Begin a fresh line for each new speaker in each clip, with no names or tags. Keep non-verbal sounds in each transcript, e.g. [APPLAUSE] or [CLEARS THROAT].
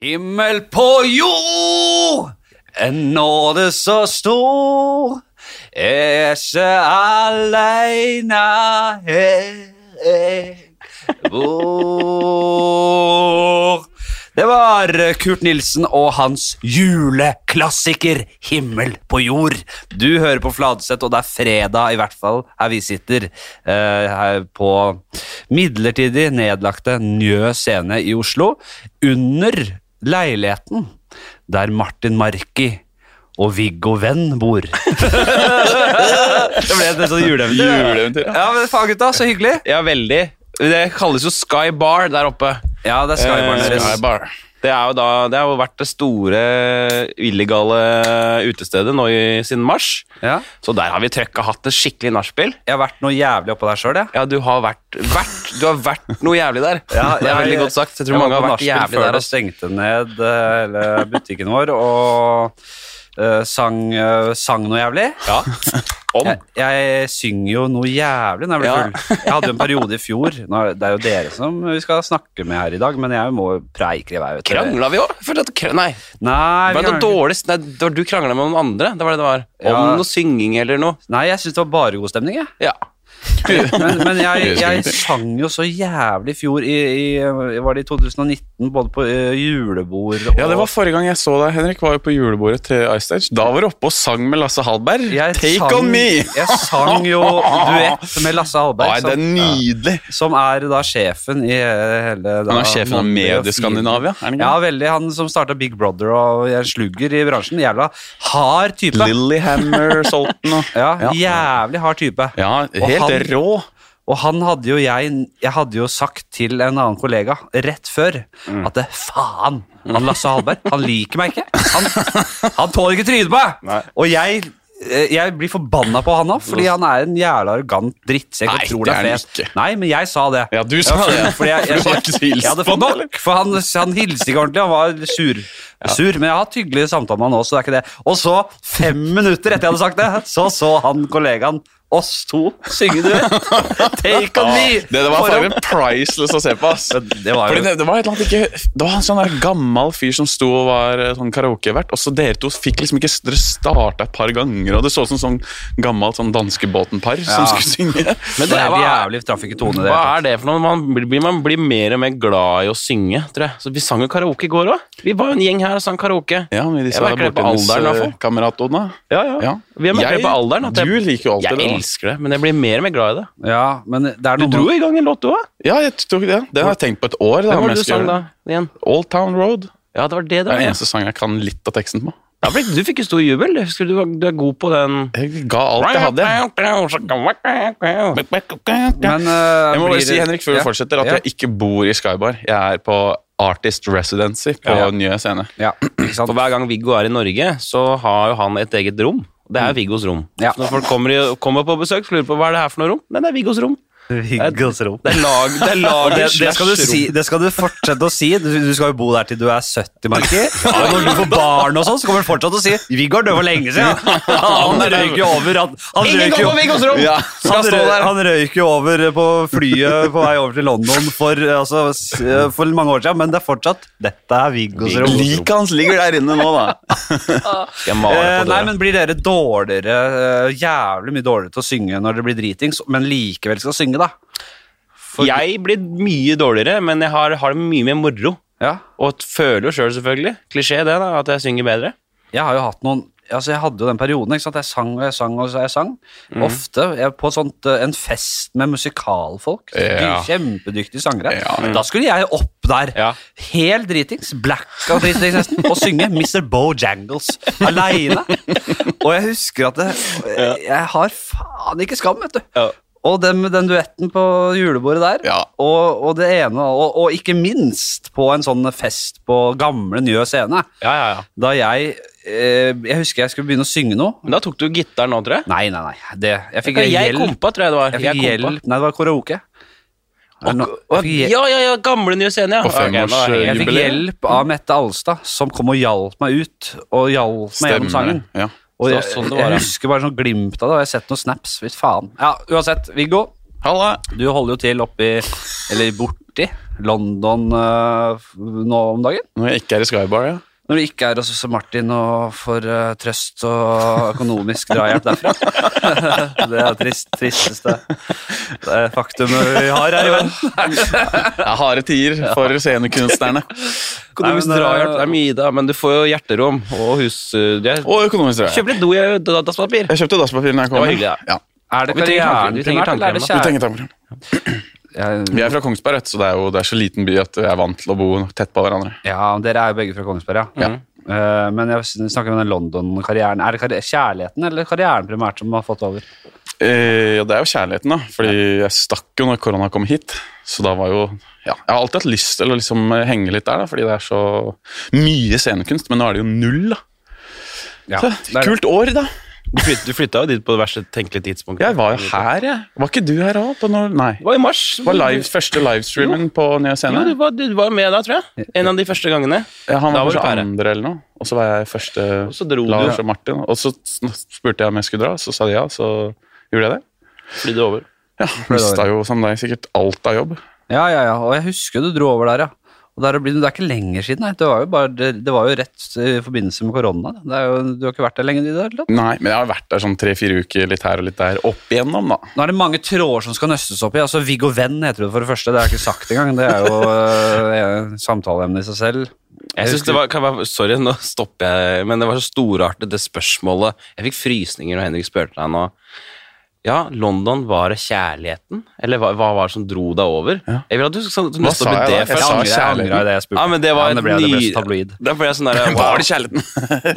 Himmel på jord, en nåde så stor. Jeg er ikke aleine her jeg bor. Det var Kurt Nilsen og hans juleklassiker 'Himmel på jord'. Du hører på Fladseth, og det er fredag, i hvert fall her vi sitter. eh, her på midlertidig nedlagte Njø scene i Oslo. Under leiligheten der Martin Marki og Viggo Venn bor. [LAUGHS] det ble et sånt juleeventyr.
Juleeventyr, ja.
Ja, men faen gutta, så hyggelig.
Ja, veldig. Det kalles jo Sky Bar der oppe.
Ja, det er Skybarn
Eh,
deres.
Sky Bar. Det, er jo da, det har jo vært det store illegale utestedet nå i, siden mars.
Ja.
Så der har vi trøkka hatt et skikkelig nachspiel.
Jeg har vært noe jævlig oppå der sjøl, jeg.
Ja, du har vært, vært, du har vært noe jævlig der. det er veldig godt sagt. Jeg tror mange har vært jævlig
før
der.
det stengte ned eh, hele butikken vår og eh, sang, eh, sang noe jævlig.
Ja. Om.
Jeg, jeg synger jo noe jævlig når jeg blir
Ja.
full. Jeg hadde jo en periode i fjor nå, er- Det er jo dere som vi skal snakke med her i dag, men jeg må jo preike i vei. vet dere.
Krangla vi òg? Nei.
Nei, vi
Var det noe
krangler-
dårlig? Nei, det var du krangla med noen andre. Det var det det var. Om
Ja.
noe synging eller noe.
Nei, jeg syns det var bare god stemning, jeg.
Ja.
Men, men jeg,
[LAUGHS]
Det husker jeg
jeg
ikke.
sang jo så jævlig i fjor, i, i, var det i 2019, både på eh, julebord og
Ja, det var forrige gang jeg så deg, Henrik. Var jo på julebordet til Ice Stage. Da var du oppe og sang med Lasse Hallberg.
Jeg
Take
sang-
on me!
Jeg sang
[LAUGHS]
jo duett med Lasse Hallberg,
Nei, det er
som,
nydelig.
som er da sjefen i eh, hele da,
Han er sjefen av
Motley og
Medieskandinavia, er han ikke
Feel. Ja, veldig. Han som starta Big Brother og er en slugger i bransjen. Jævla hard type. [LAUGHS]
Lillyhammer, Salton og
Ja, jævlig hard type.
Ja,
Og
helt
han-
rå.
Og han hadde jo jeg Jeg hadde jo sagt til en annen kollega rett før
Mm.
at det, faen, han Lasse Hallberg, han liker meg ikke. Han, han tåler ikke trynet på
Nei.
meg! Og jeg eh, jeg blir forbanna på han òg, fordi han er en jævla arrogant drittsekk. og
Nei,
tror
det
han
er han
fet.
ikke.
Nei, men jeg sa det.
Ja, du sa
fordi-
det.
Fordi jeg, jeg,
[LAUGHS] Du har ikke så
jeg,
hilst
hadde
på
fått
han,
nok, for han, han hilste ikke ordentlig. Han var sur. sur. Men jeg har hatt hyggelige samtaler med han også, det er ikke det. Og så, fem minutter etter jeg hadde sagt det, så så han kollegaen oss to synge
[LAUGHS]
duett. Take on me!
Det, det var
Foran-
faen meg priceless å se på, ass.
Men det var jo-
Fordi det, det var et eller annet ikke Det var en sånn der gammel fyr som sto og var eh, sånn karaokevert, og så dere to fikk liksom ikke Dere starta et par ganger, og det så ut som sånn gammelt sånn danskebåten-par
Ja.
som skulle synge.
Men
Det
det
er
var
jævlig traff ikke tone, det.
Hva er det for noe? Man blir, man blir mer og mer glad i å synge, tror jeg. Så vi sang jo karaoke i går òg. Vi var jo en gjeng her og sang karaoke.
Ja, men de
Jeg
sa det
merker det på
borti hennes
alderen, i hvert
eh,
fall.
kamerat Odna.
Ja, ja.
Ja.
Vi er mer
Jeg-
på alderen. At jeg,
du liker jo alltid
jeg
det, da.
elsker det, men jeg blir mer og mer glad i det.
Ja, men det er
Du
noe
dro
med-
i gang en låt, du òg.
Ja, jeg tok det. Det har jeg tenkt på et år. Da,
Hvem
om
var det
jeg
du
skal
sang
gjøre
da?
det.
Igjen.
Old Town Road.
Ja, det var det det
Det er
var.
den
Ja.
eneste sangen jeg kan litt av teksten på.
Ja, men du fikk jo stor jubel. Jeg husker du, var- du er god på den
Jeg ga alt jeg hadde.
[LAUGHS]
Men eh,
Jeg må
blir
bare si,
det-
Henrik, før
ja,
du fortsetter, at
ja,
jeg ikke bor i Skybar. Jeg er på Artist Residency på
Ja.
Nye Scene.
Ja, ikke sant?
For hver gang Viggo er i Norge, så har jo han et eget rom. Det er Viggos rom.
Mm. Ja.
Så Når folk kommer, i, kommer på besøk, så lurer på hva er det her for noe rom. Nei, det er Viggos rom. Det er lag, det er
[LAUGHS] Og det,
laget
det, skal du si, det skal du fortsette å si. Du, du skal jo bo der til du er 70,
[LAUGHS]
Marki. Og når du får barn og sånn, så kommer du fortsatt å si 'Viggo er død for lenge
[LAUGHS]
siden'. [LAUGHS] Han røyk jo over. Han, han
Ingen
røyk
går
jo
på Viggos rom!
Ja.
han,
Skal stå
røy-
der.
han røyk jo over på flyet på vei over til London for, eh, altså, s- eh, for mange år siden, men det er fortsatt 'Dette er Viggos rom'.
Liket hans ligger der inne nå, da.
Skal jeg male
Eh,
på
nei,
døra?
men Blir dere dårligere, eh, jævlig mye dårligere til å synge når dere blir dritings, men likevel skal synge, da?
Jeg blir mye dårligere, men jeg har, har det mye mer moro.
Ja.
Og t- føler jo sjøl, selv, selvfølgelig. Klisjé det, da, at jeg synger bedre.
Jeg har jo hatt noen Altså jeg hadde jo den perioden ikke sant? Jeg sang og jeg sang og jeg sang
Mm.
Ofte jeg, på sånt, eh, en fest med musikalfolk
Ja.
De Kjempedyktige sangere
Ja.
Da skulle jeg opp der
Ja.
Helt dritings, black og dritings nesten Og synge Mr. Bojangles Alene Og jeg husker at det, jeg har faen ikke skam vet du
Ja.
Og den, den duetten på julebordet der
Ja.
og, og det ene og, og ikke minst på en sånn fest På gamle Njø scene
Ja, ja, ja.
da jeg eh, Jeg husker jeg skulle begynne å synge noe.
Men da tok du gitaren nå, tror jeg.
Nei, nei, nei. Det, jeg fikk
Jeg,
hjelp.
kompa, tror jeg det var.
Jeg fikk
kompa.
hjelp. Nei, det var karaoke. Er det no-
Og-
Jeg fikk hjelp.
Ja, ja, ja, gamle nye scene, ja.
På
Ok, nå er jeg
femårs,
helt-
Jeg fikk
jubileum.
hjelp
Mm.
av Mette Alstad, som kom og hjalp meg ut. Og hjalp meg gjennom sangen.
Ja.
Og
Så
jeg,
sånn det var,
jeg
ja.
husker bare sånn glimt av det, og jeg har sett noen snaps. Fy faen. Ja, uansett. Viggo,
Halla!
Du holder jo til oppi, eller borti, London eh, f- nå om dagen.
Når jeg ikke er i Skybar, ja.
Når du ikke er hos hos Martin og får eh, trøst og økonomisk drahjelp derfra. [LAUGHS] det er trist, tristeste eh, faktumet vi har her i verden.
Det er harde
[LAUGHS]
tider for scenekunstnerne.
Økonomisk
Nei, men,
drahjelp
eh,
det er mye, da, men du får jo hjerterom og hus... eh, det er-
Og økonomisk drahjelp.
Kjøp litt do i da- dasspapir.
Jeg kjøpte dasspapir når jeg
Det
kom.
var hyggelig, da.
ja.
[LAUGHS] Er det
Vi trenger
karrieren
tanker, vi trenger
primært, eller er det
Du
kjære?
tenker tanker.
Jeg-
Vi er fra Kongsberg, vet du, så det er jo det er så liten by at jeg er vant til å bo tett på hverandre.
Ja, dere er jo begge fra Kongsberg, ja. Eh, men jeg snakker om den London-karrieren. Er det karri- kjærligheten eller karrieren primært som har fått over?
Eh, ja, det er jo kjærligheten, da. Fordi jeg stakk jo når korona kom hit. Så da var jo Ja, jeg har alltid hatt lyst til å liksom eh, henge litt der, da, fordi det er så mye scenekunst. Men nå er det jo null, da.
Ja,
Så,
det er det.
kult år, da.
Du flyt- Du flytta jo dit på det verste tenkelige tidspunktet.
Jeg var jo her, jeg. Var ikke du her òg? Nei.
Det var i mars.
Det var live, første livestreamen på Nye
Jo,
Scene.
du var, du var med da, tror jeg. En av de første gangene.
Ja, han
Da
var
var du
kanskje
pære.
andre eller noe, og så var jeg første
så dro du.
Lars og Martin. Og så sn- spurte jeg om jeg skulle dra, så sa de ja, så gjorde jeg det.
Fly det over.
Ja, Mista jo som deg sikkert alt av jobb.
Ja, ja, ja. Og jeg husker du dro over der, ja. Og der, blir- det er ikke lenger siden, nei. Det var jo, bare, det, det var jo rett i forbindelse med korona. da. Det er jo, du har ikke vært der lenge? i det hele tatt.
Nei, men jeg har vært der sånn tre-fire uker litt her og litt der opp igjennom, da.
Nå er det mange tråder som skal nøstes opp i. altså Viggo Venn heter det for det første. Det har jeg ikke sagt engang. Det er jo øh, samtaleemne i seg selv.
Jeg synes det var, kan være, Sorry, nå stopper jeg, men det var så storartet, det spørsmålet. Jeg fikk frysninger når Henrik spurte deg nå. Ja, London, var det kjærligheten? Eller hva, hva var det som dro deg over? Jeg vil at du skal skal
Hva
nøste
sa
opp i
jeg
det
da?
Jeg
først.
sa
angrer, jeg
kjærligheten.
angrer i det jeg spurte.
Ja, men det var
det ble, det ble
ny-
så tabloid.
Da ble jeg sånn
[LAUGHS]
der, wow,
Var det kjærligheten?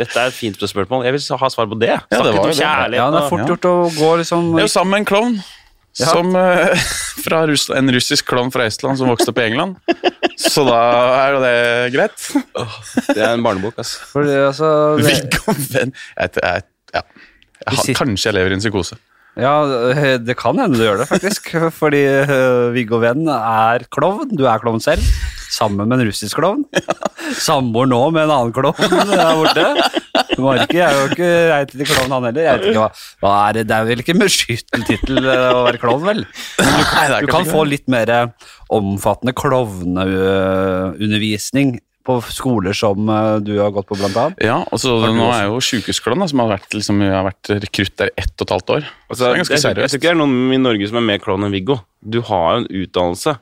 Dette er et fint spørsmål. Jeg vil ha svar på det.
Ja,
Snakk
det
litt
var
om
jo det.
kjærligheten.
Ja, det
da.
er fort gjort å gå liksom
Jeg er jo sammen med en klovn. Som, eh, [LAUGHS] fra Russ, en russisk klovn fra Estland som vokste opp i England. Så da er jo det greit.
Det er en barnebok, ass.
for, det- altså, det,
Viggo Venn jeg, jeg, ja. jeg, har-
sitter-
Kanskje jeg lever i en psykose.
Ja, eh, det kan hende du gjør det, faktisk. [LAUGHS] Fordi øh, Viggo Venn er klovn. Du er klovn selv. Sammen med en russisk
[LAUGHS]
klovn. Samboer nå med en annen klovn eh, der borte. Marki er jo ikke reit til klovn, han heller. Jeg vet ikke hva, hva er det? det er vel ikke en beskyttende tittel øh, å være klovn, vel?
Nei, det
Du
er kanskje
kan
ikke
få
det.
litt mer eh, omfattende klovneundervisning på skoler som eh, du har gått på, blant annet.
Ja, og så
du
Nå
også?
er jeg jo sjukehusklovn, da, som har vært, liksom, jeg har vært rekrutt der i ett og et halvt år.
Altså,
så det er
jeg,
ganske
tror- jeg
seriøst.
tror ikke det er noen i Norge som er mer klovn enn Viggo. Du har jo en utdannelse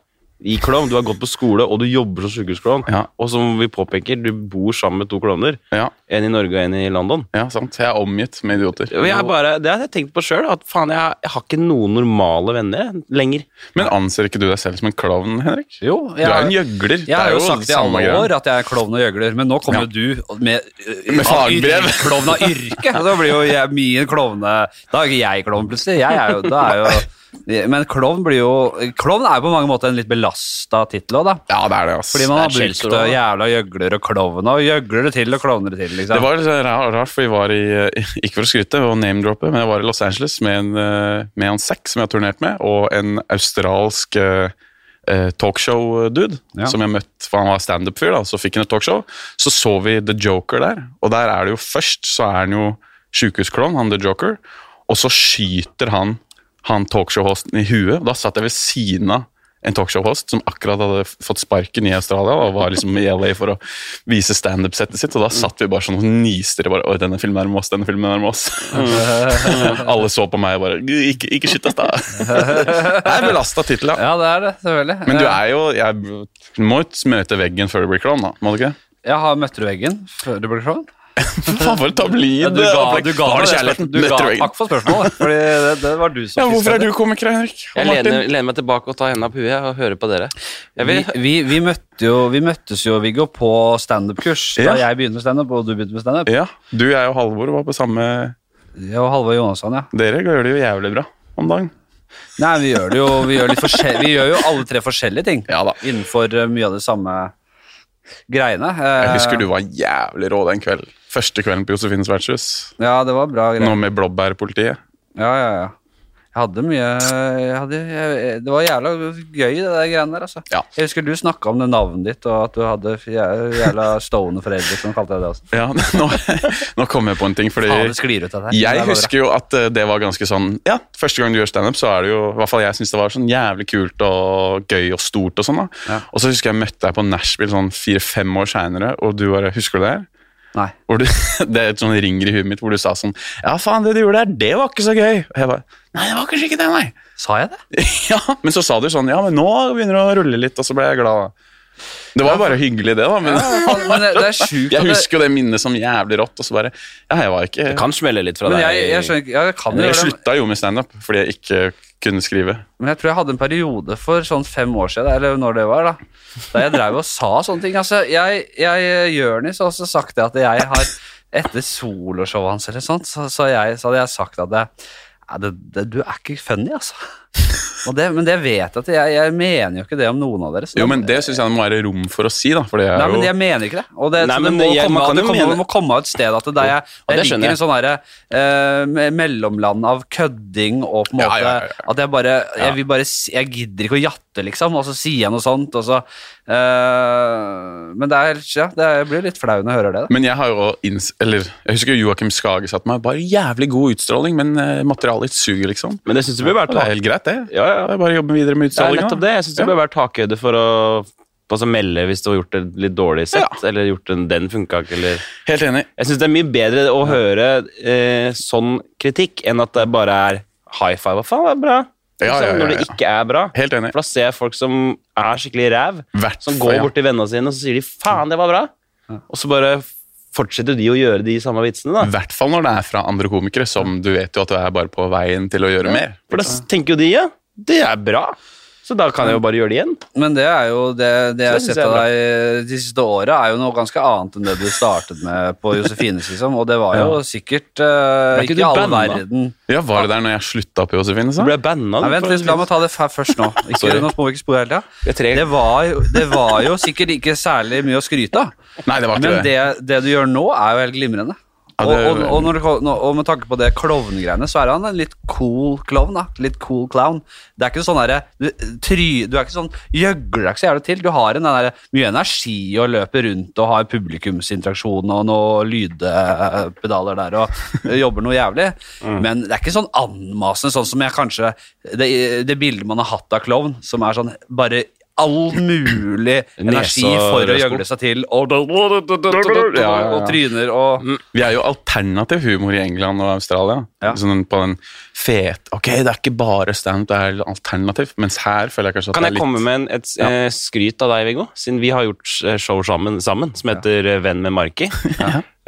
i klovn. Du har gått på skole, og du jobber som sykehusklovn.
Ja.
Og som vi påpeker, du bor sammen med to klovner.
Ja,
En i Norge og en i London.
ja, sant. Jeg er omgitt med idioter.
Og Jeg er bare, det har jeg tenkt på sjøl, at faen, jeg, jeg har ikke noen normale venner lenger.
Men anser ikke du deg selv som en klovn, Henrik?
Jo,
Du er jo en gjøgler.
Jeg har
det er
jo sagt i
samme
alle
greia.
år at jeg er klovn og gjøgler, men nå kommer jo
Ja.
du med, øh,
Med
av
fagbrev.
yrke- Klovn av yrke. Da blir jo jeg mye klovne Da er ikke jeg klovn, plutselig. Jeg er jo, da er jo men klovn blir jo Klovn er jo på mange måter en litt belasta tittel òg, da.
Ja, det er det, ass.
Fordi man har
Det
brukt
er skjellsord også,
øh,
da.
jævla gjøglere og klovner, og gjøglere til og klovner til,
Det
liksom.
var litt sånn ra- rart, for vi var i eh, [LAUGHS] Ikke for å skryte og name-droppe, men jeg var i Los Angeles med en, eh, med en sekk som jeg har turnert med, og en australsk eh, eh, talkshow-dude
Ja.
som jeg møtte, for han var standup-fyr, da, så fikk han et talkshow. Så så vi The Joker der, og der er det jo først så er han jo sjukehusklovn, han The Joker, og så skyter han han talkshow-hosten i huet. og Da satt jeg ved siden av en talkshow-host som akkurat hadde f- fått sparken i Australia og var liksom i LA for å vise standup-settet sitt, og da satt vi bare sånn og nistere bare Oi, denne filmen er med oss, denne filmen er med oss. [LAUGHS] Alle så på meg og bare Ikke, ikke skyt oss,
[LAUGHS]
da. Det er en belasta tittel, ja.
[LAUGHS] Ja, det er det, selvfølgelig.
Men du er jo jeg, Du må jo møte veggen før du blir klovn, da. Må du ikke?
Jeg har møtt du veggen før du ble klovn.
Faen, for et tabloid
Ja, du ga,
opplegg.
du ga
Var det
det
kjærligheten?
spørsmålet. Du ga,
Møtte veggen.
takk for spørsmålet, Fordi det, det var du som
Ja, hvorfor
fikk
er du komiker, Henrik? Og
Jeg
Martin?
lener, lener meg tilbake og tar hendene på huet og hører på dere. Jeg
Vi,
vil,
vi, vi, møtte jo, vi møttes jo, Viggo, på standup-kurs. Da
Ja.
jeg begynte med standup, og du begynte med standup.
Ja, du, jeg og Halvor var på samme
Jeg og Halvor Jonasson, ja.
Dere gjør det jo jævlig bra om dagen.
Nei, vi gjør det jo vi gjør, litt forskjell- vi gjør jo alle tre forskjellige ting
Ja da.
innenfor eh, mye av de samme greiene. Eh,
Jeg husker du var jævlig rå den kvelden. Første kvelden på Josefines vertshus.
Ja, det var bra
Nå
greier.
med blåbærpolitiet.
Ja, ja, ja. Jeg Jeg hadde mye jeg hadde, jeg, Det var jævla gøy, det der greiene der, altså.
Ja.
Jeg husker du snakka om det navnet ditt, og at du hadde f- jæ- jævla stående foreldre, som kalte deg det. Altså.
Ja, [LAUGHS] nå, nå kom jeg på en ting, fordi
Faen, det sklir ut av det her. Det
jeg
er bare
husker jo at eh, det var ganske sånn Ja, første gang du gjør standup, så er det jo I hvert fall jeg synes det var sånn jævlig kult og gøy og stort og sånn, da. Og så husker jeg møtte deg på Nashville sånn fire-fem år seinere, og du bare Husker du det her?
bra. Nei.
Hvor du, [LAUGHS] det er et sånn ringer i huet mitt hvor du sa sånn Ja, faen, det du gjorde der, det var ikke så gøy. Og jeg bare Nei, det var kanskje ikke det, nei.
Sa jeg det?
Ja, men så sa du sånn Ja, men nå begynner det å rulle litt, og så ble jeg glad. Det var bare hyggelig, det, da. Men
Faen, men det, det er sjukt at
[LAUGHS] jeg
det-
husker jo det minnet som jævlig rått, og så bare Ja, jeg var ikke
Kan smelle litt fra
Men
deg.
jeg, jeg skjønner ikke ja, Jeg kan jo
Jeg
gjøre det,
slutta jo med standup fordi jeg ikke kunne skrive.
men jeg tror jeg hadde en periode for sånn fem år siden, eller når det var, da, da jeg drev og sa sånne ting. Altså, jeg, jeg Jørnis har også sagt det at jeg har Etter soloshowet hans eller sånt, så, så, jeg, så hadde jeg sagt at jeg, ja, det, det, du er ikke funny, altså. Og det, men det vet jeg at jeg, jeg mener jo ikke det om noen av dere. så
Jo,
da-
men det syns jeg det må være rom for å si, da. Fordi jeg
Nei,
er
men
jo
jeg mener ikke det. Og det,
Nei,
så det,
men
må,
jeg-
komme,
man kan
det
jo
kommer,
mene-
må komme av et sted at det, der jeg,
Ja,
jeg
det skjønner
liker en sånn derre eh, me- mellomland av kødding og på en
Ja,
måte
ja, ja, ja.
At jeg bare jeg, vil bare si- jeg gidder ikke å jatte, liksom, og så sier jeg noe sånt, og så eh, Men det er Ja, det er, jeg blir litt flau når jeg hører det, da.
Men jeg har jo inns... Eller, jeg husker jo Joakim Skage sa til meg bare jævlig god utstråling, men eh, materialet ditt suger, liksom.
Men jeg syns det burde
Og
vært
det er
tak-
helt greit, det.
Ja, ja.
Det er Bare å jobbe videre med
Det er
utstrålinga.
nettopp det. Jeg syns det bør være takhøyde for å altså, melde hvis du har gjort et litt dårlig sett, eller gjort en, den funka ikke, eller
Helt enig.
Jeg syns det er mye bedre å høre eh, sånn kritikk enn at det bare er high five. Hva faen, det er bra. Liksom,
Ja, ja, ja, ja.
Når det ikke er bra.
Helt enig.
For da ser jeg folk som er skikkelig ræv,
Hvert
som
fall,
går
ja.
bort til vennene sine og så sier de 'faen, det var bra', og så bare fortsetter de å gjøre de samme vitsene, da.
I hvert fall når det er fra andre komikere, som du vet jo at du er bare på veien til å gjøre mer.
For da s- tenker jo de 'ja, det er bra', så da kan jeg jo bare gjøre det igjen.
Men det er jo det, det jeg har
synes
sett
jeg er
av
bra.
deg de siste åra, er jo noe ganske annet enn det du startet med på Josefines, liksom. Og det var jo sikkert eh,
Ble ikke
ikke,
du
all
banna?
verden.
Ja, Var det der når jeg slutta på Josefine,
Så
sa?
ble jeg banna.
Nei, vent litt, la meg ta det fe- først
[LAUGHS]
nå. Ikke,
Sorry.
nå må vi ikke spore hele tida.
Jeg trenger-
Det var, jo, det var jo sikkert ikke særlig mye å skryte av,
Nei, det var ikke
men
det.
det, det du gjør nå, er jo helt glimrende.
Ja,
Og,
det-
og, og, når det, kom- nå- og med tanke på det klovngreiene, så er han en litt cool klovn. da Litt cool clown. Det er ikke sånn derre du, try- du er ikke sånn gjøgler deg ikke så jævlig til. Du har en den derre mye energi og løper rundt og har publikumsinteraksjon og noen lydpedaler der og [LAUGHS] jobber noe jævlig. Men det er ikke sånn anmasende, sånn som jeg kanskje Det, det bildet man har hatt av klovn, som er sånn bare All mulig energi
Nese og
for å
rød sko.
gjøgle seg til, og, og tryner og
Mm. Vi er jo alternativ humor i England og Australia.
Ja.
Sånn på den fet Ok, det er ikke bare standup, det er alternativ. Mens her føler jeg kanskje at
Kan
det
jeg
er litt
komme med en, et eh, skryt av deg, Viggo? Siden vi har gjort eh, show sammen, sammen som heter eh, Venn med
[LAUGHS]
Marki.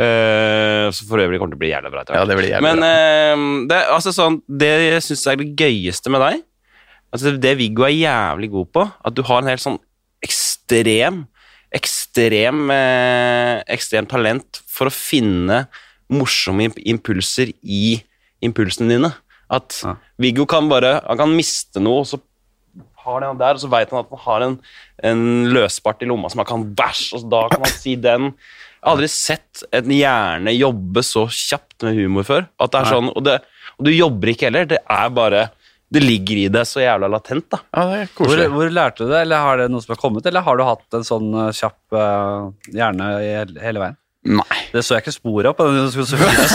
Eh, som for øvrig kommer til å bli jævla bra. etter hvert.
Ja, det blir jævlig
Men eh, det, er altså, sånn, det jeg syns er det gøyeste med deg, altså, det Viggo er jævlig god på, at du har en helt sånn ekstrem Ekstrem, eh, ekstrem talent for å finne morsomme imp impulser i impulsene dine. At
Ja.
Viggo kan bare Han kan miste noe, og så har den der, og så vet han at han har en, en løsbart i lomma som han kan bæsj, og så da kan han si den. Jeg har aldri sett en hjerne jobbe så kjapt med humor før. At det er sånn, og, det, og du jobber ikke heller, det er bare Det ligger i deg så jævla latent, da.
Ja, det er
Hvor,
koselig.
hvor lærte du det, eller har det noe som har kommet, eller har du hatt en sånn eh, kjapp eh, hjerne i hele, hele veien?
Nei.
Det så jeg ikke sporet av på den [LAUGHS] diskusjonen.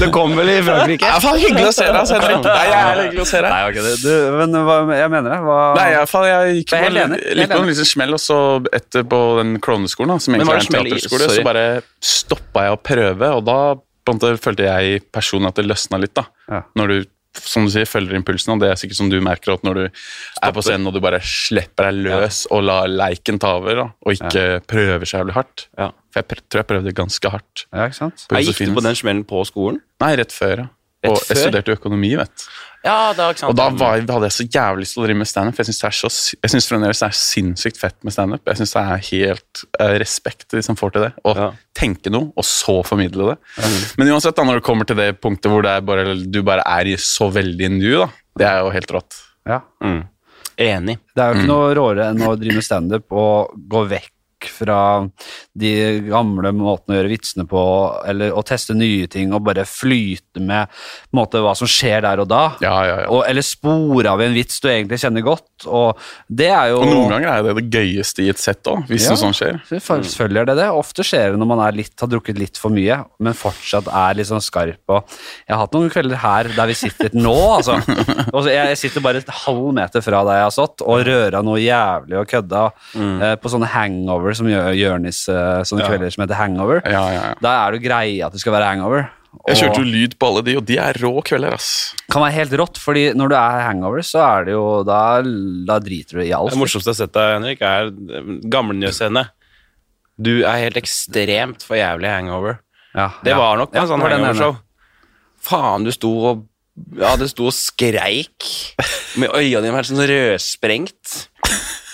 Det kom vel i Frankrike? [LAUGHS]
Ja, faen, hyggelig å se deg, Henrik. Det er jævlig hyggelig å se deg.
Nei, ok, det- du, men hva, jeg mener det. Hva,
Nei, i hvert fall, jeg
Jeg
gikk
er
på
helt
en-
enig, helt
litt på en
enig.
liten smell, og så etterpå den klovneskolen, da, som
Men var
egentlig
det smell
er en
i-
teaterskole,
sorry.
så bare stoppa jeg å prøve, og da på en måte, følte jeg personlig at det løsna litt, da.
Ja.
Når du, som du sier, følger impulsen, og det er sikkert som du merker at når du er på scenen og du bare slipper deg løs og lar leiken ta over, da, og ikke prøver så jævlig hardt.
Ja.
For jeg pr- tror jeg prøvde ganske hardt.
Ja, ikke sant?
på
Jeg gikk du
Josefines.
på den smellen på skolen?
Nei, rett før, ja.
Rett
Og jeg
før?
studerte økonomi, vet du.
Ja, det var ikke sant.
Og da var, jeg- hadde jeg så jævlig lyst til å drive med standup. for Jeg syns det, er så sy- jeg synes fremdeles det er sinnssykt fett med standup. Jeg syns det er helt eh, respekt til de som får til det. Å
Ja.
tenke noe, og så formidle det. Men uansett, da, når det kommer til det punktet hvor det er bare, du bare er i så veldig nu, da, det er jo helt rått.
Ja. Mm.
Enig.
Det er jo ikke noe råere enn å drive med standup og gå vekk vekk fra de gamle måtene å gjøre vitsene på, eller å teste nye ting og bare flyte med på en måte, hva som skjer der og da.
Ja, ja, ja.
Og, eller spore av en vits du egentlig kjenner godt. Og det er jo
Og noen ganger er det det gøyeste i et sett òg, hvis
Ja.
noe sånt skjer.
Selv- Selvfølgelig er det det. Ofte skjer det når man er litt, har drukket litt for mye, men fortsatt er litt sånn skarp. Og jeg har hatt noen kvelder her der vi sitter nå,
[LAUGHS]
altså. Og så jeg, jeg sitter bare et halv meter fra der jeg har stått, og røra noe jævlig og kødda
Mm.
eh, på sånne hangover som gjør Jørnis eh, sånne kvelder som heter hangover.
Ja, ja, ja.
Da er det jo greia at det skal være hangover.
Jeg
og-
kjørte jo lyd på alle de, og de er rå kvelder, ass.
kan være helt rått, fordi når du er hangover, så er det jo Da, da driter du i alt.
Det morsomste jeg har sett deg, Henrik, er gammelnjøsene. Du er helt ekstremt for jævlig hangover.
Ja,
Det
ja.
var nok
Ja,
en sånn
det var den
hangover-show. Faen, du sto og Ja, du sto og skreik med øya dine helt sånn rødsprengt.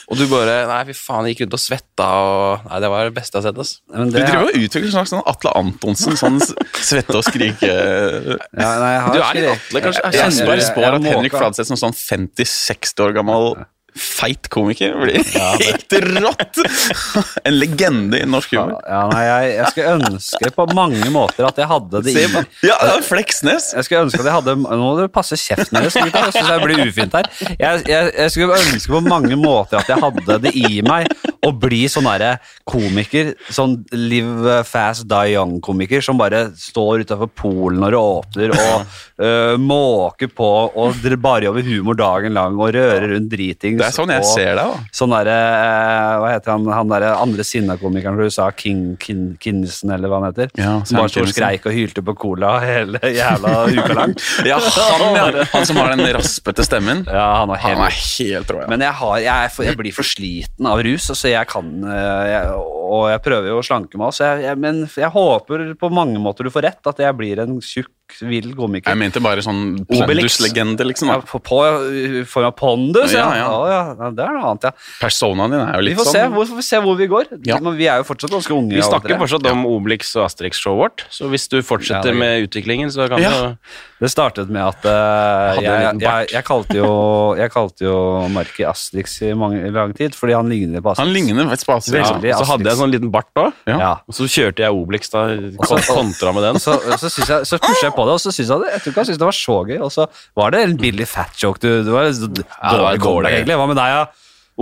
Og du bare Nei, fy faen, jeg gikk ut og svetta og Nei, det var det beste jeg har sett, ass.
ene. Men
Du
det-
driver og utvikler en slags sånn Atle Antonsen, sånn s- svette og skrike
ja, nei, jeg har
Du er litt
skrevet-
Atle, kanskje?
Jeg- jeg-
Jeg bare
jeg-
spår
jeg
at Henrik
måka.
Fladseth som sånn 50-60 år gammel feit komiker blir helt rått! [LAUGHS] En legende i norsk humor.
Ja, nei, jeg, jeg skulle ønske på mange måter at jeg hadde det i meg.
Ja, det er Fleksnes!
Jeg skulle ønske at jeg hadde Nå må dere passe kjeften deres, gutta. Jeg syns jeg blir ufint her. Jeg, jeg, jeg skulle ønske på mange måter at jeg hadde det i meg å bli sånn derre komiker, sånn live fast, die young-komiker, som bare står utafor Polen når det åpner, og øh, måker på og dr- bare jobber humor dagen lang og rører rundt dritings.
Det er sånn jeg
og-
ser deg. da.
Sånn derre eh, Hva heter han han derre andre sinna-komikeren fra USA? King Kin, Kinsen, eller hva han heter?
Ja,
som bare sto og
Sam Kinison.
skreik og hylte på cola hele jævla uka lang.
[LAUGHS] Ja, han, ja. [LAUGHS] han som har den raspete stemmen.
Ja, han var
Han
helt
er helt rå, ja.
men jeg, har, jeg, er for, jeg blir for sliten av rus, så jeg kan eh, jeg, Og jeg prøver jo å slanke meg, så jeg, jeg, men jeg håper på mange måter du får rett, at jeg blir en tjukk, vill komiker.
Jeg mente bare sånn
Obelix.
pondus-legende, liksom.
Ja,
Da.
på, på, I form av pondus, ja.
Ja, ja.
Å, ja. ja. Det er noe annet, ja.
Personaen din er jo
Vi
litt
får se,
sånn
hvor, får vi se hvor vi går.
Ja.
Men vi er jo fortsatt ganske unge.
Vi
alle
snakker
tre.
fortsatt om Obelix og Asterix-showet vårt, så hvis du
Ja, det
fortsetter
er gøy.
med utviklingen, så kan
Ja.
du
Det startet med at eh,
Hadde en
jeg,
liten
jeg, jeg, kalte jo, jeg kalte jo Marki Asterix i mange, i lang tid, fordi han ligner på
Han
Asterix.
ligner et spase.
ja.
Veldig.
Så hadde jeg en sånn liten bart da,
Ja.
Ja.
og så kjørte jeg Obelix da,
så-
kontra med den.
Så, så, synes jeg, så pushet jeg på det, og så syntes jeg det, jeg tror ikke han syntes det var så gøy. Og så var det en billig fat joke. Du, det var, så d-
det var
dårlig
dårlig.
comeback, egentlig. Hva med deg, da?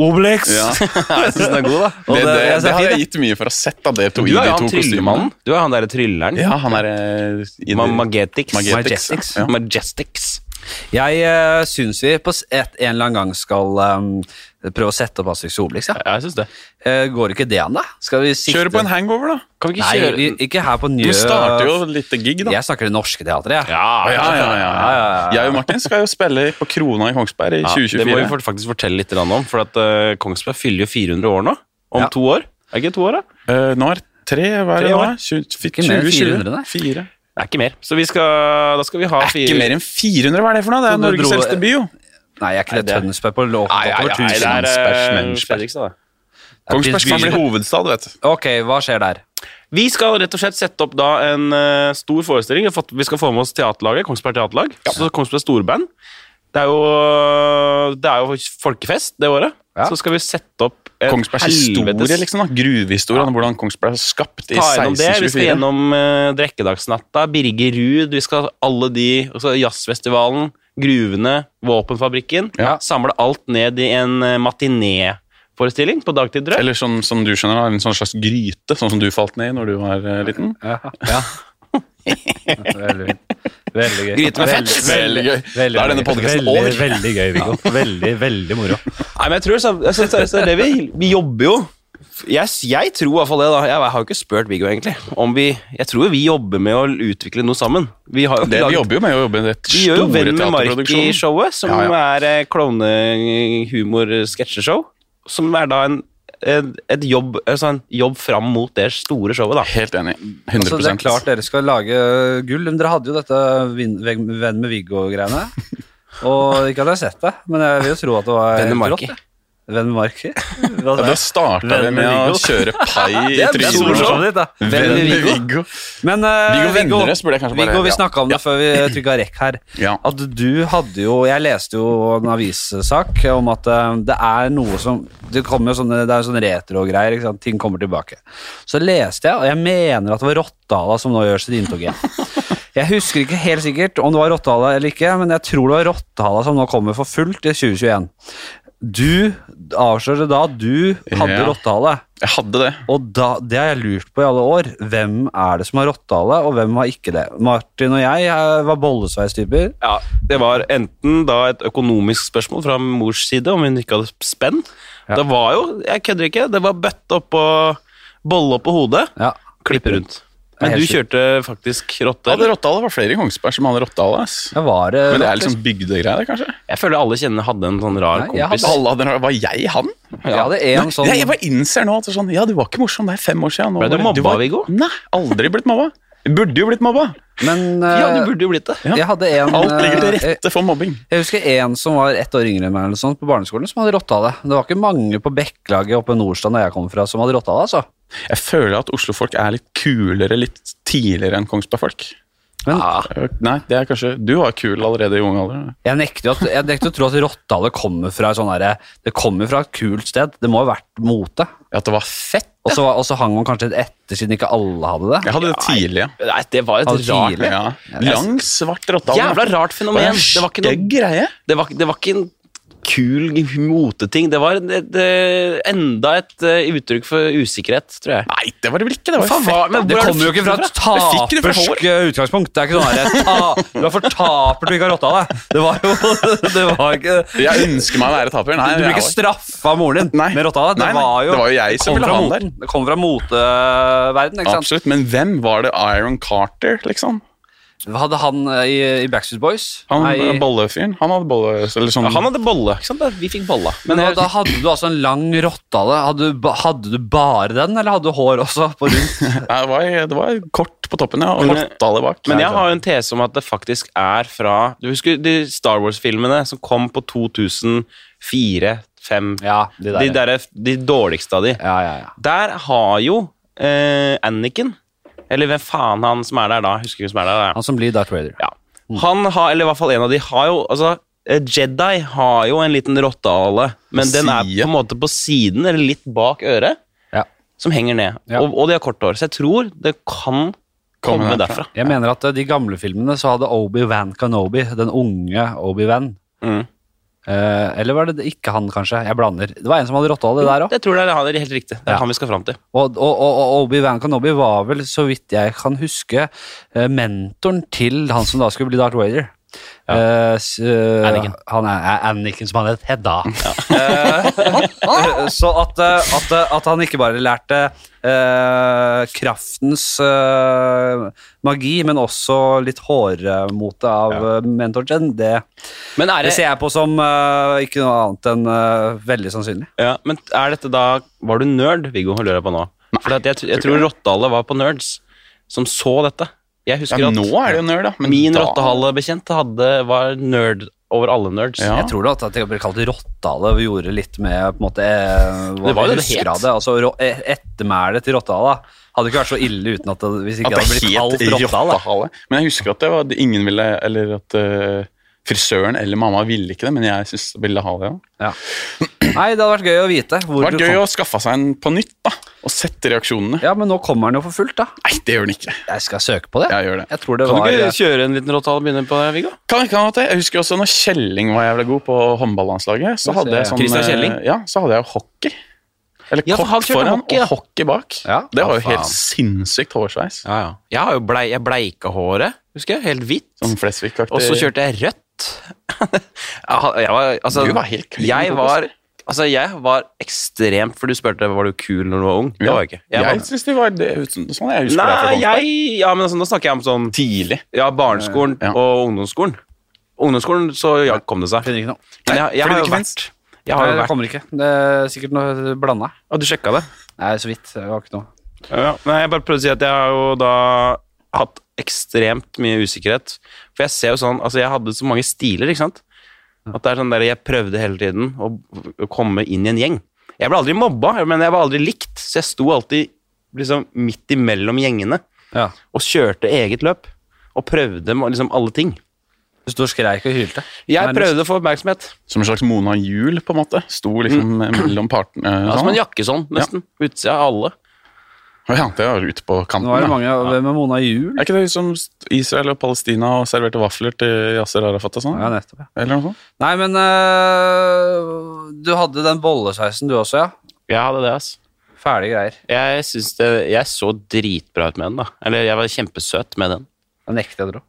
Obelix!
Ja.
jeg syns den er god, da. Og
Det, det, det,
jeg synes
hadde
er
jeg
fint,
gitt mye for å sett av det to,
Du er
i de
jo han
to kostymene.
tryllemannen. Du er han derre trylleren.
Ja, han er eh, i
Ma
det-
Magetix.
Magetix.
Majestix.
Ja.
Majestix.
Jeg uh, syns vi på s- et, en eller annen gang skal eh, prøve å sette opp Asterix og Obelix. Ja.
Ja, jeg syns det.
Eh, går ikke det an, da? Skal vi sikte
Kjør på en hangover, da.
Kan vi ikke
Nei,
kjøre
vi, ikke her på Njø.
Du starter jo lite gig, da.
Jeg snakker det norske teatret, jeg.
Ja, ja, ja, ja,
ja, ja.
Jeg og Martin skal jo spille på Krona i Kongsberg i
Ja, Det må vi
2024.
fort- faktisk fortelle litt grann om, for at eh, Kongsberg fyller jo 400 år nå. Om
Ja.
to år. Er det ikke to år, da?
Eh, nå er det tre, hva er
Tre
det nå?
år.
Tjue- fi-
Ikke mer enn
2020?
400, nei.
Fire.
Det er ikke mer. Så vi skal, da skal vi ha
Er ikke mer enn 400, hva er det for noe? Det
Så
er
du
Norges
dro-
eldste by, jo.
Nei, jeg er ikke det
Nei, det-
Tønsberg på lov.
Nei, nei, nei, det er
Kongsberg,
eh,
Mensberg.
Fredrikstad, da.
Kongsberg skal bli
Prins Gry-
hovedstad, vet du.
Ok, hva skjer der?
Vi skal rett og slett sette opp da en eh, stor forestilling. Vi har fått- Vi skal få med oss teaterlaget, Kongsberg Teaterlag. Så Kongsberg Storband. Det er jo, det er jo folkefest det året.
Ja.
Så skal vi sette opp en
Kongsbergs historie, liksom. da Gruvehistorien, hvordan Kongsberg er skapt i
Ta gjennom det. Vi skal
1624.
gjennom eh, Drekkedagsnatta, Birger Ruud, vi skal alle de og så Jazzfestivalen, gruvene, våpenfabrikken.
Ja.
Samle alt ned i en eh, matinéforestilling på dagtid, tror jeg.
Eller som, som du skjønner, da, en sånn slags gryte, sånn som du falt ned i når du var eh, liten.
Ja. Veldig fint. Veldig gøy.
Gryte med fett.
Veldig gøy.
veldig,
Da er denne podcasten
veldig,
over.
Veldig gøy, Viggo. Veldig, veldig moro.
Nei, men jeg tror, så- jeg synes seriøst det er det vi, vi jobber jo. Jeg, jeg tror i hvert fall det, da. Jeg har jo ikke spurt Viggo, egentlig. Om vi, jeg tror jo vi jobber med å utvikle noe sammen. Vi har jo ikke
Det, vi
laget-
jobber jo med å jobbe i det
Vi gjør jo
store
Venn med Mark i
teaterproduksjonen.
showet, som
Ja,
er eh, klovnehumor-sketsjeshow. Som er da en, en, et jobb, altså en jobb fram mot det store showet, da.
Helt enig. 100
Altså, det er klart dere skal lage gull. men Dere hadde jo dette Vin-
[LAUGHS]
Venn med Viggo-greiene. Og ikke at jeg har sett det, men jeg vil jo tro at det var
Denne
helt
Marki.
rått. det. Venn
[LAUGHS]
Marki? Hva
Ja, da starta vi
Venn
med å
Viggo.
[LAUGHS] kjøre pai i
Det er solshowet
trynet.
ditt, da.
Venn
Venn
med
Viggo.
Viggo.
Men eh,
Viggo Vennerød burde jeg kanskje bare-
Viggo, vi
ja.
snakka om det før vi trykka rekk her.
[CLEARS THROAT] Ja.
At du hadde jo Jeg leste jo en avissak om at eh, det er noe som Det kommer jo sånne Det er jo sånne retro-greier. ikke sant? Ting kommer tilbake. Så leste jeg, og jeg mener at det var Rottala som nå gjør sitt inntog
[LAUGHS]
igjen. Jeg husker ikke helt sikkert om det var Rottala eller ikke, men jeg tror det var Rottala som nå kommer for fullt i 2021. Du avslørte da at du hadde
Ja.
Rottale.
Jeg hadde det.
Og da, det har jeg lurt på i alle år. Hvem er det som har rottehale, og hvem har ikke det? Martin og jeg eh, var bollesveistyper.
Ja, Det var enten da et økonomisk spørsmål fra mors side, om hun ikke hadde spenn. Det var jo, jeg kødder ikke, det var bøtte oppå bolle oppå hodet,
Ja.
klippe rundt.
Det
Men
er
du
helt sykt.
kjørte faktisk rotte.
Hadde Rottale var flere i Kongsberg som hadde Rottale. ass.
Jeg var eh, det.
Men det er liksom bygdegreier, det, kanskje?
Jeg føler alle kjenner hadde en sånn rar
Nei, jeg
kompis.
Alle hadde, var jeg han?
Jeg hadde en sånn
Nei, jeg bare innser nå at det er sånn, ja, du var ikke morsom der fem år siden. Nå
Ble du
var-
mobba,
var-
Viggo?
Nei, aldri blitt mobba. Jeg burde jo blitt mobba.
Men eh,
Ja, du burde jo blitt det.
Ja.
jeg hadde en
Alt ligger til
eh, jeg-
rette for mobbing.
Jeg husker en som var ett år yngre enn meg eller sånn, på barneskolen, som hadde rottehale. Det var ikke mange på Bekkelaget oppe i Nordstrand der jeg kom fra, som hadde rottehale. Altså.
Jeg føler at Oslo-folk er litt kulere litt tidligere enn Kongsberg-folk.
Men
Eh, Nei, det er kanskje Du var kul allerede i ung alder.
jeg nekter jo at- jeg nekter å tro at rottehale kommer fra et sånn derre Det kommer fra et kult sted. Det må ha vært mote.
At det var fett.
Og så og så hang man kanskje litt etter, siden ikke alle hadde det.
Jeg hadde det tidlig, ja.
Nei, det var et
Hadde
rart
tidlig.
ja. Lang, svart rottale.
Jævla rart
Det var
fenomen.
en
Det var ikke noe
stygg greie.
det var, det var ikke en kul moteting. Det var en- et, eh, enda et eh, uttrykk for usikkerhet, tror jeg.
Nei, det var det vel ikke. Det var
Hva faen
fett,
var-
da.
men
Det
Hvor er
kommer
det
jo ikke fra et
fikk det fra
tapersk eh, utgangspunkt. Det er ikke sånn her, [LAUGHS] ta, Du er fortaper du ikke har rotta deg. Det var jo [LAUGHS] det var ikke,
Jeg ønsker meg å være taper. Nei,
Du blir
jeg
ikke
var-
straffa av moren din
Nei.
med rotta deg.
Nei, nei. Det var jo jeg som
kom
ville
fra
ha den
moten. Det kommer fra moteverden, ikke sant.
Absolutt, men hvem var det Iron Carter, liksom?
Hadde han eh, i, i Backstreet Boys?
Han eh,
Nei.
bollefyren. Han hadde bolle... Eller sånn,
Ja, han hadde bolle. ikke sant? Vi fikk bolla.
Men da, da hadde du altså en lang rottehale. Hadde, du ba- hadde du bare den, eller hadde du hår også [LAUGHS] på rundt?
Nei, det, var, det var kort på toppen, ja. Og
Men-
rottale bak.
Men jeg har jo en tese om at det faktisk er fra Du husker de Star Wars-filmene som kom på 2004 5
Ja, de der.
de, derre- de dårligste av de.
Ja, ja, ja.
Der har jo eh, Anniken Eller hvem faen han som er der da? Husker ikke hvem som er der da.
Han som blir Darth Vader.
Ja.
Mm.
Han har, eller i hvert fall en av de har jo altså, eh, Jedi har jo en liten rottehale, men den er på
Siden.
en måte på siden, eller litt bak øret,
Ja.
som henger ned.
Ja.
Og, og de har kort hår, så jeg tror det kan
Komme
komme
derfra.
derfra.
Jeg mener at eh, de gamle filmene så hadde Obi-Wan Kenobi, den unge Obi-Wan,
Mm.
Eh, eller var det ikke han, kanskje? Jeg blander. Det var en som hadde rottehale der òg.
Jeg tror det er, han, det er helt riktig. Det er
Ja.
han vi skal fram til.
Og, og, og, og Obi-Wan Kenobi var vel, så vidt jeg kan huske, eh, mentoren til han som da skulle bli Darth Vader. Eh, s- eh,
Anakin.
Han er, er Anniken som han het Hedda. Eh, [LAUGHS] så at, eh, at, eh, at han ikke bare lærte eh, kraftens eh, magi, men også litt hårmote av ja. mentoren sin, det,
Men er,
det
det,
ser jeg på som eh, ikke noe annet enn eh, veldig sannsynlig.
ja, men er dette da Var du nerd, Viggo, lurer jeg på nå? For at jeg, jeg tror Rottehale var på Nerds, som så dette. Jeg husker
ja,
at
Nå er det jo nerd, da. Men
min
da...
Rottehale-bekjent hadde- var nerd over alle nerds.
Ja.
Jeg tror da at at det ble kalt Rottale Vi gjorde litt med på en måte eh, hva
Det var jo det det
husker
het.
av det. Altså, ro- eh, Ettermælet til Rottale hadde ikke vært så ille uten at det, hvis ikke
At
det
det
hadde blitt kalt
het
Rottale.
rottehale. Men jeg husker at det var ingen ville Eller at eh, frisøren eller mamma ville ikke det, men jeg synes de ville ha det. Ja.
Ja. Nei, det hadde vært gøy å vite.
Det
Hvor
var
du
gøy
kom.
å skaffe seg en på nytt, da. Og sette reaksjonene.
Ja, Men nå kommer den jo for fullt, da.
Nei, det gjør den ikke.
Jeg skal søke på det.
Jeg gjør det.
Jeg tror det
Kan
var
du ikke
eh,
kjøre en liten rottehale og begynne på det, Viggo?
Kan, kan det? Jeg husker også når Kjelling var jævla god på håndballandslaget. Så
Nå
hadde
ser
jeg
jeg.
sånn
Christian Kjelling?
eh, Ja, så hadde jeg jo hockey. Eller
Ja, for han
kort
kjørte
foran
hockey, ja.
og hockey bak.
Ja.
Det var
Ja,
jo helt
faen.
sinnssykt hårsveis.
Ja, ja. Jeg, har jo blei, jeg bleika håret, husker jeg. Helt hvitt.
Sånn Flesvig-aktig.
Og så kjørte jeg rødt. [LAUGHS] jeg eh, var, altså,
Du var helt klin
jeg
kokos.
var, altså, jeg var ekstremt For du spurte var du kul når du var ung. Det
Ja.
var jeg ikke. Jeg
Jeg,
var,
synes de var det, sånn jeg husker det.
nei,
fra
jeg Ja, men altså, nå snakker jeg om sånn
Kongsberg. Tidlig.
Ja, barneskolen
Ja.
og ungdomsskolen. Ungdomsskolen, så ja, kom det seg.
Finner ikke noe.
Men jeg, jeg har
Fordi det
jo vært,
ikke finnes.
jeg
Nei,
har jo
det
vært
kommer ikke. Det er sikkert noe blanda.
Å, du sjekka det?
Nei, så vidt. Det var ikke noe.
Ja, nei, jeg bare prøvde å si at jeg har jo da hatt ekstremt mye usikkerhet. For jeg ser jo sånn, altså jeg hadde så mange stiler, ikke sant? At det er sånn der, Jeg prøvde hele tiden å å komme inn i en gjeng. Jeg ble aldri mobba, men jeg var aldri likt, så jeg sto alltid liksom midt imellom gjengene
Ja.
og kjørte eget løp. Og prøvde med liksom alle ting.
Du sto og skreik og hylte.
Jeg
Nærmest.
prøvde å få oppmerksomhet.
Som en slags Mona Juel, på en måte. Sto liksom [CLEARS THROAT] mellom partene. eh,
Mm. Ja, som
sånn.
en jakkesånd, nesten. Utsida av alle.
Å ja, det var ute på kanten.
Nå er det
ja.
mange Hvem er Mona Juel?
Er ikke det liksom Israel og Palestina og serverte vafler til Yasser Arafat og sånn?
Ja, nettopp, ja.
Eller noe sånt?
Nei, men øh, du hadde den bollesausen du også, ja.
Jeg hadde det, ass.
Fæle greier.
Jeg, syns det, jeg så dritbra ut med den, da. Eller jeg var kjempesøt med den.
Jeg nekter å dra.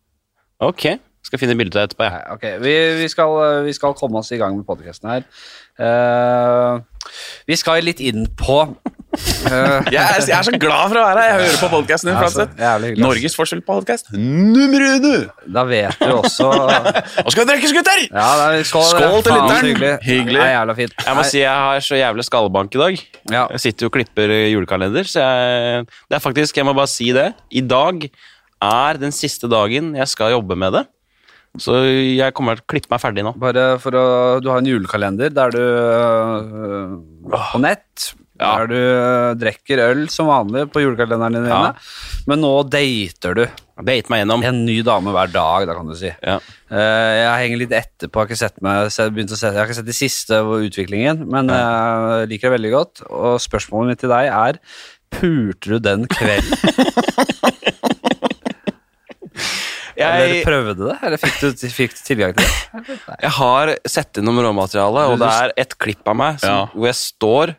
Ok, skal finne bilde av deg etterpå, jeg.
Nei, ok. Vi, vi, skal, øh, vi skal komme oss i gang med podkasten her. Eh, vi skal litt inn på
[LAUGHS]
eh,
Jeg er, jeg er så glad for å være her! Jeg hører på podkasten din.
Ja, så
Flatseth.
jævlig hyggelig, ass.
Norges forskjell-podkast nummer uno!
Da vet du også
Og skal vi drikkes, gutter!
ja, nei, Skål,
Skål til
Faen, så
lytteren.
Hyggelig.
Hyggelig.
Nei, jævla fint.
Jeg må si jeg har så jævlig skallebank i dag.
Ja.
Jeg sitter jo og klipper eh, julekalender, så jeg, det er faktisk, jeg må bare si det. I dag er den siste dagen jeg skal jobbe med det. Så jeg kommer til å klippe meg ferdig nå.
Bare for å Du har en julekalender der du øh, På nett.
Ja.
Der du øh, drikker øl som vanlig på julekalenderen din.
Ja.
Men nå dater du
Det gitt meg gjennom.
en ny dame hver dag, da kan du si.
Ja.
Eh, jeg henger litt etterpå. Har ikke sett meg, se- begynt å se, jeg har ikke sett de siste utviklingen, men eh, jeg liker det veldig godt. Og spørsmålet mitt til deg er Pulte du den [LAUGHS] kvelden? Eller
Jeg,
prøvde det? Eller fikk du, fikk du tilgang til det?
jeg har sett innom råmaterialet, og det er et klipp av meg som,
Ja.
hvor jeg står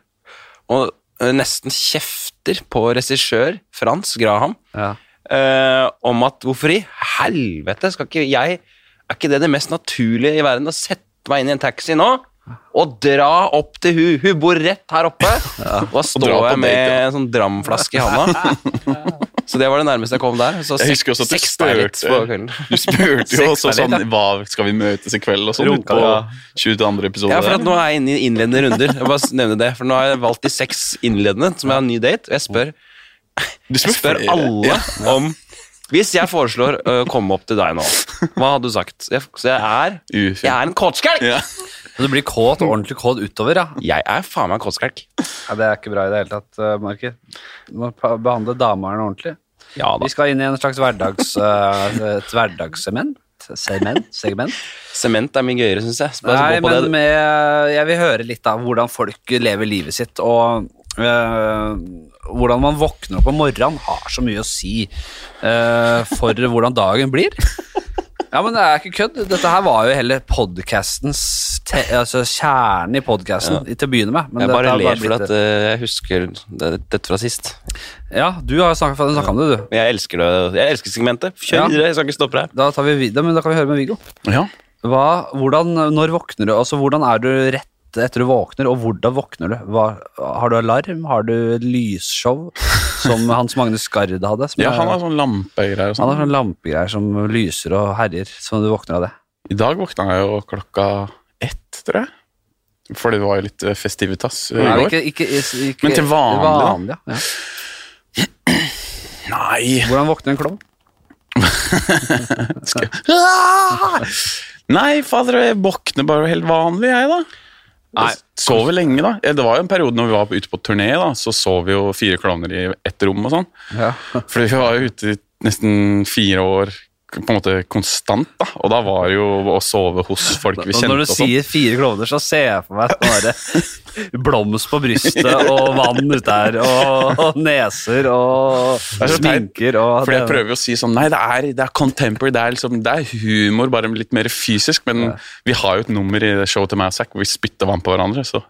og eh, nesten kjefter på regissør Frans Graham.
Ja.
eh, om at hvorfor i helvete skal ikke jeg Er ikke det det mest naturlige i verden å sette meg inn i en taxi nå? Og dra opp til hun. Hun bor rett her oppe. Og da står
dra på
jeg med
date, ja.
en sånn dramflaske i handa. Så det var det nærmeste jeg kom der. Så
Jeg husker også at du
seks deg litt på
spurte,
kvelden.
du spurte jo
Seks
også
deg
sånn
litt,
Hva skal vi møtes i kveld? og sånn ut
Runka,
på
ja.
22. episode.
Ja, for at
der.
nå er jeg inne i innledende runder. Jeg bare nevner det, for nå har jeg valgt de seks innledende, som er en ny date. Og jeg spør,
du
jeg spør
flere.
alle om Hvis jeg foreslår å komme opp til deg nå, hva hadde du sagt? Jeg, så jeg er
Ufin.
Jeg er en kåtskalk!
Ja.
Så du blir kåt og ordentlig kåt utover, ja?
Jeg er faen meg en kåtskalk.
ja det er ikke bra i det hele tatt, eh, Marki. Du må pa- behandle damene ordentlig.
Ja
Vi skal inn i en slags hverdags, eh, et hverdagssement. Segment? segment.
Sement er mye gøyere, syns jeg. Så bare
Nei,
gå på
men
det.
med, jeg vil høre litt av hvordan folk lever livet sitt, og eh, hvordan man våkner opp om morgenen har så mye å si eh, for hvordan dagen [LAUGHS] blir. Ja, men det er ikke kødd. Dette her var jo hele podcastens, te altså kjernen i podcasten til å begynne med. men
Jeg
dette
bare
har
ler for
blitt
at
det.
eh, jeg husker det- dette fra sist.
Ja, du har snakka om det, du.
Men jeg elsker det. Jeg elsker segmentet. Kjør
Ja.
videre, jeg skal ikke stoppe deg.
Da, tar vi, vid- men da kan vi høre med Viggo.
ja.
Hva, hvordan, når våkner du? Altså, hvordan er du rett etter du våkner, og hvordan våkner du? Hva, har du alarm? Har du lysshow, som
[LAUGHS]
Hans Magne Skard hadde? Som
ja,
er-
han har sånn lampegreier og
han har
sånn.
sånne lampegreier som lyser og herjer, så du våkner av det.
I dag våkna jeg jo klokka ett, tror jeg. For det var jo litt eh, festivitas eh, i
Nei,
går.
ikke, ikke, ikke,
Men til vanlig, da?
vanlig, ja. ja.
Nei,
Hvordan våkner en klovn?
Ah! Nei, fader, jeg våkner bare helt vanlig, jeg, da.
Nei.
Sover lenge, da. Eh, Det var jo en periode når vi var ute på turné, da, så sov vi jo fire klovner i ett rom og sånn.
Ja.
Fordi vi var jo ute i nesten fire år på en måte konstant, da. Og da var det jo å sove hos folk vi
Og
kjente
når du
og sånn.
sier fire klovner, så ser jeg for meg
[LAUGHS]
bare blomst på brystet og vann ut der, og, og neser og
er så teit,
sminker og
Fordi jeg prøver jo å si sånn Nei, det er, det er contemporary, det er, liksom, det er humor, bare litt mer fysisk. Men vi har jo et nummer i det showet til meg og Zack hvor vi spytter vann på hverandre, så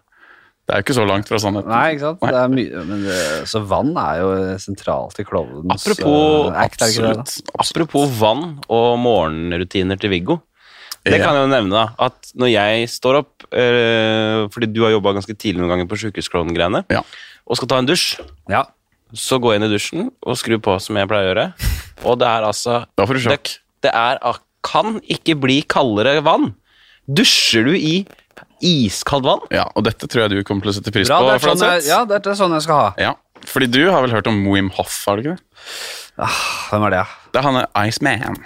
det er jo ikke så langt fra sannheten.
Nei, ikke sant? Det er mye, men det, så vann er jo sentralt i klovnens
Apropos,
eh, act, er det ikke det, da?
absolutt,
Apropos vann og morgenrutiner til Viggo. Det
Ja.
kan jeg jo nevne, da. At når jeg står opp eh, Fordi du har jobba ganske tidlig noen ganger på Sjukehusklovnen-greiene,
Ja.
og skal ta en dusj,
Ja.
så går jeg inn i dusjen og skrur på som jeg pleier å gjøre. Og det er altså
Da får du sjokk.
Det, det er, ak- kan ikke bli kaldere vann. Dusjer du i iskaldt vann?
Ja, og dette tror jeg du kommer til å sette pris
Bra, det
på.
er sånn jeg,
Flatseth.
ja, det er sånn jeg skal ha.
Ja, fordi du har vel hørt om Wim Hoff, har du ikke det?
Hvem er det, ja?
Det er han er Iceman.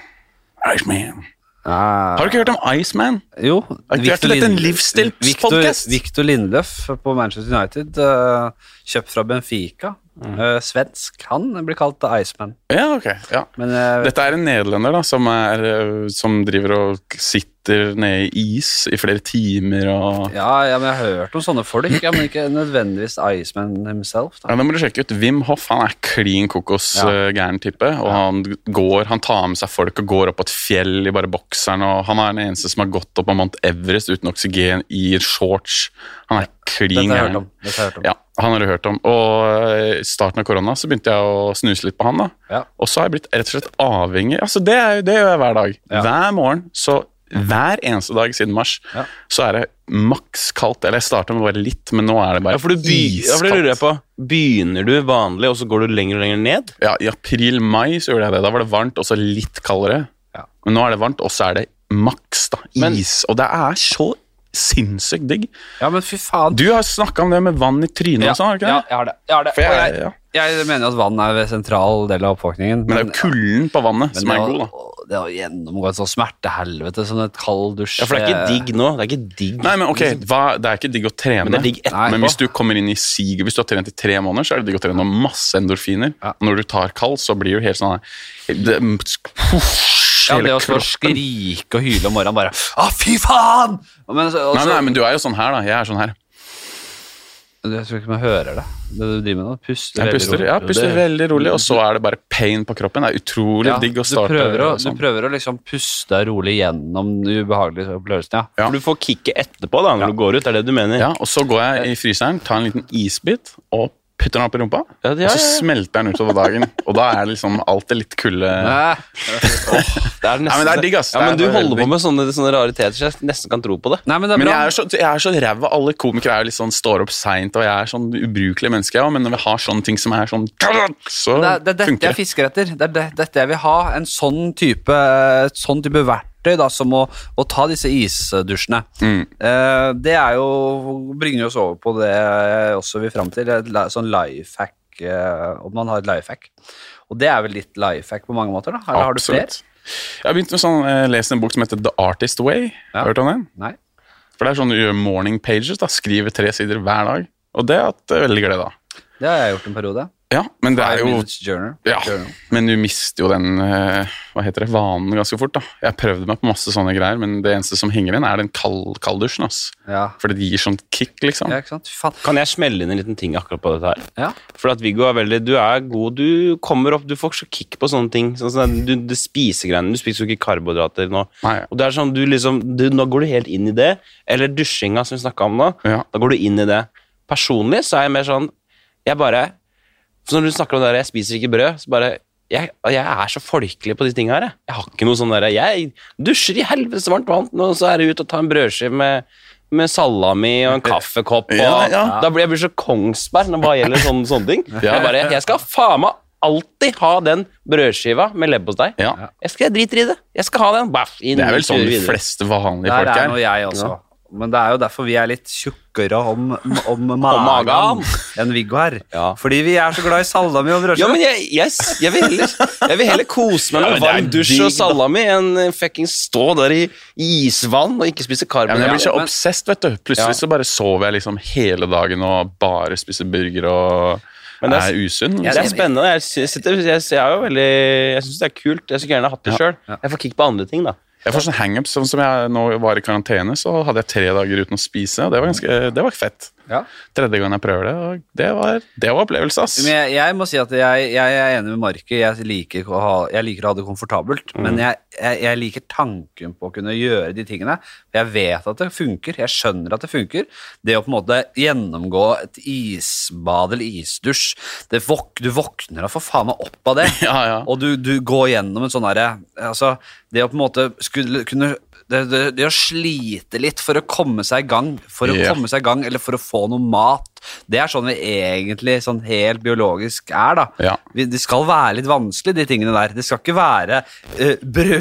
Iceman.
Ja.
Har du ikke hørt om Iceman?
Eh, Jo.
Er ikke dette litt en livsstilspodcast?
Victor, Victor Lindløf på Manchester United, eh, kjøpt fra Benfica.
Mm.
Eh, svensk. Han blir kalt The Iceman.
Ja, ok. Ja.
Men eh,
Dette er en nederlender da, som, er, øh, som driver og sitter nede i is i flere timer. Og...
ja, ja, men jeg har hørt om sånne folk, ja, men ikke nødvendigvis Iceman himself.
Ja,
Da.
Da må du sjekke ut Wim Hoff. Han er klin kokos
Ja.
øh, gæren type. Og han, går, han tar med seg folk og går opp på et fjell i bare bokseren. Og han er den eneste som har gått opp av Mount Everest uten oksygen i shorts. Han er
Dette
klin
har jeg hørt
gæren.
om. Dette har jeg hørt om.
Ja, han har du hørt om. Og øh, i starten av korona så begynte jeg å snuse litt på han. da.
Ja.
Og så har jeg blitt rett og slett avhengig. Altså Det, er, jo- det gjør jeg hver dag.
Ja.
Hver morgen, så hver eneste dag siden mars,
Ja.
så er det maks kaldt. Eller jeg starta med bare litt, men nå er det bare
Ja, for du by, ja, for det lurer jeg på. Begynner du vanlig, og så går du lenger og lenger ned?
Ja, I april-mai så gjorde jeg det. Da var det varmt, og så litt kaldere.
Ja.
Men nå er det varmt, og så er det maks da, is.
Men-
og det er så sinnssykt digg.
Ja, men fy faen.
Du har snakka om det med vann i trynet og sånn, har du ikke
ja,
det?
jeg har det. Jeg, har det.
For jeg-
Og jeg,
ja.
jeg mener at vann er en sentral del av oppvåkningen.
Men det er jo kulden på vannet som
det
er
å-
god, da.
å- Det å gjennomgå et sånt smertehelvete som et kald dusj
Ja, For det er ikke digg nå. Det er ikke digg.
Nei, men ok, hva, Det er ikke digg å trene,
Men det er digg etterpå.
Men hvis du kommer inn i siget Hvis du har trent i tre måneder, så er det digg å trene og masse endorfiner.
Ja.
Når du tar kald, så blir du helt sånn her- det,
Ja,
Hele
det å stå og
kroppen.
skrike og hyle om morgenen bare Å, fy faen! Og Men, så, og
Nei,
så-
nei, men du er jo sånn her, da. Jeg er sånn her.
Jeg tror ikke man hører det. Det du driver med nå. Puster
Jeg
veldig
puster,
rolig.
ja, puster veldig rolig, og så er det bare pain på kroppen. Det er utrolig
Ja,
digg å
du
starte
prøver å,
sånn.
du prøver å liksom puste deg rolig gjennom den ubehagelige opplevelsen, ja.
Ja.
For du får kicket etterpå da, når du går ut. Er det du mener?
Ja, Og så går jeg i fryseren, tar en liten isbit og putter den opp i rumpa.
Ja, ja,
Og så
ja.
smelter den utover
[LAUGHS]
dagen. Og da er det liksom alltid litt kulde
Nei,
Det er nesten,
Nei, men det er digg, ass.
Ja,
Det
men
er
du
bare
holder
veldig
på med sånne, sånne rariteter, så jeg nesten kan tro på det.
nei, men det er
Men
bra.
jeg er så, jeg er så ræv av alle komikere. Jeg er jo litt sånn, står opp seint, og jeg er sånn ubrukelig menneske. Ja, men når vi har sånne ting som er sånn Så
det, er- det er dette
funker
jeg fisker etter. Det er det, dette jeg vil ha. En sånn type, et sånn type verktøy da, som å, å ta disse isdusjene.
Mm.
Eh, det er jo, bringer oss over på det jeg også vil fram til. Et li- sånn life hack, eh, om man har et life hack. Og det er vel litt life hack på mange måter, da? Eller har du flere?
Absolutt. Jeg har begynt med sånn, eh, lest en bok som heter The Artist Way.
Ja.
Hørt om den?
Nei.
For det er sånn du gjør morning pages. da, Skriver tre sider hver dag. Og det har hatt eh, veldig glede av.
Det har jeg gjort en periode.
Ja, men det er
Five
jo
Minutes Journal.
ja,
Journal.
men du mister jo den eh, hva heter det, vanen ganske fort. da. Jeg prøvde meg på masse sånne greier, men det eneste som henger igjen, er den kald- kalddusjen. ass.
Ja.
For det gir sånn kick, liksom.
ja, ikke sant? Fy faen.
Kan jeg smelle inn en liten ting akkurat på dette her?
Ja.
For at Viggo er veldig Du er god, du kommer opp, du får ikke kick på sånne ting. Sånn, som du, du spiser greiene, du spiser jo ikke karbohydrater nå.
Nei.
Og det er sånn, du liksom, du, Nå går du helt inn i det. Eller dusjinga som vi snakka om nå.
Ja.
Da går du inn i det. Personlig så er jeg mer sånn Jeg bare så Når du snakker om det der, jeg spiser ikke brød, så bare jeg, jeg er så folkelig på de tinga her. Jeg. jeg har ikke noe sånn derre Jeg dusjer i helvetes varmt vann, og så er det ut og ta en brødskive med, med salami og en kaffekopp. Og,
Ja, ja.
Da blir jeg blir så Kongsberg når det bare gjelder sånne, sånne ting. Jeg bare Jeg skal faen meg alltid ha den brødskiva med leverpostei.
Ja.
Jeg skal jeg driter i det. Jeg skal ha den. Baff, inn,
Det er vel sånn
kjører
de
videre.
fleste vanlige
Der
folk
er
er.
nå jeg også. Men det er jo derfor vi er litt tjukkere om, om
magen.
magen enn Viggo her.
Ja.
Fordi vi er så glad i salami og brødskive.
Ja, men jeg, jeg, s- jeg, vil heller, jeg vil heller kose meg
Ja,
med
men det er
varm dusj
digg,
og salami enn eh, fucking stå der i isvann og ikke spise
Ja, men jeg
karbohydrater.
blir så
men-
obsessed, vet du. Plutselig
Ja.
så bare sover jeg liksom hele dagen og bare spiser burger og
Men det er-
er, usunn.
Ja, det er spennende. Jeg, sy- sitter, jeg, jeg, er jo veldig, jeg syns det er kult. Jeg skulle gjerne hatt det sjøl. Jeg får kick på andre ting, da.
Jeg får sånn hangups. Sånn som jeg nå var i karantene, så hadde jeg tre dager uten å spise, og det var, ganske, eh, det var fett.
Ja.
Tredje gang jeg prøver det, og det var, det var opplevelse, ass.
Men jeg, jeg må si at jeg, jeg er enig med Marki. Jeg, liker å ha- jeg liker å ha det komfortabelt. Men jeg, jeg, jeg liker tanken på å kunne gjøre de tingene. For jeg vet at det funker. Jeg skjønner at det funker. Det å på en måte gjennomgå et isbad eller isdusj det våk, Du våkner da for faen meg opp av det.
Ja, ja.
Og du, du går gjennom en sånn herre altså, Det å på en måte skulle kunne det, det, det å slite litt for å komme seg i gang, for å
Ja.
komme seg i gang, eller for å få noe mat, Det er sånn vi egentlig sånn helt biologisk er, da.
Ja.
Vi, det skal være litt vanskelig, de tingene der. Det skal ikke være eh,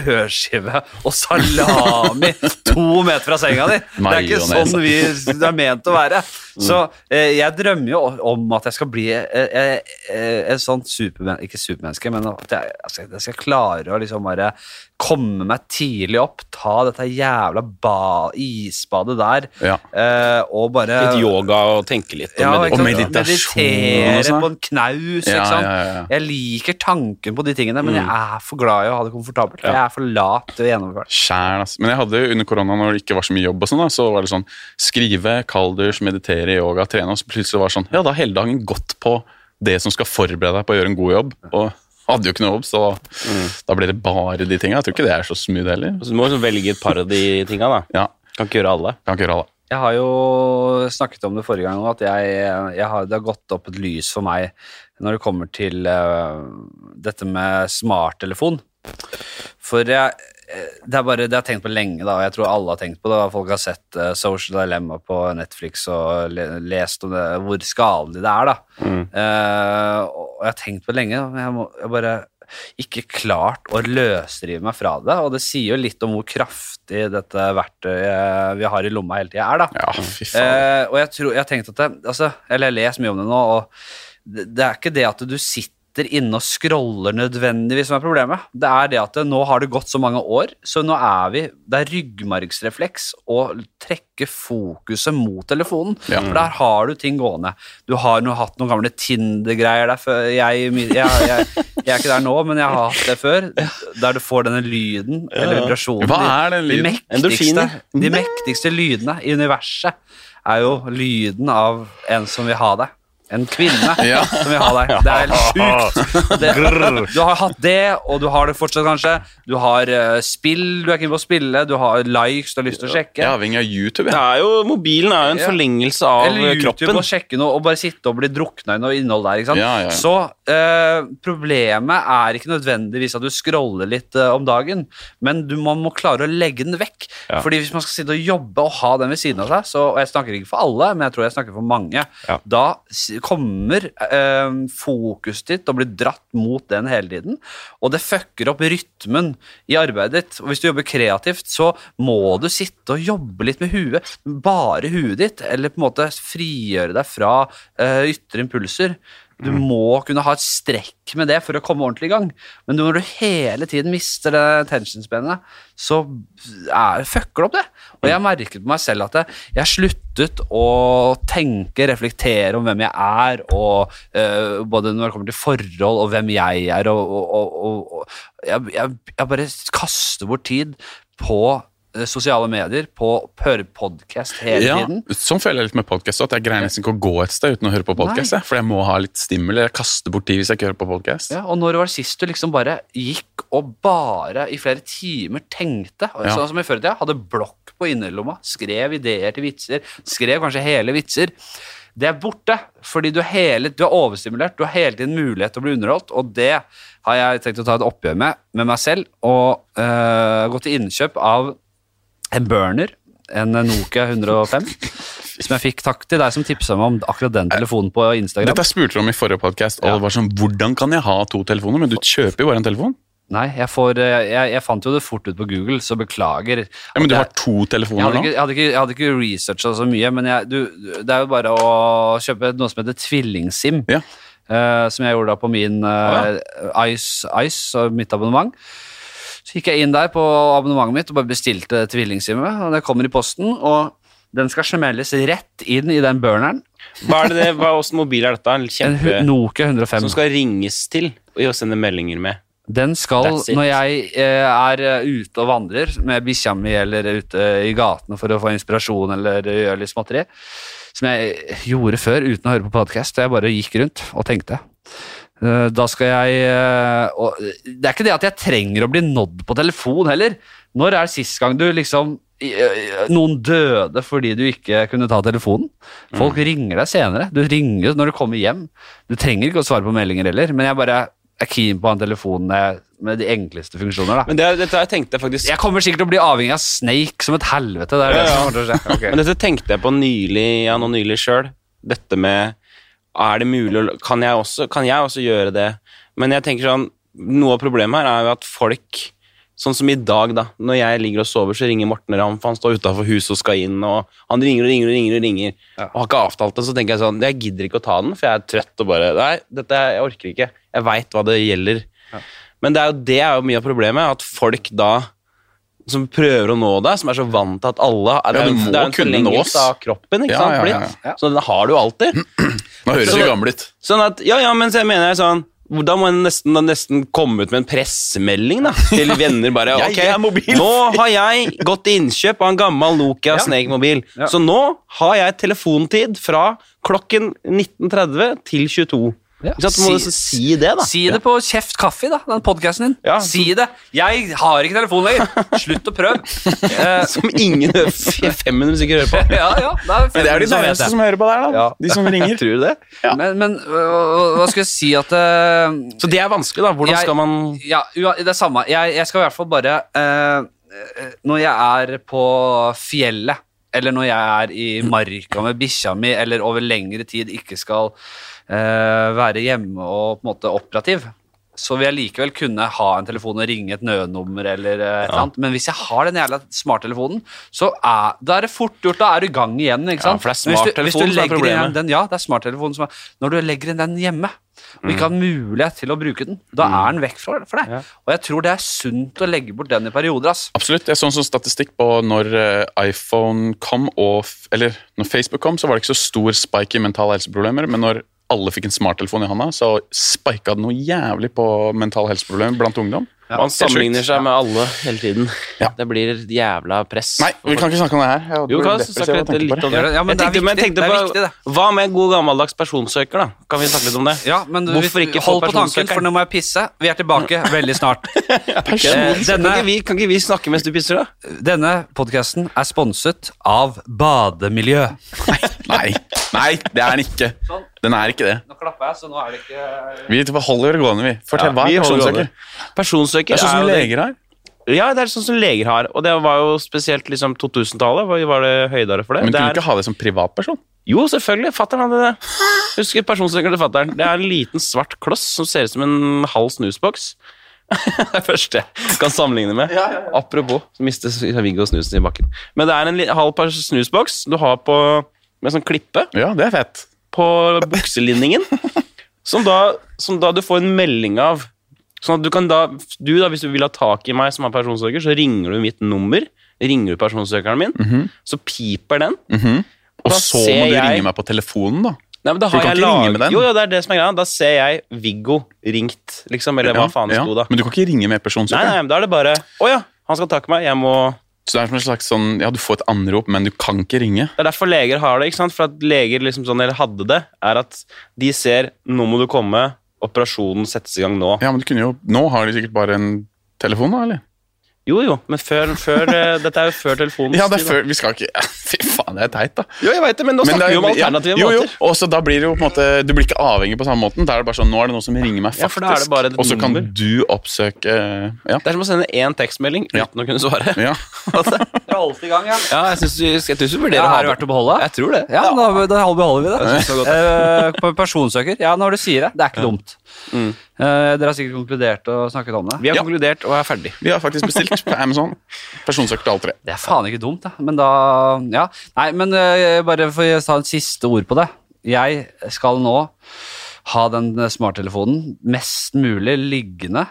brødskive og salami to meter fra senga di. Det er ikke
Mayonnaise.
sånn vi det er ment å være.
Mm.
Så eh, jeg drømmer jo om at jeg skal bli eh, eh, eh, et sånt supermenneske Ikke supermenneske, men at jeg, altså, jeg skal klare å liksom bare komme meg tidlig opp, ta dette jævla ba isbadet der,
Ja.
eh, og bare
Litt yoga og tenke litt.
ja,
og
ikke sant?
og meditasjon og
Meditere
sånn.
på en knaus,
Ja,
ikke sant.
ja, ja, Mm. ja.
Jeg liker tanken på de tingene, men jeg er for glad i å ha det komfortabelt. Jeg er for lat til å gjennomføre det.
Sjæl, ass. Men jeg hadde jo under korona, når det ikke var så mye jobb, og sånn da, så var det sånn skrive, kalddusj, meditere, yoga, trene. Og så plutselig var det sånn Ja, da har hele dagen gått på det som skal forberede deg på å gjøre en god jobb. Og hadde jo ikke noe jobb, så
Mm.
da ble det bare de tinga. Jeg tror ikke det er så smooth heller.
Så du må liksom velge et par av de tinga, da.
Ja,
Kan ikke gjøre alle.
kan ikke gjøre alle.
Jeg har jo snakket om det forrige gang, at jeg, jeg har, det har gått opp et lys for meg når det kommer til eh, dette med smarttelefon. For jeg, eh, det er bare, det har jeg tenkt på lenge, da, og jeg tror alle har tenkt på det. og Folk har sett eh, Social Dilemma på Netflix og le, lest om det, hvor skadelig det er. da.
Mm.
Eh, og jeg har tenkt på det lenge, da, men jeg må jeg bare ikke klart å løsrive meg fra det. Og det sier jo litt om hvor kraftig dette verktøyet vi har i lomma hele tida er. da.
Ja, fy faen.
Eh, og jeg, tror, jeg har tenkt at det, altså, Eller jeg leser mye om det nå, og det, det er ikke det at du sitter inne og scroller nødvendigvis som er problemet. Det er det at det, nå har det gått så mange år, så nå er vi Det er ryggmargsrefleks å trekke fokuset mot telefonen.
Ja.
For der har du ting gående. Du har nå hatt noen gamle Tinder-greier der før. Jeg, jeg, jeg, jeg, er ikke der nå, men jeg har hatt det før. Der du får denne lyden, eller vibrasjonen.
Hva er
De-
den
de
lyden?
mektigste-
Endorfiner.
de mektigste lydene i universet er jo lyden av en som vil ha deg. En kvinne
[LAUGHS] Ja.
som vil ha deg. Det er helt sjukt. Det, du har hatt det, og du har det fortsatt, kanskje. Du har eh, spill du er keen på å spille, du har likes du har lyst til å
Jeg
sjekke.
er avhengig av YouTube,
Det
jeg.
er jo, mobilen er jo en
Ja.
forlengelse av
Eller YouTube
kroppen.
og sjekke noe og bare sitte og bli drukna i noe innhold der. ikke sant?
Ja, ja, ja.
Så eh, problemet er ikke nødvendigvis at du scroller litt eh, om dagen, men du, man må klare å legge den vekk. Fordi hvis man skal sitte og jobbe og ha den ved siden av seg, så, og jeg snakker ikke for alle, men jeg tror jeg snakker for mange,
Ja.
da s- kommer eh, fokuset ditt og blir dratt mot den hele tiden, og det fucker opp rytmen i arbeidet ditt. Og hvis du jobber kreativt, så må du sitte og jobbe litt med huet, bare huet ditt, eller på en måte frigjøre deg fra eh, ytre impulser. Du må kunne ha et strekk med det for å komme ordentlig i gang. Men når du hele tiden mister det tensionsspennet, så er, fucker det opp det. Og jeg merket på meg selv at jeg, jeg sluttet å tenke, reflektere om hvem jeg er, og eh, både når det kommer til forhold og hvem jeg er, og, og, og, og, og jeg, jeg, jeg bare kaster bort tid på eh, sosiale medier, på å høre podkast hele
Ja,
tiden.
sånn føler jeg litt med podkast. At jeg greier nesten ikke å gå et sted uten å høre på podkast. For jeg må ha litt stimuli. Jeg kaster bort tid hvis jeg ikke hører på podkast.
Ja, og når var det sist du liksom bare gikk og bare i flere timer tenkte? Og
Ja.
Sånn som i før i tida, hadde blokk på innerlomma, skrev ideer til vitser, skrev kanskje hele vitser. Det er borte, fordi du er, hele, du er overstimulert, du har hele tiden mulighet til å bli underholdt, og det har jeg tenkt å ta et oppgjør med med meg selv, og øh, gå til innkjøp av en burner, en Nokia 105, som jeg fikk takk til deg som tipsa meg om akkurat den telefonen på Instagram.
Dette spurte du om i forrige podkast, og det var sånn Hvordan kan jeg ha to telefoner? Men du kjøper jo bare en telefon.
Nei, jeg, får, eh, jeg, jeg fant jo det fort ut på Google, så beklager.
Ja, Men du
Jeg-
har to
jeg
telefoner
hadde, ikke,
nå?
jeg, hadde ikke, jeg hadde ikke researcha så mye, men jeg, du, det er jo bare å kjøpe noe som heter tvillingsim,
Ja.
eh, som jeg gjorde da på min eh, Ice, Ice og mitt abonnement. Så gikk jeg inn der på abonnementet mitt og bare bestilte tvillingsimet, og det kommer i posten, og den skal smelles rett inn i den burneren.
Hva er det det, hva åssen mobil er dette? En
En hu-
kjempe...
Nokia 105.
Som skal ringes til og sende meldinger med.
Den skal,
That's it.
når jeg eh, er eh, ute og vandrer med bikkja mi eller ute i gatene for å få inspirasjon eller gjøre litt småtteri, som jeg gjorde før uten å høre på podkast, jeg bare gikk rundt og tenkte. Eh, Da skal jeg eh, og Det er ikke det at jeg trenger å bli nådd på telefon heller. Når er sist gang du liksom eh, Noen døde fordi du ikke kunne ta telefonen? Folk
Mm.
ringer deg senere. Du ringer jo når du kommer hjem. Du trenger ikke å svare på meldinger heller, men jeg bare er keen på han telefonen jeg- med de enkleste funksjoner, da.
Men det, er- dette her tenkte jeg faktisk
Jeg kommer sikkert til å bli avhengig av Snake som et helvete. Det er det
Ja, ja. [LAUGHS]
som kommer til å skje.
Men dette tenkte jeg på nylig, ja, nå nylig sjøl. dette med Er det mulig å Kan jeg også, kan jeg også gjøre det? Men jeg tenker sånn Noe av problemet her er jo at folk Sånn som i dag, da. Når jeg ligger og sover, så ringer Morten Ramm, for han står utafor huset og skal inn, og han ringer og ringer og ringer og ringer. Og har ikke avtalt det, så tenker jeg sånn Jeg gidder ikke å ta den, for jeg er trøtt og bare Nei, dette jeg orker ikke. Jeg veit hva det gjelder. Men det er jo det er jo mye av problemet, at folk da som prøver å nå deg, som er så vant til at alle Det er,
Ja,
jo-
du må
det er jo en
kunne nås.
forlengelse av kroppen, ikke
Ja,
sant?
ja, ja,
blitt. Så den har du alltid.
Nå høres
Så-
vi gamle ut.
Sånn at, ja, ja, men så jeg mener jeg sånn da må en nesten, da nesten komme ut med en pressemelding da, til [LAUGHS] venner. bare,
Jeg
ok,
er mobil.
Nå har jeg gått til innkjøp av en gammel Nokia Snake-mobil. Så nå har jeg telefontid fra klokken 19.30 til 22.
Ja.
Ikke sant, må
Si-
du så si det, da.
Si det på Kjeft kaffe, da, den podkasten din.
Ja.
Si det. Jeg har ikke telefon lenger. Slutt å prøve.
[LAUGHS]
Eh,
Som ingen f- 500 stykker hører
[LAUGHS]
på.
ja, ja, det er,
Men det er de
som vet
nærmeste som hører på der, da.
Ja.
De som ringer.
Tror du det?
Men, men øh, hva skal jeg si at øh,
Så det er vanskelig, da. Hvordan
Jeg-
skal man
Ja, ua- det er samme. Jeg, jeg skal i hvert fall bare eh, eh, Når jeg er på fjellet, eller når jeg er i marka med bikkja mi, eller over lengre tid ikke skal eh, være hjemme og på en måte operativ, så vil jeg likevel kunne ha en telefon og ringe et nødnummer eller eh, et eller annet. Men hvis jeg har den jævla smarttelefonen, så er, da er det fort gjort. Da er du i gang igjen. ikke
Ja,
sant?
for det er
Sånn. Men hvis du- hvis du
smarttelefonen som er
legger
problemet.
igjen Den, ja, det er smarttelefonen som er Når du legger inn den hjemme, og
Mm.
ikke har mulighet til å bruke den, da er den vekk fra, for deg. Og jeg tror det er sunt å legge bort den i perioder, ass.
Absolutt. Jeg så en sånn statistikk på når eh, iPhone kom, og, f- eller når Facebook kom, så var det ikke så stor spike i mentale helseproblemer, men når alle fikk en smarttelefon i handa, så spika det noe jævlig på mentale helseproblemer blant ungdom.
Man
Helt sjukt.
sammenligner seg med alle hele tiden. Det blir et jævla press.
Nei, vi kan ikke snakke om det her. Jeg
Jo,
blir
kan vi
depressiv
snakke
av å
litt,
tenke på
litt om det?
Ja, men
Jeg
det er
tenkte- men jeg
viktig,
tenkte
det er
på-
viktig, det.
Hva med god gammeldags personsøker, da? Kan vi snakke litt om det?
Ja, men
Hvorfor
vi-
ikke få
hold på tanken,
personsøkeren?
for nå må jeg pisse. Vi er tilbake
[LAUGHS]
veldig snart.
Eh,
Personsøker.
Kan, ikke vi, kan ikke vi snakke mens du pisser, da?
Denne podkasten er sponset av Bademiljø. Sånn.
Nei, nei, det er den ikke. Den er ikke det.
Nå klapper jeg, så nå er det ikke
Vi holder det gående, vi. Fortell,
Ja,
hva
vi
er
holder
personsøker?
gående. Personsøker
Det er sånn som
jo det-
leger har.
Ja, det er sånn som leger har. Og det var jo spesielt liksom 2000-tallet. Var var det høydere for det?
Men
det
kunne
er,
du ikke ha det som privatperson?
Jo, selvfølgelig. Fatter'n hadde det. Husker personsøkeren til fatter'n. Det er en liten svart kloss som ser ut som en halv snusboks. [LAUGHS] det er det første jeg kan sammenligne med. Apropos, så mister Viggo snusen i bakken. Men det er en li- halv par snusboks du har på, med sånn klippe
Ja, det er fett.
på bukselinningen, som da, som da du får en melding av. Sånn at du kan da, du da, hvis du vil ha tak i meg som er personsøker, så ringer du mitt nummer, ringer du personsøkeren min, så piper den.
Og
Da
så
ser
må du
jeg-
ringe meg på telefonen, da.
Nei, men da
For
har
du kan
jeg
ikke ringe
lag-
med den.
Jo, jo, det er det som er greia. Da ser jeg Viggo ringt, liksom, eller hva
Ja,
faen det
ja.
sto da.
Men du kan ikke ringe med
Nei,
personsøker.
nei, men da er det bare, å ja, han skal takke meg, jeg må...
Så det er som en slags sånn, ja, du får et anrop, men du kan ikke ringe.
Det er derfor leger har det, ikke sant? For at leger liksom sånn, eller hadde det, er at de ser, nå må du komme, operasjonen settes i gang nå.
Ja, men du kunne jo, Nå har de sikkert bare en telefon, da? eller?
Jo, jo, men før, før eh, [LAUGHS] Dette er jo før telefonen.
Ja, det er før, vi skal ikke, [LAUGHS] Fy faen, det er teit, da.
Jo, jeg vet det, men nå
Men
snakker
det er-
vi om alternative
ja, jo,
måter.
Jo, og så da blir det jo på en måte, Du blir ikke avhengig på samme måten. Da er det bare sånn, Nå er det noen som ringer meg,
Ja,
faktisk.
for da er det bare et
og så kan
nummer.
du oppsøke Ja.
Det er som å sende én tekstmelding uten å kunne svare.
ja.
Det er alltid i gang, ja.
[LAUGHS] Ja, jeg syns du jeg tror du vurderer
Ja,
å ha
er det verdt å beholde?
Jeg tror det.
Ja, da, da beholder vi det.
Jeg synes det er godt.
Eh, på personsøker, ja, når du sier det, det er ikke dumt. Eh, dere har sikkert konkludert og snakket om det.
Mm. Vi har
Ja.
konkludert og er ferdig.
Vi har faktisk bestilt på Amazon. Personsøker til alle tre.
Det er faen ikke dumt, da. Men da Ja. Nei, men øh, bare for å ta et siste ord på det. Jeg skal nå ha den smarttelefonen mest mulig liggende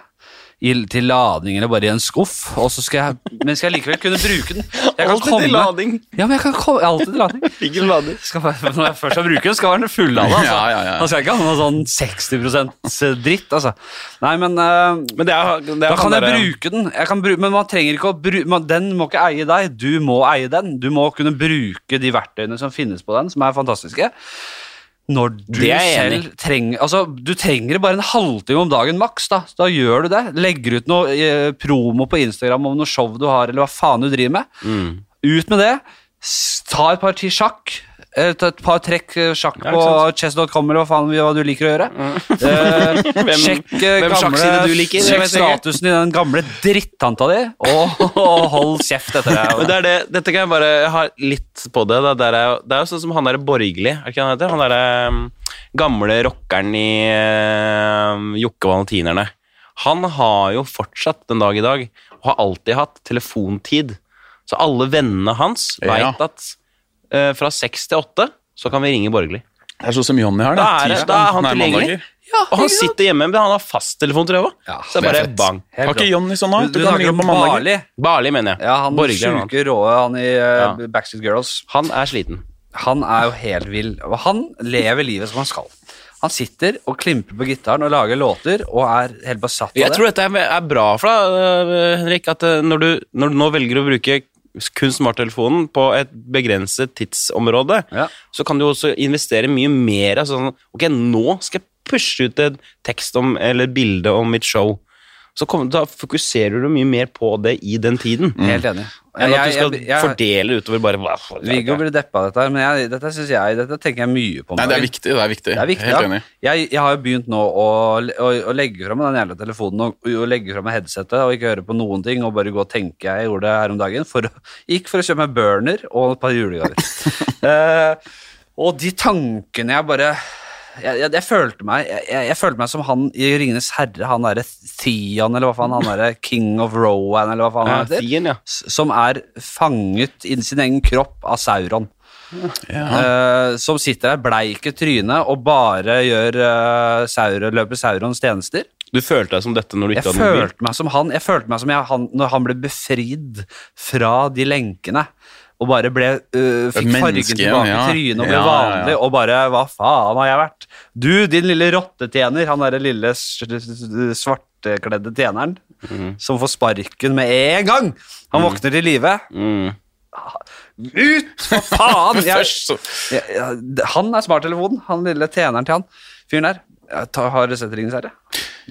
i, til ladning eller bare i en skuff, og så skal jeg, men skal jeg likevel kunne bruke den. Jeg kan komme, Ja, men jeg kan komme, alltid til lading.
Ligger lader.
Skal, bare- når jeg først skal bruke den, skal være den fullada. Altså.
Ja, ja, ja.
Man skal ikke ha noe sånn 60 dritt, altså. Nei, men øh,
Men det er, det er
da kan
han
jeg
der-
bruke den, jeg kan bru men man trenger ikke å bru- man, den må ikke eie deg. Du må eie den. Du må kunne bruke de verktøyene som finnes på den, som er fantastiske. Når du
Det er jeg
selv trenger Altså, du trenger bare en halvtime om dagen maks, da. Så da gjør du det. Legger ut noe eh, promo på Instagram om noe
Mm.
show du har, eller hva faen du driver med. Ut med det. S- Ta et par til sjakk. eh, ta et par trekk eh, sjakk
Ja,
på
ikke
chess.com eller hva faen hva du liker å
[LAUGHS]
gjøre. Eh, sjekk eh,
hvem sjakkside
gamle,
du liker, jeg
sjekk
vet ikke.
statusen i den gamle drittanta di, og, og hold kjeft etter deg.
Men det er det, dette kan jeg bare jeg har litt på det. Da. Det, er, jo- det er jo sånn som han derre borgerlig, er det ikke han heter? Han derre um, gamle rockeren i um, Jokke og Valentinerne. Han har jo fortsatt den dag i dag, og har alltid hatt telefontid. Så alle vennene hans
Ja.
veit at eh, fra seks til åtte så kan vi ringe borgerlig.
Det er sånn som Johnny har det.
Da er, det-
Tirsdag,
da er han
nei,
tilgjengelig.
mandager.
og han sitter hjemme, men han har fasttelefon, tror jeg òg.
Ja,
så det er
det er
bare
fett.
bang.
Helt
Har ikke
klart.
Johnny sånn nå?
Du,
Du
du
kan
snakker
ringe
om
på mandager.
Barli.
Barli, mener jeg.
Ja, han
Borgerlig er noe annet.
sjuke råe, han i eh,
Ja.
Backstreet Girls.
Han er sliten.
Han er jo helt vill. Og han lever livet som han skal. Han sitter og klimper på gitaren og lager låter og er helt besatt av
Jeg
det.
tror dette er, er bra for deg, øh, Henrik, at øh, når du, når du nå velger å bruke kun smarttelefonen på et begrenset tidsområde,
Ja.
så kan du også investere mye mer. Altså, sånn, ok, nå skal jeg pushe ut en tekst om, eller et bilde om mitt show. Så kom, da fokuserer du mye mer på det i den tiden.
Helt enig.
Enn
Mm.
Mm. at du
Jeg-
skal
jeg- jeg-
fordele utover bare hva for-
Viggo blir deppa av dette, her, men jeg, dette synes jeg, dette tenker jeg mye på. om
Nei, det er
dagen.
viktig. Det er viktig.
Det er viktig,
Helt
ja.
enig.
Jeg, jeg har jo begynt nå å, å, å legge fra meg den jævla telefonen og, og legge fra meg headsetet og ikke høre på noen ting og bare gå og tenke. Jeg gjorde det her om dagen. For, å- gikk for å kjøpe meg burner og et par julegaver. Eh, og de tankene jeg bare jeg, jeg, jeg, følte meg, jeg, jeg, jeg følte meg som han i Ringenes herre, han derre Theon, eller hva faen, han derre King of Rowan, eller hva faen
Ja,
han heter,
Tien, ja.
s- som er fanget inni sin egen kropp av Sauron.
Ja.
Eh, som sitter der bleik i trynet og bare gjør eh, Sauron- løper Saurons tjenester.
Du følte deg som dette når du
Jeg
ikke hadde mobil?
følte meg som han, jeg følte meg som jeg, han når han ble befridd fra de lenkene. Og bare ble, eh, fikk
Et
fargen
menneske igjen,
tilbake
ja.
i trynet og ble
Ja, ja, ja.
vanlig. Og bare Hva faen har jeg vært? Du, din lille rottetjener. Han derre lille s- s- svartekledde tjeneren
Mhm.
som får sparken med en gang. Han våkner til live.
Mhm.
Mm.
Ut, for
[LAUGHS]
faen! Jeg,
Først så
ja, ja, d- han er smarttelefonen. Han lille tjeneren til han fyren der. Jeg tar, har du sett Ringenes herre?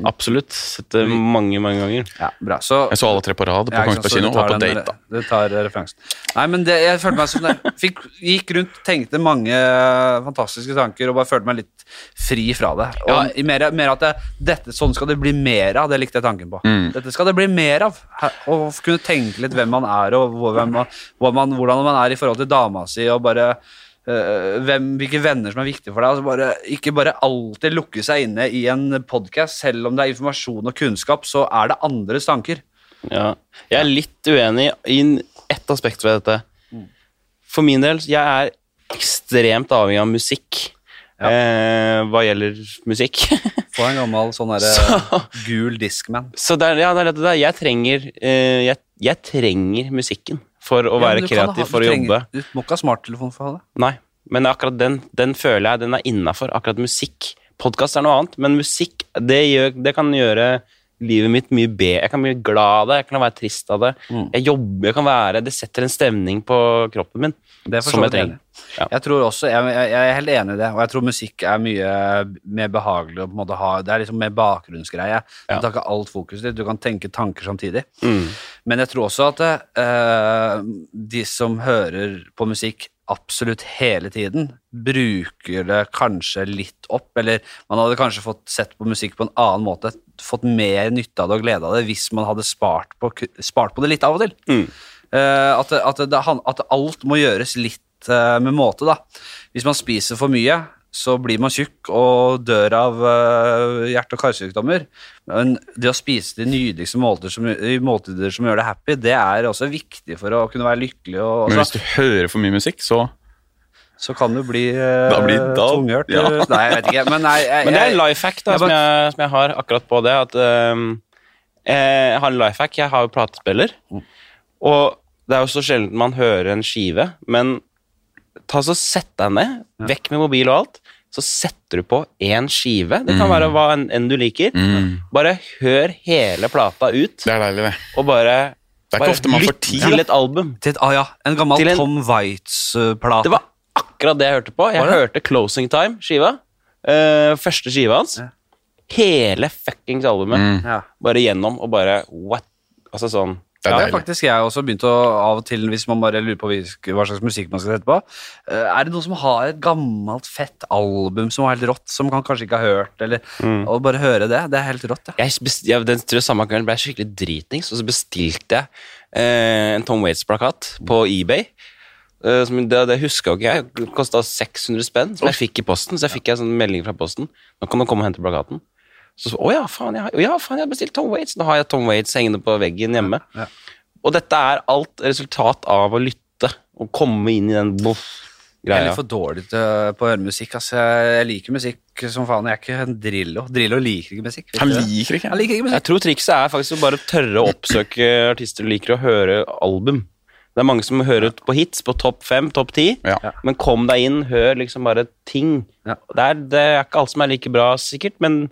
Absolutt. Sett det mange, mange ganger.
Ja, bra. Så,
Jeg så alle tre på rad på
Ja, ikke sant,
Kongsberg
så du
kino.
tar
Var på
den-
date, da.
Du tar eh, referansen. Nei, men det, jeg følte meg som det. Fikk, gikk rundt, tenkte mange eh, fantastiske tanker og bare følte meg litt fri fra det. Og
Ja.
i mer, mer at jeg, dette, sånn skal det bli mer av, det likte jeg tanken på.
Mm.
Dette skal det bli mer av. Her- Å kunne tenke litt hvem man er, og hvor, hvem man, hvor man, hvordan man er i forhold til dama si, og bare øh, hvem, hvilke venner som er viktige for deg. Altså bare, ikke bare alltid lukke seg inne i en podkast. Selv om det er informasjon og kunnskap, så er det andres tanker.
Ja. Jeg er litt uenig i n- ett aspekt ved dette. For min del, jeg er ekstremt avhengig av musikk. Eh, hva gjelder musikk. [LAUGHS]
Få en gammel [LAUGHS] sånn derre gul diskman.
Så det er, ja, det er dette der. Jeg trenger, eh, jeg, jeg trenger musikken for å være kreativ, for å jobbe.
Du må ikke ha smarttelefon for å ha det.
Nei, men akkurat den, den føler jeg den er innafor. Akkurat musikk. Podkast er noe annet, men musikk det, gjør, det kan gjøre livet mitt mye bedre. Jeg kan bli glad av det, jeg kan være trist av det.
Mm.
Jeg jobber, jeg kan være Det setter en stemning på kroppen min
Det er for så
som jeg
vidt enig.
trenger. Ja.
Jeg tror også, jeg, jeg, jeg er helt enig i det, og jeg tror musikk er mye mer behagelig å på en måte ha. Det er liksom mer bakgrunnsgreie. Du
Ja.
tar ikke alt fokuset ditt, du kan tenke tanker samtidig.
Mm.
Men jeg tror også at eh, de som hører på musikk absolutt hele tiden, bruker det kanskje litt opp, eller man hadde kanskje fått sett på musikk på en annen måte, fått mer nytte av det og glede av det, hvis man hadde spart på, spart på det litt av og til.
Mm.
Eh, at, det- at, det, han- at alt må gjøres litt eh, med måte, da. Hvis man spiser for mye, så blir man tjukk og dør av eh, hjerte- og karsykdommer. Men det å spise de nydeligste måltider som, i måltider som gjør deg happy, det er også viktig for å kunne være lykkelig. Og,
Men
altså,
hvis du hører for mye musikk, så
så kan du bli, eh,
Da blir- da-
tunghørt.
ja.
eller- [LAUGHS] Nei, jeg vet ikke. Men, nei, jeg,
Men det er
jeg-
en life hack da,
jeg
som,
bare-
jeg, som jeg har akkurat på det. At ehm, eh, jeg har en life hack. Jeg har jo platespiller. Og det er jo så sjelden man hører en skive, men ta så sett deg ned. Vekk med mobil og alt. Så setter du på én skive.
Mm.
Det kan være hva enn enn du liker. Bare hør hele plata ut,
Det er deilig, det.
og bare,
Det er
bare
ikke ofte man får tid.
til et album.
til et, ah, ja, en gammel
Til en-
Tom eh, Waits-plate.
Det var akkurat det jeg hørte på. Jeg
Var det?
hørte Closing Time-skiva. eh, første skiva hans. Hele fuckings albumet.
ja.
Mm.
Bare gjennom og bare What? Altså sånn
Det
Ja,
er
det har
deilig.
faktisk jeg også begynt å av og til, hvis man bare lurer på hvilk- hva slags musikk man skal sette på. eh, Er det noen som har et gammelt, fett album som var helt rått, som man kanskje ikke har hørt, eller Og bare høre det. Det er helt rått, ja.
Jeg, best, jeg den tror jeg samme kvelden ble jeg skikkelig dritings, og så bestilte jeg eh, en Tom Waits-plakat på eBay. Eh, som, det det huska jo ikke jeg. Det kosta 600 spenn, som jeg fikk i posten. Så jeg fikk en sånn melding fra posten. Nå kan du komme og hente plakaten. Så så, å ja, faen, jeg har ja, faen, jeg har bestilt Tom Waits. Nå har jeg Tom Waits hengende på veggen hjemme.
Ja.
Og dette er alt resultat av å lytte og komme inn i den boff
Jeg er litt
greia.
for dårlig til, på å høre musikk. Altså, jeg jeg liker musikk som faen. Jeg er ikke en Drillo. Drillo liker ikke musikk. vet
Han
du det?
liker ikke
Han liker ikke
[LAUGHS] Jeg
musikk.
tror trikset er faktisk å bare tørre å oppsøke artister du liker, og høre album. Det er mange som hører på hits, på topp fem, topp ti,
Ja.
men kom deg inn, hør liksom bare ting.
Ja.
Det, er, det er ikke alt som er like bra, sikkert, men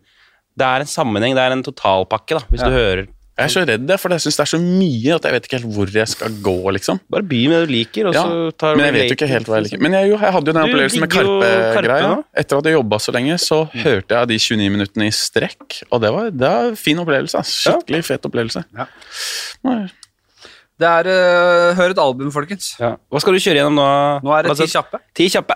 det er en sammenheng, det er en totalpakke, da, hvis du hører.
Jeg er så redd, jeg, for jeg syns det er så mye at jeg vet ikke helt hvor jeg skal gå. liksom.
Bare begynn med det du liker, og
Ja,
så tar
men jeg vet jo ikke helt hva jeg liker. Men jeg, jo, jeg hadde jo den
Du
opplevelsen med
digger jo Karpe
Karpe-greia.
nå. Mm.
Etter at jeg jobba så lenge, så hørte jeg de 29 minuttene i strekk. Og det var, det var en fin opplevelse. ass. Skikkelig fet opplevelse.
Ja.
Nei.
Det er øh, Hør et album, folkens.
Ja. Hva skal du kjøre gjennom nå?
Nå er det
Lasse?
ti kjappe.
Ti kjappe.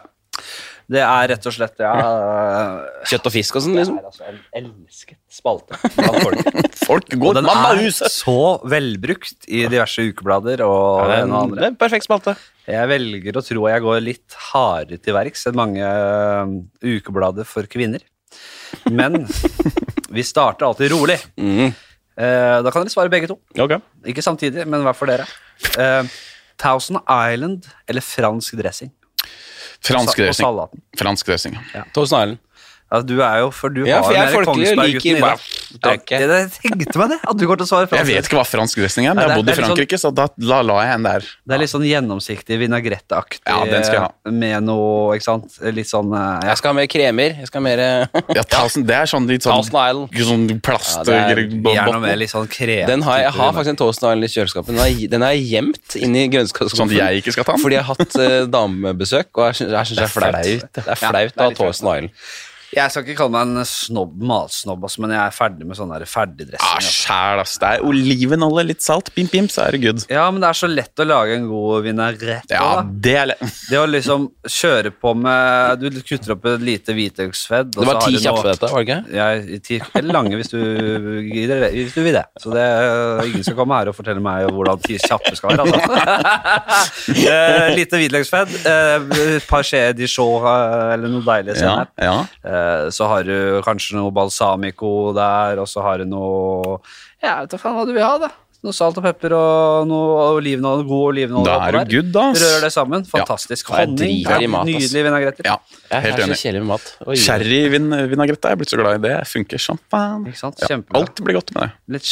Det er rett og slett ja, øh,
Kjøtt og fisk og sånn, liksom.
er altså en elsket spalte av folk.
Folk
Og
går
den
mann av
er
huset!
så velbrukt i diverse ukeblader og
Ja, det, er
det ene og
en,
andre.
det er en perfekt spalte.
Jeg velger å tro at jeg går litt hardere til verks enn mange øhm, ukeblader for kvinner.
[LAUGHS]
Men vi starter alltid rolig.
Mm.
Eh, Da kan dere svare begge to.
Ok.
Ikke samtidig, men hver for dere. Eh, Thousand Island eller fransk dressing? Sa-
Fransk
og
dressing.
salaten.
Fransk dressing.
Torsen Erlend.
Ja, du er jo, for du har
Ja, for
jo
jeg
den
er
der
folkelig og liker
Kongsberg-gutten i
bare
deg.
drikke.
Ja, det- jeg tenkte meg det, at du går til å svare
Jeg
fransk.
vet ikke hva fransk dressing er, men
Nei,
jeg
det
har
er-
bodd i
det er
sånn-
litt
Frankeike, så da la, la jeg en der.
Det er litt sånn gjennomsiktig vinagretteaktig
Ja, den skal jeg ha.
med noe, ikke sant? Litt sånn eh, ja.
Jeg skal ha mer kremer. Jeg skal ha mer [LAUGHS] eh,
Ja, Thousand, det er sånn litt sånn,
Thousand Island.
sånn plast
Ja, det er
Gjerne
bottle.
med litt sånn krem.
Den har, jeg jeg har faktisk en Toast Island i kjøleskapet. Den har jeg- Den har jeg gjemt inn i grønnsaksskuffen.
Sånn at jeg ikke skal ta den?
Fordi jeg har hatt eh, damebesøk, og jeg syns jeg syns det er flaut. Det er flaut å ha
litt flaut.
Toast Island.
Jeg skal ikke kalle meg en snobb, matsnobb, altså, men jeg er ferdig med sånn der ferdigdressing.
Ah,
altså.
sjæl, ass. Det er olivenolje, litt salt, pim, pim, så er det good.
Ja, men det er så lett å lage en god vinagrette.
Ja,
da.
det er le-
Det å liksom kjøre på med Du kutter opp et lite hvitløksfedd og så
Det var
har
ti
du noe-
kjappe, dette. var det ikke?
Jeg, ti, eller lange, hvis du, gidder, hvis du vil det. Så det, ingen skal komme her og fortelle meg hvordan ti kjappe skal være. Altså. [LAUGHS] Eh, lite hvitløksfett, eh, et par skjeer dijon eh, eller noe deilig
[LAUGHS] ja,
sennep.
ja.
Eh, så har du kanskje noe balsamico der, og så har du noe Ja, jeg vet da faen hva du vil ha, da. Noe salt og pepper og noe olivenolje, god olivenolje.
Da
oppå
er du
der.
good, da, ass.
Rør det sammen. Fantastisk.
Ja, det er
Honning.
dritgodt i mat, ass.
Nydelige vinagretter.
ja.
Jeg
Helt
er så
enig.
kjedelig med mat. Oi.
Sherryvinagrette er jeg blitt så glad i. Det funker som faen.
Ikke sant?
Ja.
Kjempebra.
Alt blir godt med det.
Litt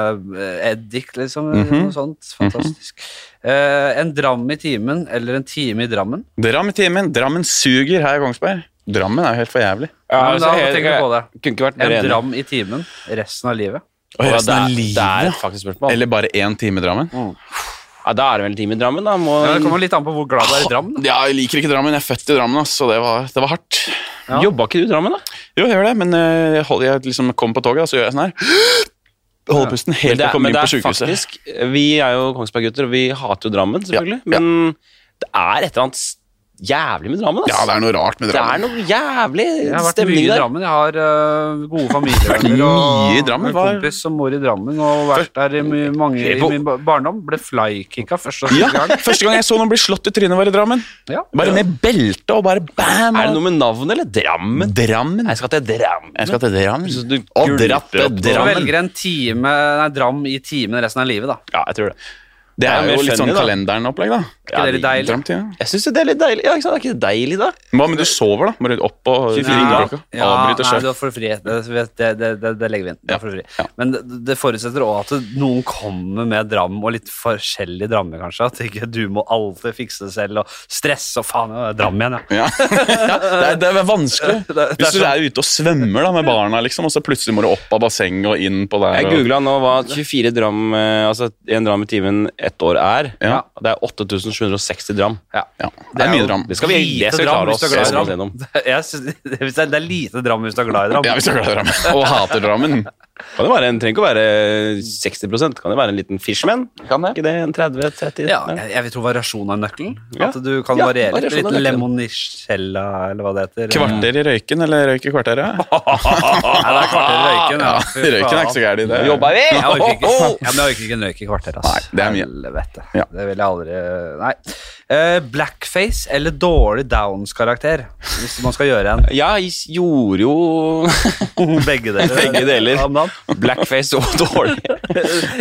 sherry-eddik, liksom.
Mhm.
Noe sånt. Fantastisk. Eh, en dram i timen, eller en time i Drammen.
Dram i timen. Drammen suger her i Kongsberg. Drammen er jo helt for jævlig.
Ja,
Ja, men
altså,
da, hva
helt-
tenker du på det?
Kunne ikke vært mer
En
enig.
dram i timen resten av livet.
Og
Ja,
resten av
det er-
livet.
Det er et faktisk spørsmål.
Eller bare én time Drammen.
Ja, da er det vel en time i Drammen, da. Må,
Ja, det kommer litt an på hvor glad du er i Dram. Da.
Ja, jeg liker ikke Drammen. Jeg er født i Drammen, ass, så det var, det var hardt.
Ja.
Jobba ikke du i Drammen, da?
Jo, jeg gjør det, men eh, jeg, holder, jeg liksom kommer på toget, og så gjør jeg sånn her. Holder pusten helt til jeg kommer inn på sykehuset.
faktisk Vi er jo Kongsberg-gutter, og vi hater jo Drammen, selvfølgelig.
Ja, ja.
Men det er et eller annet s- jævlig med Drammen, ass.
Ja, det er noe rart med
Det er
Drammen.
noe jævlig
Jeg har vært mye
stemning
i
der.
Drammen. Jeg har øh,
[LAUGHS]
gode
Vært
familievenner og
mye i Drammen,
en
hva?
kompis som bor i Drammen og vært der i my mange i min ba- barndom. Ble flykicka første og
Ja,
siste gang.
Første gang jeg så noen bli slått i trynet, var i Drammen.
Ja.
Bare med belte og bare bam!
Er det noe med navnet, eller Drammen?
Drammen.
Jeg skal til Drammen.
Jeg skal til Drammen.
Så du
og
gulper
dratt
opp på-
til
Så
Drammen.
velger en time, nei, Dram i timen resten av livet, da.
Ja, jeg tror det.
Det
er
er
mer
jo litt
funny,
sånn
da.
kalenderen-opplegg, da.
Ikke det litt deilig?
Dramtida.
Jeg syns jo det er litt deilig. Ja, ikke sant? Er ikke det deilig, da?
Hva med du sover, da? Bare opp og
24
Ja,
klokka.
ja,
Avbryter
nei,
sjøl.
du har for fri. Det, det, det, det, det legger vi inn. Du har for fri. Men det, det forutsetter òg at noen kommer med dram, og litt forskjellig dramme, kanskje. At ikke du må alltid fikse det selv, og stresse og faen, ja, det er dram igjen, ja.
[LAUGHS] Ja. ja, det, er, det er vanskelig.
[LAUGHS] Det- det er sånn-
Hvis du er ute og svømmer da med barna, liksom, og så plutselig må du opp av bassenget og inn på der.
Jeg
og-
googla nå hva 24 dram, eh, altså en dram i timen ett år er.
Ja.
Og Det er 8760 dram.
Ja, det er mye dram.
Det skal vi
Lite
det skal vi
dram
klare
hvis
oss
du er glad i
oss
dram. [LAUGHS]
gjennom.
Jeg synes, det, hvis det, er, det er lite dram hvis du er glad i dram.
Ja, hvis du er glad i Drammen. Og hater Drammen.
Kan det være en, trenger ikke å være 60 kan det være en liten fishman?
Kan det?
Ikke det en 30-30?
Ja, jeg, jeg vil tro variasjon av nøkkelen.
Ja.
At du kan
Ja,
variere.
variasjon av
Litt
nøkkelen.
lemonicella, eller hva det heter.
Kvarter i røyken, eller røyk i kvarteret?
[LAUGHS] Nei, det er kvarter i røyken. Ja. Fy faen.
[LAUGHS] Røyken er ikke så gæren i det.
Jobba vi?
Jeg orker ikke, ja, men jeg orker ikke en røyk i kvarter, ass.
Nei, det er mye.
Helvete.
Ja.
Det vil jeg aldri Nei. Eh, blackface eller dårlig Downs-karakter? Hvis man skal gjøre
[LAUGHS]
en.
Ja, [LAUGHS] jeg s- gjorde
[LAUGHS]
jo
Begge deler.
Begge deler.
Om dagen.
blackface og dårlig.
[LAUGHS]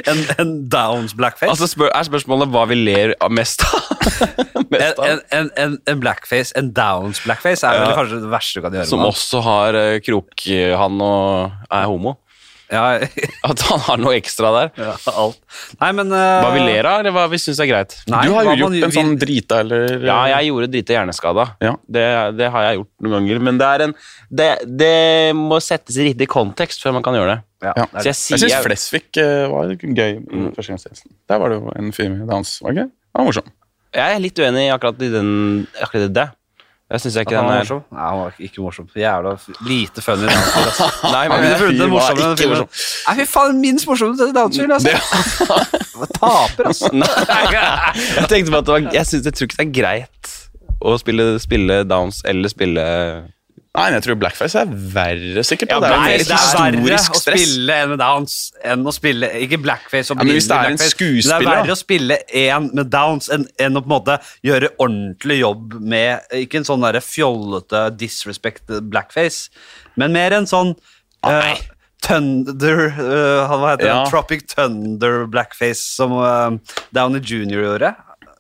En, en Downs-blackface?
Altså spør, Er spørsmålet hva vi ler av [LAUGHS] mest av?
en,
mest av?
en, en, en, en blackface, en Downs-blackface, er vel
Ja.
kanskje det verste du kan gjøre.
Som
med
også har eh, krok, eh, han og er homo. [LAUGHS]
han.
At han har noe ekstra der.
[LAUGHS] Ja, ja, alt. Nei, men eh,
Hva vi ler av, eller hva vi syns er greit?
Nei,
du har
hva
jo
man
gjort en
vil-
sånn drita, eller
Ja, jeg gjorde drita hjerneskada.
Ja.
Det, det har jeg gjort noen ganger. Men det, er en, det, det må settes i riktig kontekst før man kan gjøre det.
ja,
Ja.
det er-
Så jeg sier
Jeg syns Flesvig eh, var gøy i
Mm.
førstegangstjenesten. Der var det jo en fyr med dans, var det ikke? Han var morsom.
Jeg er litt uenig i akkurat i den akkurat i det. Jeg syns
At
ikke
han
den
var
er
morsom? Nei, han var ikke morsom. Jævla f- lite funny. danser, [LAUGHS] ass.
Nei,
Jeg ville funnet det
Fy,
morsomme
var
med den filmen. Nei, fy faen, minst morsomme til Downfield, altså. Taper, [LAUGHS] altså.
[LAUGHS] Nei, jeg tenkte bare at det var, jeg, synes, jeg tror ikke det er greit å spille, spille downs eller spille
[LAUGHS] Nei, men jeg tror blackface er verre, sikkert. da.
Ja, nei,
jo mer
det er
historisk
å
stress.
spille en med downs enn å spille Ikke blackface og
Ja, men hvis det er en
blackface,
skuespiller,
Det er
da.
verre å spille en med downs enn enn å på en måte gjøre ordentlig jobb med Ikke en sånn derre fjollete disrespect blackface, men mer en sånn eh, Thunder eh, Hva heter
Ja.
det? Tropic Thunder blackface som eh, Downey Jr. gjorde.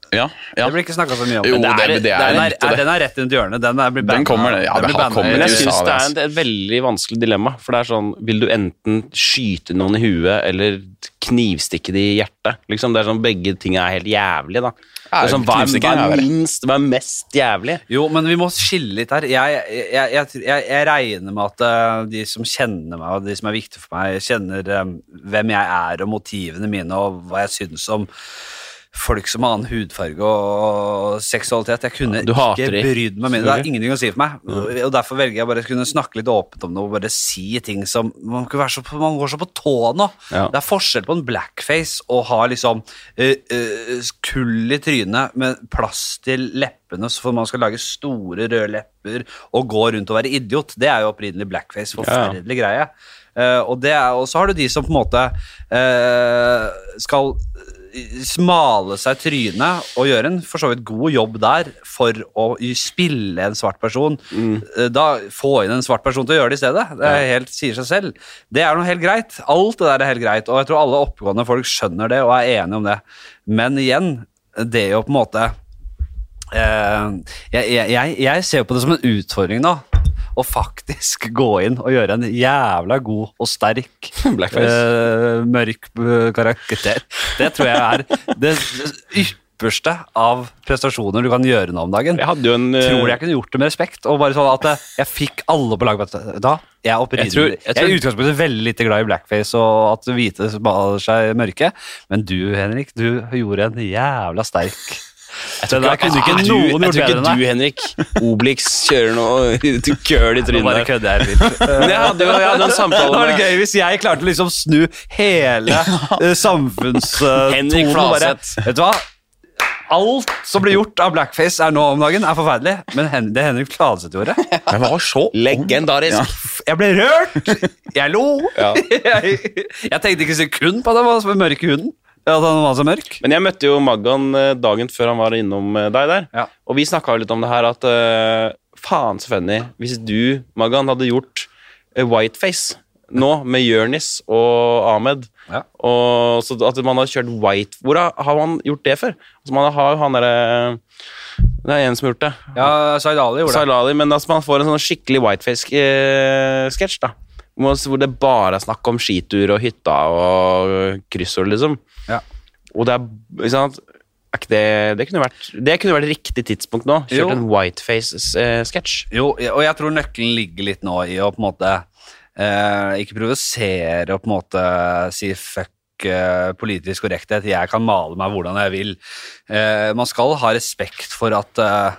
Ja, ja.
Det blir ikke snakka så mye om.
Jo,
Men
det- det er
den,
litt det.
er, den er rett rundt hjørnet. Den, er, blir
Den
banna.
kommer, det. Ja, det
blir
har
banna.
kommet.
Men
Men
jeg
USA,
syns det er
det,
et, et veldig vanskelig dilemma. For det er sånn Vil du enten skyte noen i huet eller knivstikke de i hjertet? Liksom, det er sånn Begge ting er helt jævlig, da. Det
Ja,
er sånn, hva, er, hva
knivstikking er
er
verre.
minst, hva er mest jævlig?
Jo, men vi må skille litt her. Jeg, jeg, jeg, jeg, jeg regner med at eh, de som kjenner meg, og de som er viktige for meg, kjenner eh, hvem jeg er og motivene mine og hva jeg syns om folk som har annen hudfarge og seksualitet. Jeg kunne
Du hater
ikke
de.
brydd meg mindre. Det er ingenting å si for meg. Og derfor velger jeg bare å kunne snakke litt åpent om det og bare si ting som Man, kan være så, på- man går så på tå nå.
Ja.
Det er forskjell på en blackface og ha liksom eh, eh, kull i trynet med plass til leppene så for man skal lage store røde lepper og gå rundt og være idiot. Det er jo opprinnelig blackface. Forferdelig greie. Eh, og, det er, og så har du de som på en måte eh, skal eh, smale seg trynet og gjøre en for så vidt god jobb der for å y- spille en svart person. Eh, Da få inn en svart person til å gjøre det i stedet. Det er helt, sier seg selv. Det er noe helt greit. Alt det der er helt greit, og jeg tror alle oppegående folk skjønner det og er enige om det. Men igjen, det er jo på en måte Eh, jeg, jeg- jeg, jeg ser på det som en utfordring da å faktisk gå inn og gjøre en jævla god og sterk
[LAUGHS] Blackface.
eh, mørk eh, karakter. Det tror jeg er det ypperste av prestasjoner du kan gjøre nå om dagen.
Jeg hadde jo en
Tror jeg kunne gjort det med respekt. Og bare sånn at eh, jeg fikk alle på lag. vet du. Da, jeg er oppriktig
Jeg tror- jeg
jeg, er i
tror-
utgangspunktet veldig lite glad i blackface og at hvite maler seg mørke, men du, Henrik, du gjorde en jævla sterk det der kunne ikke noen
Jeg
gjort
tror
bedre
ikke
enn
du,
deg.
Henrik Obelix, kjører noe [LAUGHS] køl i
Nå bare
trynet.
kødder jeg litt.
[LAUGHS] Men jeg hadde jo
[LAUGHS]
jeg hadde en
Det
samtale
var
med
gøy hvis jeg klarte å liksom snu hele eh, samfunnstonen.
Henrik
bare,
Flaseth.
Vet du hva? Alt som blir gjort av blackface er nå om dagen, er forferdelig. Men Hen det Henrik Flaseth gjorde
Jeg var så
Legendarisk.
Jeg ble rørt! Jeg lo! [LAUGHS] Jeg, jeg tenkte ikke sekund på at han var så mørk i huden. At han var så mørk.
Men jeg møtte jo Maggan eh, dagen før han var innom eh, deg der.
Ja.
Og vi snakka litt om det her at eh, faen så funny hvis du, Maggan, hadde gjort eh, whiteface nå med Jørnis og Ahmed.
Ja.
Og så at man har kjørt white Hvor har- har man gjort det før? Altså, man har jo han derre Det er en som har gjort det.
Ja, Zaid Ali gjorde det.
Salali, men altså, man får en sånn skikkelig whiteface-sketsj, da. Hvor man- Hvor det bare er snakk om skitur og hytta og kryssord, liksom.
Ja.
Og det er, ikke sant er ikke det, det, kunne vært, det kunne vært riktig tidspunkt nå. Kjørt
Jo.
en eh, whiteface-sketsj.
Jo, og jeg tror nøkkelen ligger litt nå i å på en måte eh, ikke provosere og på en måte si fuck eh, politisk korrekthet. Jeg kan male meg hvordan jeg vil. Eh, man skal ha respekt for at eh,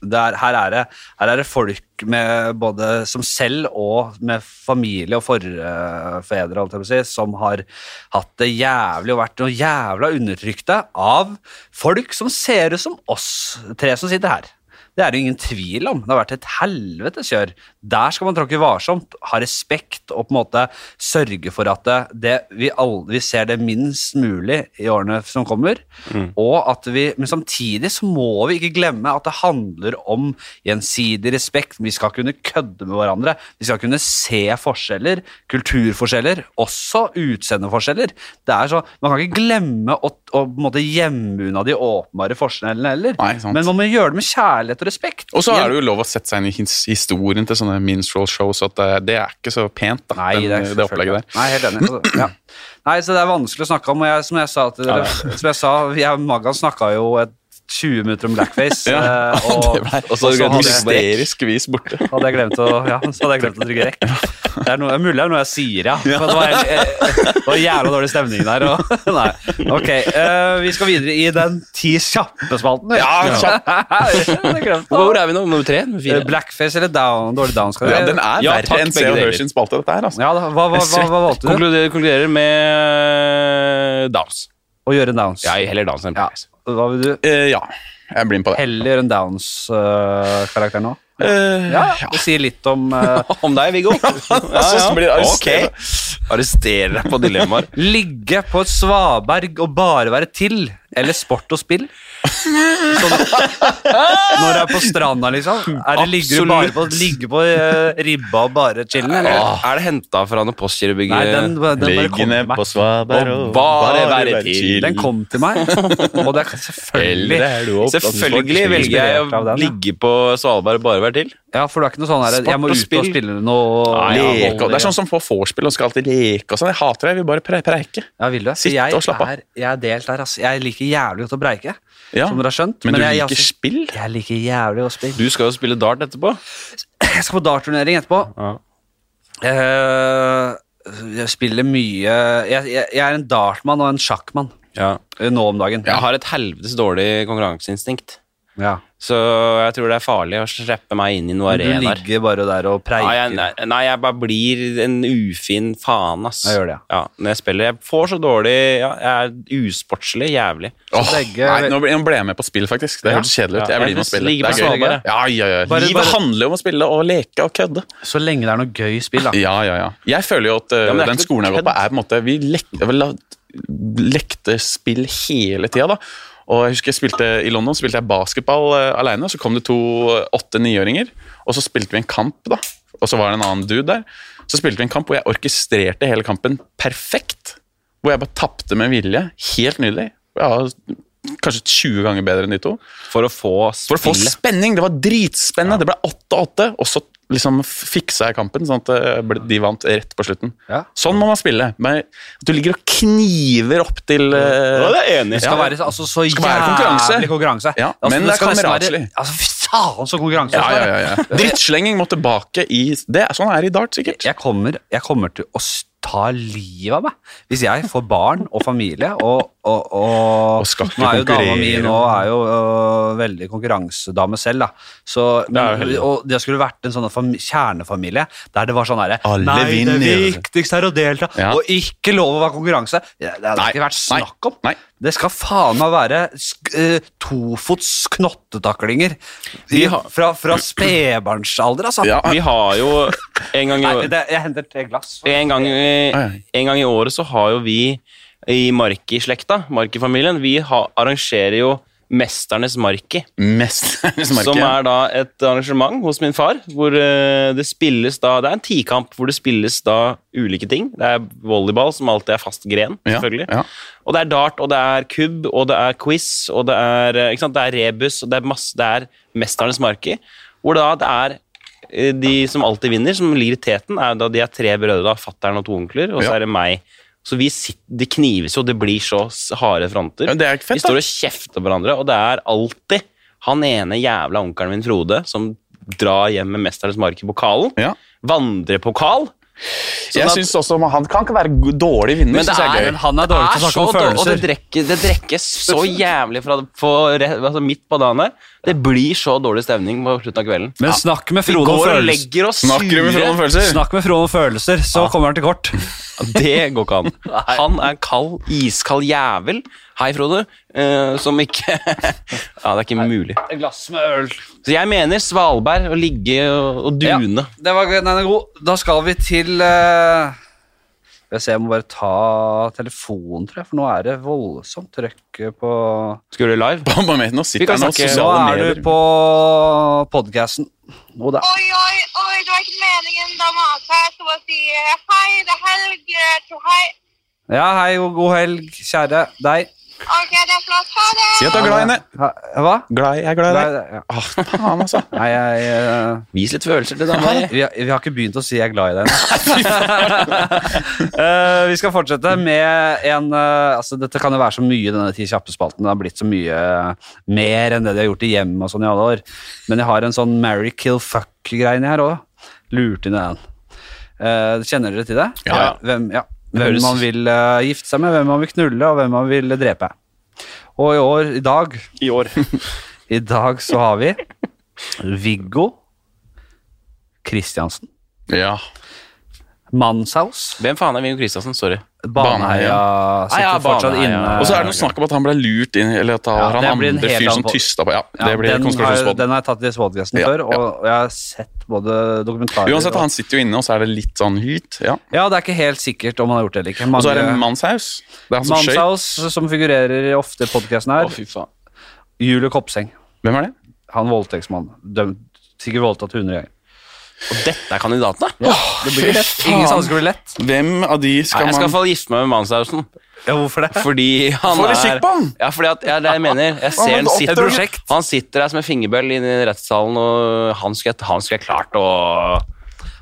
Det er, her, er det, her er det folk med både som selv og med familie og forfedre, holdt jeg på å si, som har hatt det jævlig og vært noe jævla undertrykte av folk som ser ut som oss tre som sitter her. Det er det ingen tvil om. Det har vært et helvetes kjør. Der skal man tråkke varsomt, ha respekt og på en måte sørge for at det, det, vi, aldri, vi ser det minst mulig i årene som kommer.
Mm.
Og at vi, men samtidig så må vi ikke glemme at det handler om gjensidig respekt. Vi skal kunne kødde med hverandre. Vi skal kunne se forskjeller, kulturforskjeller, også utseendeforskjeller. Det er så, man kan ikke glemme å, å på en måte gjemme unna de åpenbare forskjellene heller.
Nei, sant.
Men man må gjøre det med kjærlighet og respekt.
Og så er det jo lov å sette seg inn i hins- historien til sånne minstrel shows, at eh, det, det er ikke så pent, da,
Nei,
den,
det,
det,
er
opplegget der.
Nei, helt enig. Altså, Ja. Nei, så det er vanskelig å snakke om. Og jeg, som jeg sa til dere, som jeg sa, jeg og Maggan snakka jo et 20 minutter om blackface.
[LAUGHS] Ja,
eh, og,
det ble-
og så
det
hadde jeg,
Hysterisk vis borte.
hadde jeg glemt å ja, så hadde jeg glemt å trykke rekk. Det er noe, det er mulig det er noe jeg sier, ja. For det, var, helt- det var jævla dårlig stemning der. Og, [LAUGHS] nei. Ok, eh, vi skal videre i den ti kjappe-spalten. Ja, [LAUGHS]
Hvor
kjappe.
er vi nå? Nummer tre? Nummer fire?
Eh, Blackface eller down? Dårlig down skal det
Ja, den er
Ja, takk,
verre enn Se
begge
og Hør
deler.
sin spalte, dette her. Altså.
Ja, da, hva, hva, hva, hva valgte du?
Konkluderer, konkluderer med eh, downs.
Å gjøre en downs.
Ja, jeg heller downs enn
Ja.
blackface.
Hva vil du?
Eh, ja, jeg blir med på det.
Heller en Downs-karakter nå?
Eh,
Ja, Det sier litt om eh,
Om deg, Viggo. [LAUGHS] Ja,
Så blir det arrestert.
Ok. Arresterer deg på dilemmaer.
ligge på et svaberg og bare være til, eller sport og spill. Sånn, når du er på stranda, liksom. Er det, ligger du bare på, ligger på eh, ribba og bare chillen, eller?
Åh, Er det henta fra noe postkirurgi?
Nei, den, den bare
Ligg
kom til
ned
meg.
på svaberg
Og bare være til.
Den kom til meg, og det er selvfølgelig
Eller er du opp-
Selvfølgelig
Sport-
velger jeg
Inspirert av
å
den, ja.
ligge på Svalbard og bare være til.
Ja, for du er ikke noe sånn her Jeg må
Sport og
ut og
spill.
spille noe
Nei, ja,
volley.
Leke, og- det er sånn som får vorspiel og skal alltid leke og sånn. Jeg hater det, jeg vil bare pre preike.
Ja, vil du? Altså,
Sitt
jeg
og slapp av.
Er, jeg er delt der, ass. Jeg liker jævlig godt å breike,
Ja,
som dere har skjønt.
Men, du
jeg,
liker
jeg,
spill?
jeg liker jævlig å spille.
Du skal jo spille dart etterpå.
Jeg skal på dartturnering etterpå.
Ja.
Eh, jeg spiller mye jeg, jeg, jeg er en dartmann og en sjakkmann eh, nå om dagen.
Jeg har et helvetes dårlig konkurranseinstinkt.
Ja.
Så jeg tror det er farlig å slippe meg inn i noen
Men du
arenaer.
ligger bare der og
Nei,
preiker.
jeg- nei, nei, jeg bare blir en ufin faen, ass.
Jeg gjør det,
ja. Når jeg spiller. Jeg får så dårlig ja, Jeg er usportslig jævlig.
Åh,
begge-
nei, nå ble, nå ble jeg med på spill, faktisk. Det hørtes kjedelig ut.
Ja,
Jeg blir med
jeg
å spille.
ligger på
Det er gøy.
Svalbard,
Ja, ja, ja.
Bare-
Livet
bare-
handler jo om å spille og leke og kødde.
Så lenge det er noe gøy spill, da.
Ja, ja, ja. Jeg føler jo at eh,
men det er
den
ikke
skolen jeg har gått på,
kødd.
er på en måte Vi lekte, vel, la- lekte spill hele tida, da. Og jeg husker jeg spilte I London spilte jeg basketball eh, alene. Så kom det to eh, åtte-niåringer, og så spilte vi en kamp, da. Og så var det en annen dude der. Så spilte vi en kamp, og jeg orkestrerte hele kampen perfekt. Hvor jeg bare tapte med vilje. Helt nydelig. Ja, kanskje 20 ganger bedre enn de to.
For å få
For å få
spillet.
spenning! Det var dritspennende! Det ble 8-8, og så liksom fiksa jeg kampen, sånn at eh, ble- de vant rett på slutten.
Ja.
Sånn må man spille. Men at du ligger og kniver opp til eh,
Ja, det er jeg enig i.
Det skal være altså, så
Skal være konkurranse.
jævlig konkurranse.
Ja,
altså,
men det er
skal nesten være-
kameratslig.
Altså, fy faen, så konkurranse!
ja,
det skal
ja,
være.
ja, ja. Drittslenging må tilbake i det, er- Sånn er det i dart, sikkert.
jeg kommer, jeg kommer til å s- ta livet av meg hvis jeg får barn og familie. Og, og, og,
Og skal ikke
nå er jo dama mi
konkurrere.
nå er jo øh, veldig konkurransedame selv, da. Så,
Det er jo
men,
heldig.
og det skulle vært en sånn fam- kjernefamilie der det var sånn herre
Alle
Nei,
vinner."
det viktigste er å delta,
Ja.
og ikke lov å være konkurranse. Det det hadde
Nei,
ikke vært
nei,
snakk om.
nei.
Det skal faen meg være sk eh, tofots knottetaklinger i,
Vi har-
fra, fra spedbarnsalder, altså.
Ja.
Vi har jo en gang i
Nei,
år-
det, jeg henter tre glass.
En gang, i- en gang i året så har jo vi i Marki-slekta, Marki-familien, vi har, arrangerer jo Mesternes Marki,
[LAUGHS] Mesternes merke.
som er da et arrangement hos min far, hvor eh, det spilles da, det er en tikamp hvor det spilles da ulike ting. Det er volleyball, som alltid er fast gren,
Ja,
selvfølgelig.
ja.
Og det er dart, og det er kubb, og det er quiz, og det er, eh, ikke sant? Det er rebus, og det er masse, det er mesternes marker, hvor da det er eh, de som alltid vinner, som ligger i teten, er da de er tre brødre, da, fatteren og to onkler, og så
Ja.
er det meg. Så vi sitter, det knives jo, det blir så s- harde fronter.
Ja, det er ikke fett,
vi står og kjefter på hverandre, og det er alltid han ene jævla onkelen min, Frode, som drar hjem med mesternes marker-pokalen,
Ja.
vandrepokal,
jeg
at-
synes også, Han kan ikke være g- dårlig vinner.
Men det
synes jeg
er-
er gøy.
Men han er dårlig til å snakke om
så dårlig, Og
følelser.
det drekker- det drekkes så jævlig fra, på, re- altså midt på dagen der. Det blir så dårlig stemning på slutten av kvelden.
Men snakk med
Vi
Frode om
går og
følelser.
legger oss
Snakker du med Frode om
sure.
følelser?
Snakk med Frode om følelser, så kommer han til kort.
Det går ikke
[LAUGHS]
an. Han er en kald, iskald jævel. Hei, Frode. eh, som ikke [LAUGHS] Ja, det er ikke mulig.
Et glass med øl.
Så jeg mener Svalberg å ligge og, og dune.
Det var, den er god. Da skal vi til eh, Skal Jeg se, jeg må bare ta telefonen, tror jeg, for nå er det voldsomt trøkk på
Skal du gjøre det live?
Bare moment, Nå sitter
kan
han og
snakke-
Nå
sosiale
er
medier.
du på podcasten. Og det er
Oi, oi, oi, det var ikke meningen. Da matet jeg så å si eh, hei, det er helg, eh, to hei.
Ja, hei og god helg, kjære deg.
Ok, det er flott. Ha det!
Si at du er glad i henne.
Ha- Hva?
Glad, jeg er glad i deg.
Ja.
Ah, faen, altså.
[LAUGHS] Nei, jeg eh,
Vis litt følelser til dama di.
vi, har, vi har ikke begynt å si 'jeg er glad i deg' ennå. Eh, vi skal fortsette med en eh, altså Dette kan jo være så mye, denne Ti kjappe-spalten. Det har blitt så mye eh, mer enn det de har gjort i hjemmet og sånn i alle år. Men jeg har en sånn Mary kill fuck-greie her òg. Lurte inn i den. Eh, kjenner dere til det?
Ja.
Hvem, ja. hvem
høres-
man vil eh, gifte seg med, hvem man vil knulle, og hvem man vil drepe. Og i år, i dag
I år.
[LAUGHS] i dag så har vi Viggo Kristiansen.
Ja.
Manshaus.
Hvem faen er Viggo Kristiansen? Sorry.
Baneheia sitter
Ah, ja,
fortsatt
Baneheia.
inne.
Og så er det noe snakk om at han ble lurt inn Eller at
Eh, Ja,
han
det blir en
andre
helt
fyr som
annen po-
tysta på. Ja, det
Ja,
blir
den, har,
konspirasjonsbåten.
den har jeg tatt i Svodgasten
Ja,
før, og,
ja.
og jeg har sett både dokumentarer
Uansett,
og-
han sitter jo inne, og så er det litt sånn hyt. Ja.
Ja, det er ikke helt sikkert om han har gjort det eller ikke.
Og så er det
Mange,
mannshaus. Det er han som skøyt.
Manshaus, som figurerer ofte i podkasten her.
Å, fy faen.
Julie Kopseng.
Hvem er det?
Han voldtektsmann. Dømt. Sikkert voldtatt 100 ganger.
Og dette er kandidatene?
Det blir ikke lett. Ingen sanser blir lett.
Hvem av de
Nei,
skal
jeg skal i hvert
man
fall gifte meg med Manshausen.
Ja, hvorfor det?
Fordi han
Får du
er
kikk på han?
Ja, fordi at, ja, det jeg mener. Jeg
Han
ser
er
han
et
sitter,
prosjekt.
han sitter der som en fingerbøll inne i rettssalen, og han skulle jeg, han skulle jeg klart å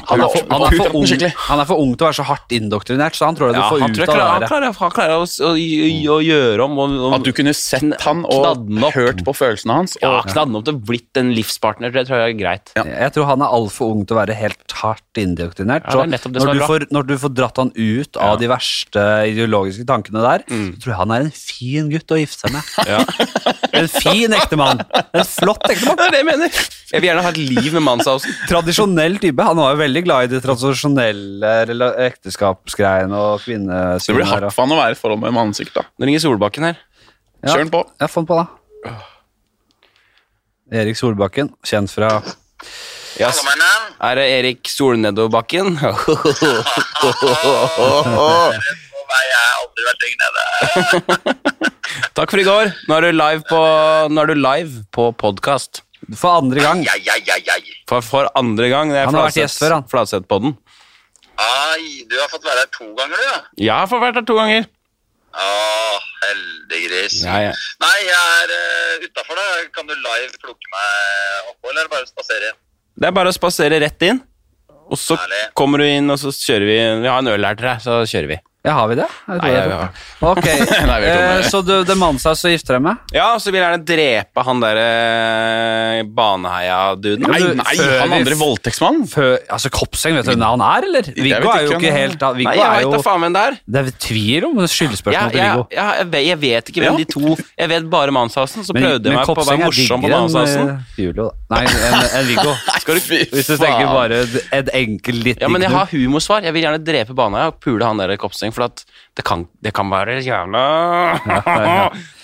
Han er, for, han, er for
Putt den
ung,
skikkelig.
han er for ung til å være så hardt indoktrinert, så han tror at du
ja,
får
han,
ut
tror jeg
av
klarer, han,
det der.
klarer, han klarer å, s- å, gj- å gjøre om og, og,
At du kunne sett han og
Knadden opp.
hørt på følelsene hans?
ja,
Og,
knadde han opp til å blitt en livspartner. Det tror jeg er greit.
Ja.
Jeg tror han er altfor ung til å være helt hardt indoktrinert.
Ja, det er
så
nettopp det som
når,
er
du
bra.
får, når du får dratt han ut av de verste ideologiske tankene der, så
Mm.
tror jeg han er en fin gutt å gifte seg med.
[LAUGHS]
En fin ektemann. En flott ektemann.
Det er det jeg mener. Jeg vil gjerne ha et liv med Manshausen.
Tradisjonell type. Han var jo veldig glad i de tradisjonelle rela- ekteskapsgreiene og
det blir
kvinnesynet.
hardt
her, og-
for han å være i forhold med en mann, sikkert. da.
Nå ringer Solbakken her.
Ja.
Kjør den på.
Ja, få den på, da. Erik Solbakken, kjent fra
Ja, s- er det Erik Solnedobakken?
Nei, jeg har aldri vært lenger nede.
Takk for i går. Nå er du live på, nå er du live på podkast.
For andre gang.
Ai, ai, ai, ai.
For, for andre gang. Det er
Han har vært gjest før, han.
Fladseth-podden.
Ai, du har fått være her to ganger, du, ja.
Jeg har fått vært her to ganger.
Å, heldiggris.
Ja, ja.
Nei, jeg er uh, utafor, da. Kan du live plukke meg opp, eller er det bare å spasere inn?
Det er bare å spasere rett inn, og så
Herlig.
kommer du inn, og så kjører vi. Vi har en øl her til deg, så kjører vi.
Ja, har vi det? Jeg tror
Nei,
jeg
ja,
tok
ja.
det.
[LAUGHS]
Ok,
Nei, vi er tomme.
eh, så du, det mannen seg så gifter deg med?
Ja, og så vil jeg gjerne drepe han derre Baneheia-duden.
Nei,
du-
nei,
før
han
vi-
andre voldtektsmannen?
Før, altså Kopseng, vet du hvem han er, eller? Viggo
vet
er jo
ikke
ikke
hvem-
helt da- Viggo
Nei, jeg
er
veit da
jo
faen hvem det er.
Det er tvil om
Jeg,
skyldspørsmålet til
jeg,
Viggo.
jeg, jeg, vet, jeg vet ikke hvem
Ja.
de to Jeg vet bare Manshausen, så prøvde jeg meg på å være morsom på Manshausen.
eh, Julio, da. Nei, enn en Viggo.
Skal du
Hvis du tenker bare et enkelt lite
Ja, men jeg
knull.
har humorsvar. Jeg vil gjerne drepe Baneheia og pule han der i Kopseng, for at det kan, det kan være [LAUGHS] jævla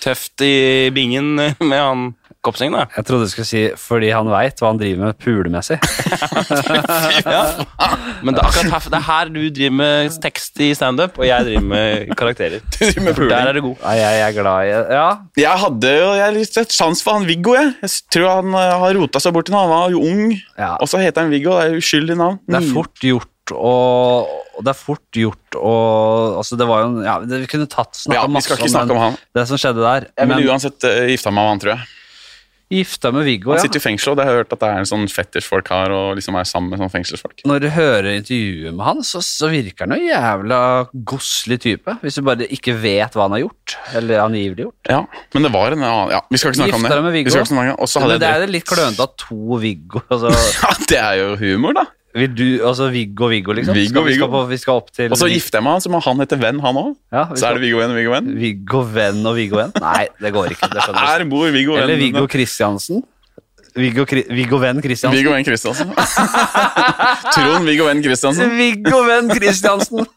tøft i bingen med han Kopseng, da.
Jeg trodde du skulle si fordi han veit hva han driver med pulemessig.
Men det er akkurat her, det er her du driver med tekst i standup, og jeg driver med karakterer.
Med puling.
Der er [LAUGHS] du god.
Nei, jeg, jeg er glad i Ja,
Jeg hadde jo jeg har litt sans for han Viggo. Jeg Jeg s- tror han eh, har rota seg bort til noe. Han var jo ung,
Ja.
og så heter han Viggo. Det er jo uskyldig navn.
det er fort gjort å Det er fort gjort å Altså, det var jo en ja, det, Vi kunne tatt snakka
Ja, vi
masse
skal ikke snakke om han.
det som skjedde der.
Jeg
men-
ville uansett uh, gifta meg med han, tror jeg.
Gifta med Viggo,
Han
ja.
sitter i fengsel, og det har jeg hørt at det er en sånn fetters-folk har, og liksom er sammen med sånn fengselsfolk.
Når du hører intervjuet med han, så, så virker han jo jævla godslig type. Hvis du bare ikke vet hva han har gjort, eller angivelig gjort.
Ja, men det var en annen ja, Vi skal ikke snakke om det.
Gifta deg med Viggo.
[LAUGHS] Vi skal ikke snakke om det. Og så
Men
hadde
det
jeg
er litt klønete at to Viggo altså,
drept- Ja, det er jo humor, da.
Vil du, altså Viggo-Viggo, liksom?
Viggo,
skal, vi, skal
Viggo.
på, vi skal opp til
Og så gifter jeg meg med han, så må han hete Venn, han òg.
ja, vi
Så er
skal,
det Viggo Venn og Viggo Venn.
Viggo Venn og Viggo Venn? Nei, det går ikke. Det skjønner du.
Her bor Viggo Venn.
Eller Viggo Kristiansen. Viggo, Kri- Viggo Venn Kristiansen.
Viggo Venn Kristiansen. [LAUGHS] Trond Viggo Venn Kristiansen.
Viggo Venn Kristiansen!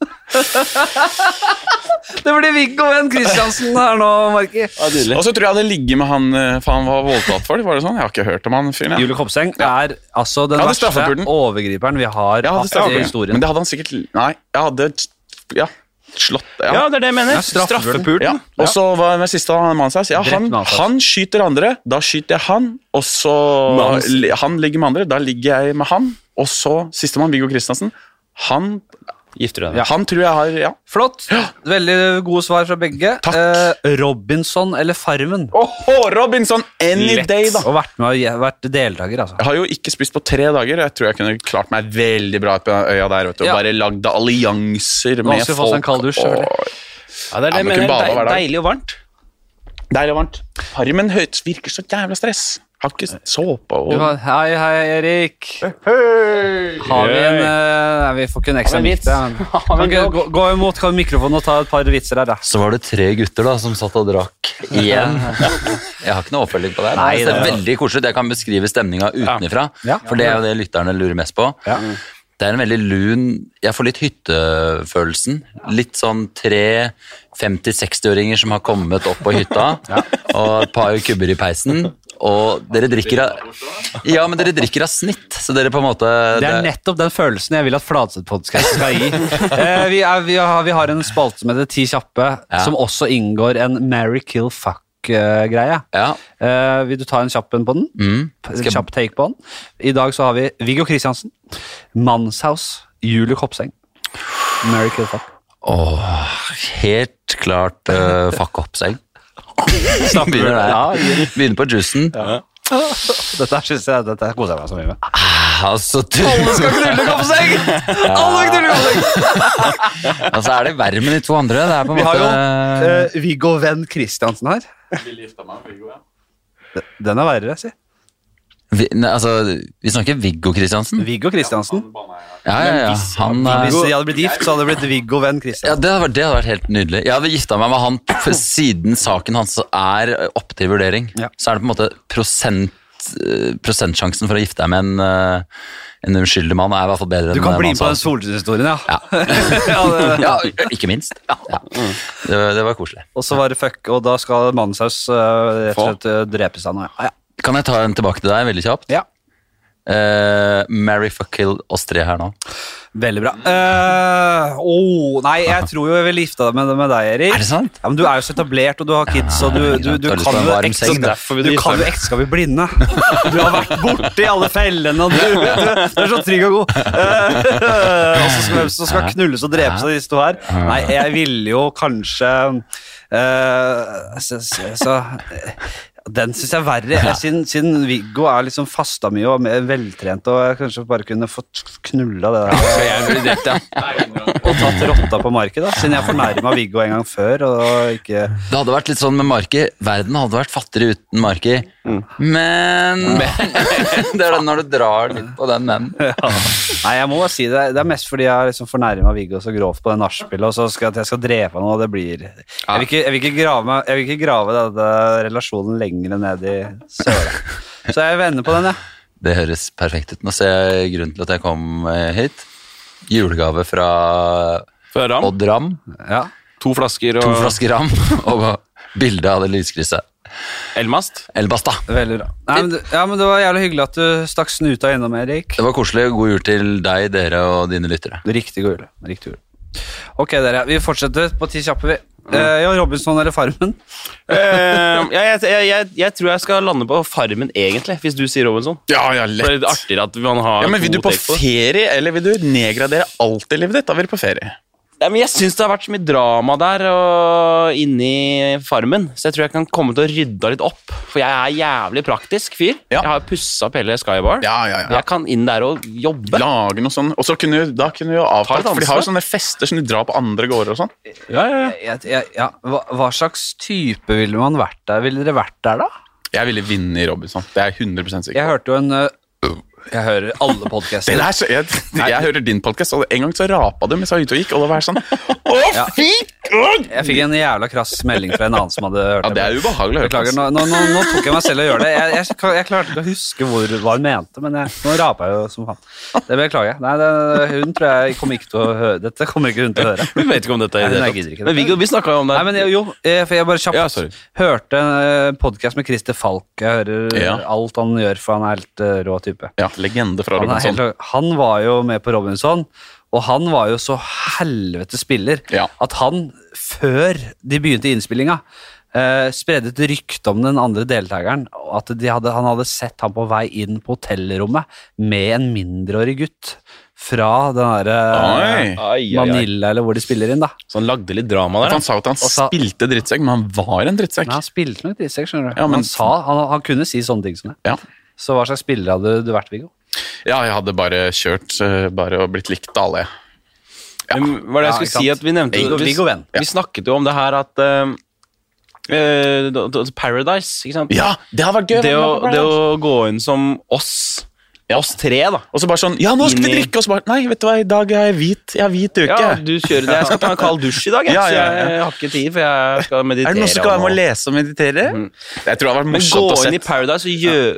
det blir Viggo Venn Kristiansen her nå, Marki.
Og så tror jeg det ligger med han eh, For han var voldtatt for, var det sånn? Jeg har ikke hørt om han fyren. jeg.
Julie Kopseng er altså den
Ja, det er
verste
straffepulten.
overgriperen vi har
Jeg hadde
hatt i
straffepult,
historien.
men det hadde han sikkert Nei, jeg hadde ja, slått
Ja, det er det jeg mener.
Ja, straffepulten.
Ja. Og så var den siste han Manshaus. Ja,
Drept
han,
Manshaus.
han skyter andre, da skyter jeg han. Og så
Mans.
li- Han ligger med andre, da ligger jeg med han. Og så sistemann, Viggo Kristiansen. Han,
Gifter du deg?
han tror jeg har Ja.
Flott. Veldig gode svar fra begge.
Takk.
Eh, Robinson eller Farmen?
Åh, Robinson! Any
Lett.
day, da.
Og vært med og vært deltaker, altså.
Jeg har jo ikke spist på tre dager. og Jeg tror jeg kunne klart meg veldig bra på den øya der. Vet du. og
Ja.
Bare lagde allianser med
skal vi få oss en
folk.
kald dusj, selvfølgelig.
og-
Ja, det er det
Ja,
jeg
men
mener.
kunne bada
Deil-
hver dag.
Deilig og varmt.
Deilig og varmt. Farmen høyt virker så jævla stress. Har ikke såpe og
Du har- Hei, hei, Erik. Har vi en eh, Nei, vi får ikke en ekstra
en
mic.
vits?
det er-
Har vi en
Ok,
joke?
Gå, gå imot kan mikrofonen og ta et par vitser her, da.
Så var det tre gutter da som satt og drakk igjen. [LAUGHS] Jeg har ikke noe oppfølging på det. her,
Nei,
men det
det
er
er-
veldig koselig. Jeg kan beskrive stemninga utenfra,
Ja.
for det er jo det lytterne lurer mest på. Det er en veldig lun Jeg får litt hyttefølelsen. Litt sånn tre 50-60-åringer som har kommet opp på hytta,
[LAUGHS]
og et par kubber i peisen. Og dere drikker av Ja, men dere drikker av snitt, så dere på en måte
Det er nettopp den følelsen jeg vil at Fladseth-podkasten skal gi. [LAUGHS] Eh, vi, er, vi, har, vi har en spalte med det Ti kjappe,
Ja.
som også inngår en Marry Kill Fuck-greie.
ja.
Eh, vil du ta en kjapp en på den?
Mm.
En kjapp take på den. I dag så har vi Viggo Kristiansen, Manshaus, Julie Kopseng. Marry Kill Fuck.
Åh, helt klart eh, fuck opp
[LAUGHS]
selv. Begynner der.
Ja,
Begynner på juicen.
Dette synes jeg dette koser jeg meg så mye med.
Altså, Alle skal knulle Kopseng! Alle knulle Kopseng! altså, er det verre med de to andre? Det er på en
Vi har jo
måte
eh, Viggo Venn Kristiansen her. Den er verre, si.
vi, nei, altså, vi snakker Viggo Kristiansen.
Viggo Kristiansen.
Ja, ja, ja. Han er
Hvis de hadde blitt gift, så hadde det blitt Viggo Venn
ja,
Kristiansen.
det, hadde vært, det hadde vært helt nydelig. Jeg hadde gifta meg med han
[CLEARS THROAT]
for siden saken hans er oppe til vurdering.
Ja.
Så er det på en måte prosent, eh, prosentsjansen for å gifte deg med en, eh, en uskyldig mann er i hvert fall bedre
Du
enn
kan bli med på
Manshaus.
den solskinnshistorien, ja.
Ja.
[LAUGHS] ja det-
ja, ikke minst. Ja. Det, var- det var koselig.
og så var det fuck, og da skal Manshaus eh, rett og slett eh, drepes av noe. Ja,
Kan jeg ta en tilbake til deg veldig kjapt?
ja.
Eh, Mary fuck kill oss tre her nå.
Veldig bra. Eh, oh, nei, jeg tror jo jeg ville gifta meg med, med deg, Erik.
Er det sant?
Ja, men Du er jo så etablert, og du har kids, og du, du, du,
Du har lyst på
kan
en
jo
varm
ekte-
seng, da.
du kan jo ekteskap i blinde. Du har vært borti alle fellene, og du, du, du er så trygg og god. Eh, og så skal, så skal knulles og drepes av disse to her. Nei, jeg ville jo kanskje eh, så, så, så, eh, Den syns jeg er verre. Jeg, siden, siden Viggo er liksom fasta mye og mer veltrent, og jeg kanskje bare kunne fått knulla det der. Og tatt rotta på markedet, da, siden jeg fornærma Viggo en gang før. Og ikke
Det hadde vært litt sånn med Marki. Verden hadde vært fattigere uten Marki.
Mm.
Men [LAUGHS] Det er det når du drar litt på den men.
Nei, jeg må bare si det. Det er mest fordi jeg har liksom fornærma Viggo så grovt på det nachspielet, og så skal jeg, at jeg skal drepe han, og det blir Jeg vil ikke, jeg vil ikke grave, meg- jeg vil ikke grave denne relasjonen lenger ned i søla. Så jeg vender på den, jeg.
Det høres perfekt ut. Nå ser jeg grunnen til at jeg kom eh, hit. Julegave fra
Fra Ram.
Odd Ram.
Ja.
To flasker
To
og
flasker Ram [LAUGHS] og bilde av det lyskrysset.
elmast.
El Basta.
Veldig bra. Nei, men, det- ja, men Det var jævlig hyggelig at du stakk snuta innom, Erik.
Det var koselig. God jul til deg, dere og dine lyttere.
Riktig god jul. Riktig god jul. Ok, dere. Vi fortsetter på ti kjappe, vi. Eh, ja, Robinson eller Farmen?
[LAUGHS] Eh, jeg, jeg, jeg, jeg, jeg tror jeg skal lande på Farmen, egentlig, hvis du sier Robinson.
Ja, ja,
For Det er
lett.
litt artigere at man har
Ja, men Vil
to
du på
take på det.
ferie, eller vil du nedgradere alt i livet ditt? Da vil du på ferie.
Nei, men Jeg syns det har vært så mye drama der og inni Farmen, så jeg tror jeg kan komme til å rydde litt opp. For jeg er jævlig praktisk fyr.
Ja.
Jeg har pussa opp hele Skybar.
Ja, ja, ja.
Jeg kan inn der og jobbe.
Lage noe sånn, og så kunne, du- Da kunne du jo
Ta
avtalt,
et
for de har jo
ansvar.
sånne fester som de drar på andre gårder og sånn.
Ja, ja, ja.
Jeg, jeg, ja. hva, hva slags type ville man vært der? Ville dere vært der, da?
Jeg ville vinne i Robinson. Det er jeg 100 sikker
Jeg hørte jo en ø, Jeg hører alle
Det
podkaster.
der, så jeg, jeg hører din podkast, og en gang så rapa de mens jeg var ute og gikk. Og det var sånn Å, fy! Å!
Jeg fikk en jævla krass melding fra en annen som hadde hørt
Ja, det er ubehagelig å høre.
Beklager,
på,
nå, nå, nå, nå tok jeg meg selv i å gjøre det. Jeg, jeg, jeg klarte ikke å huske hvor, hva hun mente, men jeg, nå rapa jeg jo som faen. Det beklager jeg. Nei, det, hun tror jeg kommer ikke til å høre Dette kommer ikke hun til å høre.
Vi vet ikke om dette
Nei,
er
nei,
det.
jeg gidder ikke.
Men Viggo, vi snakka jo om det.
Nei, men jo, eh, for jeg bare kjapt
Ja, sorry.
hørte en podkast med Christer Falk. Jeg hører
Ja.
alt han gjør, for han er helt eh, rå type.
altså. Ja, legende fra
Han, er
Robinson.
helt, han var jo med på Robinson, og han var jo så helvete spiller
Ja.
at han, før de begynte innspillinga, eh, spredde et rykte om den andre deltakeren. og At de hadde, han hadde sett ham på vei inn på hotellrommet med en mindreårig gutt fra den derre
Oi.
Ai, ai, ai.
Manila, eller hvor de spiller inn, da.
Så han Sånn lagde litt drama
For
der.
Han sa jo at han
sa-
spilte drittsekk, men han var en drittsekk.
Men han spilte nok drittsekk, skjønner du.
Ja, men-
han, sa, han, han kunne si sånne ting som det.
Ja.
Så hva slags spiller hadde du vært, Viggo?
ja, jeg hadde bare kjørt eh, bare og blitt likt av alle. jeg.
Men Hva er det jeg
Ja,
skulle
ikke
si
sant.
at vi nevnte
Viggo-
vi,
Viggo Venn.
vi snakket jo om det her at eh, eh, da- da- Paradise, ikke sant?
Ja, det hadde vært gøy!
Det å,
Veldig
det
bra.
å gå inn som oss, oss tre, da.
Og så bare sånn Ja, nå skal vi
Inni-
drikke! Og så bare Nei, vet du hva, i dag er jeg hvit. Jeg er hvit uke.
Ja, du kjører det. Jeg skal ta en kald dusj i dag, jeg,
Ja,
så
ja, ja.
jeg har ikke tid, for jeg skal meditere.
er det noen som skal
og
være med
nå. Mm.
og lese og meditere? Jeg tror det hadde vært
Men gå
morsomt å
inn i
se.
Paradise og gjø-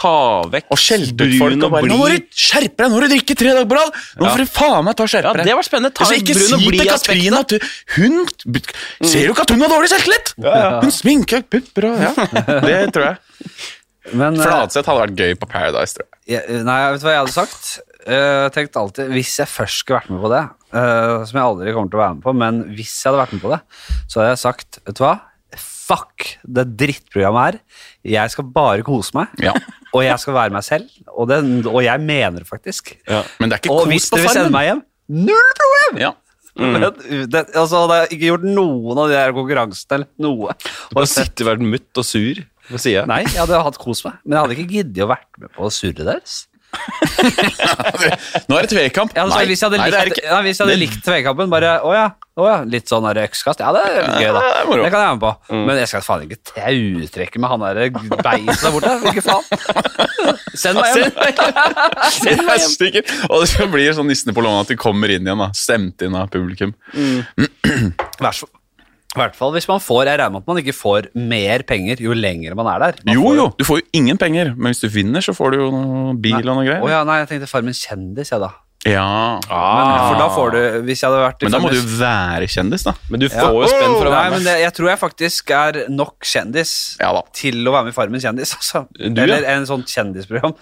ta vekk
Og skjelte ut folk
brun
og bare Nå må du skjerpe deg! Nå har du drikket tre dager på rad! Nå får du faen meg ta og
Ja,
skjerpe deg!
det var spennende. Ta
Altså,
en
ikke
brun og
si
blid
til
aspekt.
Katrin at du, hun Ser du ikke at hun har dårlig selvtillit?! Hun sminker pupper og Ja, [LAUGHS] det tror jeg.
Men, eh,
Fladseth hadde vært gøy på Paradise, tror jeg.
Jeg, eh, nei, vet du hva jeg hadde sagt? Eh, Jeg tenkte alltid, Hvis jeg først skulle vært med på det, eh, som jeg aldri kommer til å være med på, men hvis jeg hadde vært med på det, så hadde jeg sagt Vet du hva? Fuck det drittprogrammet her. Jeg skal bare kose meg.
Ja.
Og jeg skal være meg selv. Og, det, og jeg mener det faktisk.
Men det er ikke
Og
kos
hvis
på
dere vil sende
farmen.
meg hjem, null problem!
Ja. Mm.
[LAUGHS] Men, det, altså, hadde jeg ikke gjort noen av de der konkurransene eller noe.
Bare sitte og være mutt og sur på sida.
Nei, jeg hadde hatt kos meg, men jeg hadde ikke giddet å vært med på surret deres.
Nå er det tvekamp.
Ja, altså,
Nei,
hvis jeg hadde
nei,
likt,
det er ikke.
ja, hvis jeg hadde likt tvekampen, bare å ja, å ja, litt sånn der økskast, ja, det er gøy, da.
det er moro. Mm.
Det kan jeg være med på. Men jeg skal faen ikke tautrekke med han derre beiset der borte. Hvilke faen? Send meg hjem.
[LAUGHS] Jeg er sikker. Og så blir det sånn nissene på lånet at de kommer inn igjen, da. stemt inn av publikum.
[LAUGHS] Vær så i hvert fall hvis man får Jeg regner med at man ikke får mer penger jo lenger man er der. Man
Jo,
får,
jo, du får jo ingen penger, men hvis du vinner, så får du jo noe bil og
Å
noe greier.
ja, nei, jeg tenkte Farmen kjendis, jeg, da.
Ja,
Men, for da får du Hvis jeg hadde vært i
Ah. Men da må
Farmen-
du være kjendis, da.
Men du
Ja.
får jo spenn for å
Nei,
være
men
med.
det, jeg tror jeg faktisk er nok kjendis
Ja da.
til å være med i Farmen kjendis. [LAUGHS] Altså.
Du, ja.
Eller en sånn kjendisprogram.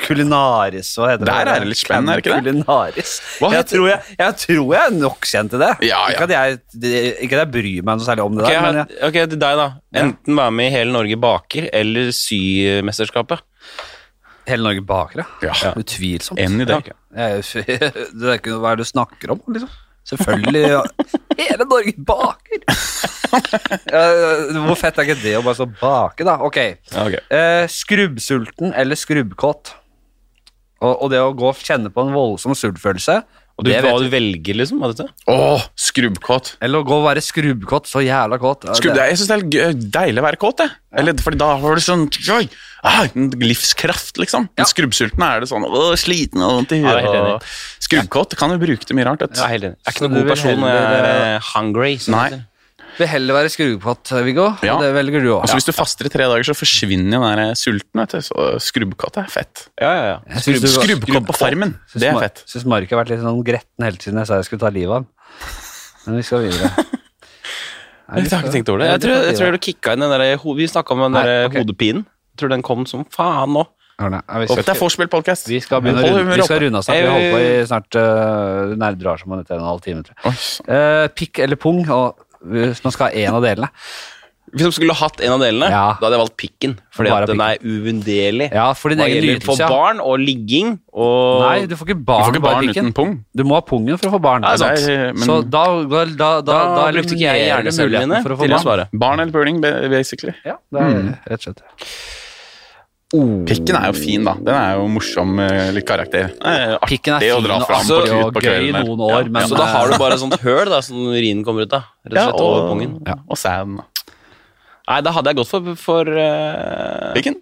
Kulinaris, hva heter
Ah, Der er det litt spenn, er det ikke det?
Kulinaris.
Hva
Jeg
heter-
tror jeg, jeg tror jeg er nok kjent til det.
Ja, ja.
Ikke, at jeg, det- ikke at jeg bryr meg noe særlig om det
Ok,
der,
jeg
men
har,
jeg,
ok, til deg, da. Enten være med i Hele Norge baker eller Symesterskapet.
hele Norge baker,
Ja.
Utvilsomt.
En idé.
Ja. Jeg, [LAUGHS] det er ikke noe hva er det du snakker om, liksom. Selvfølgelig.
[LAUGHS]
ja. Hele Norge baker! [LAUGHS] Eh, Hvor fett er ikke det å bare så bake, da? Ok.
Ja, ok.
Eh, skrubbsulten eller skrubbkåt. Og, og det å gå og kjenne på en voldsom sultfølelse
Og du,
det
hva
vet
du velger, liksom? av dette?
Åh, skrubbkåt.
vi. Eller å gå og være skrubbkåt. Så jævla kåt. Ja,
Skrubb,
det-
jeg syns det er gøy- deilig å være kåt, jeg. Eller, fordi da har du sånn oi, ah, en livskraft, liksom. Men skrubbsulten er det sånn åh, sliten og vondt i
Ja, jeg er
huet.
helt enig.
og- Skrubbkåt kan jo bruke til mye rart. vet du.
Jeg er helt enig. Jeg er
Så
ikke noen
du
god
vil
person når
heller-
jeg er eh, hungry. som
Nei.
det heter.
Vil heller være skrubbkåt, Viggo.
Ja.
Og det velger du òg.
Altså, Hvis du faster i tre dager, så forsvinner jo den der sulten. vet du. Så øh, skrubbkåt er fett.
Ja, ja, ja.
Skrubb, skrubbkåt på farmen, det er fett.
Syns Mark har vært litt sånn gretten helt siden jeg sa jeg skulle ta livet av ham. Men vi skal videre. Nei, vi
Jeg har
skal-
ikke tenkt over det.
Ja,
Jeg
vi
tror,
skal
jeg tror
videre.
du kicka inn den der, ho- Vi snakka om den
Nei,
der
ok.
hodepinen. Jeg tror den kom som faen nå.
Arne, ja, vi skal-
Dette er vorspiel-podkast.
Vi skal begynne å
Hold
runde,
humøret
vi skal
oppe.
runde av snart. Vi
Jeg-
holder på i snart uh, nær drar som om etter en og en halv time. Tror jeg.
Oi, sånn.
Eh, pikk eller pung, og hvis man skal ha en av delene.
Hvis de skulle hatt en av delene,
Ja.
da hadde jeg valgt pikken. Fordi
Bare
at den er uvunderlig.
Ja, for din
Hva
egen
gjelder for
nytelse. ja.
barn og ligging og
Nei, du får ikke
Du
barn,
får ikke
bare
barn
pikken.
uten pung.
Du må ha pungen for å få barn.
Ja, det er sant. Men-
Så da, da, da, da, da
Da brukte ikke jeg
eliminerer du
hjernecellene
muligheten
mine
for å få
til å
barn.
svare.
Barn eller puling, ba- basically.
Ja, det er rett og slett.
Pikken er jo fin, da. Den er jo morsom eh, litt karakter. Eh, artig
Pikken er
å
fin
dra
og
fram
artig
på,
og
på
gøy i
kvelden. der.
noen år, men eh,
Så da har du bare et sånt høl da, som urinen kommer ut av. Rett og
ja,
slett over pungen.
og, og sæden. da.
Nei, da hadde jeg gått for, for eh,
Pikken?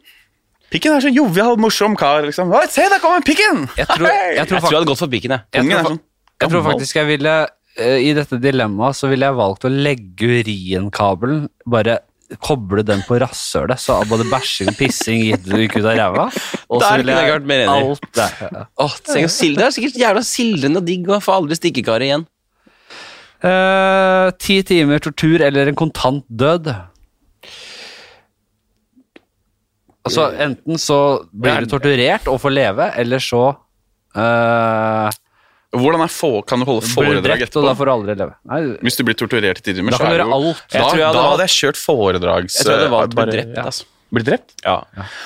Pikken er så jovial, morsom kar. liksom. Oi, se, der kommer Pikken!
Jeg tror, jeg
Jeg tror
tror,
jeg hadde gått for pikken, jeg.
jeg tror
Ungen er
fa-
sånn.
Jeg tror faktisk jeg ville eh, I dette dilemmaet så ville jeg valgt å legge urinkabelen Bare koble den på rasshølet, så både bæsjing og pissing gikk gikk ut av ræva. Og så
Der
ville
kunne jeg vært mer enig.
alt der. ja.
Åh, tenk å sildre. Det er sikkert jævla sildrende og digg å få aldri stikkekaret igjen.
Eh, Ti timer tortur eller en kontant død. Altså enten så blir du torturert og får leve, eller så eh,
Hvordan er få, Kan du holde
blir du
foredrag
drept, og da
etterpå?
får du aldri leve. Nei,
Hvis du blir torturert i tider,
Da
så
kan du
er det
gjøre
jo
alt.
Da,
Jeg tror jeg hadde
da
valgt-
hadde jeg kjørt foredrags... eh,
Jeg tror jeg hadde valgt å
bare-
bli drept.
ja.
altså.
Bli drept?
Ja.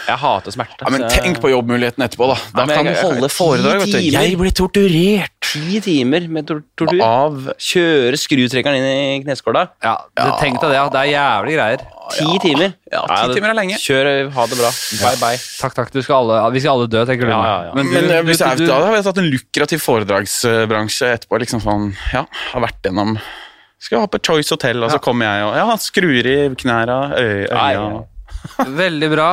Jeg hater smerte.
Ja, men
så jeg-
tenk på jobbmuligheten etterpå, da. Da
Ja, men
kan du
jeg-
holde
ti
foredrag vet du.
timer. Jeg
blir torturert!
Ti timer med tor tortur.
av
Kjøre skrutrekkeren inn i kneskåla.
Ja, du Tenk deg det. at Det er jævlig greier.
Ti timer. Ja,
ti
det-
timer er lenge.
Kjør, ha det bra. Bye, bye.
Takk, takk. Du skal alle, vi skal alle dø, tenker du.
Ja, ja, ja.
Men eh, hvis jeg,
du-
da hadde jeg tatt en lukrativ foredragsbransje etterpå. liksom sånn, ja, Har vært gjennom Skal jeg ha på Choice Hotel, og så kommer jeg og ja, skrur i knæra, øy,
Nei,
øya
nei.
[LAUGHS] Veldig bra.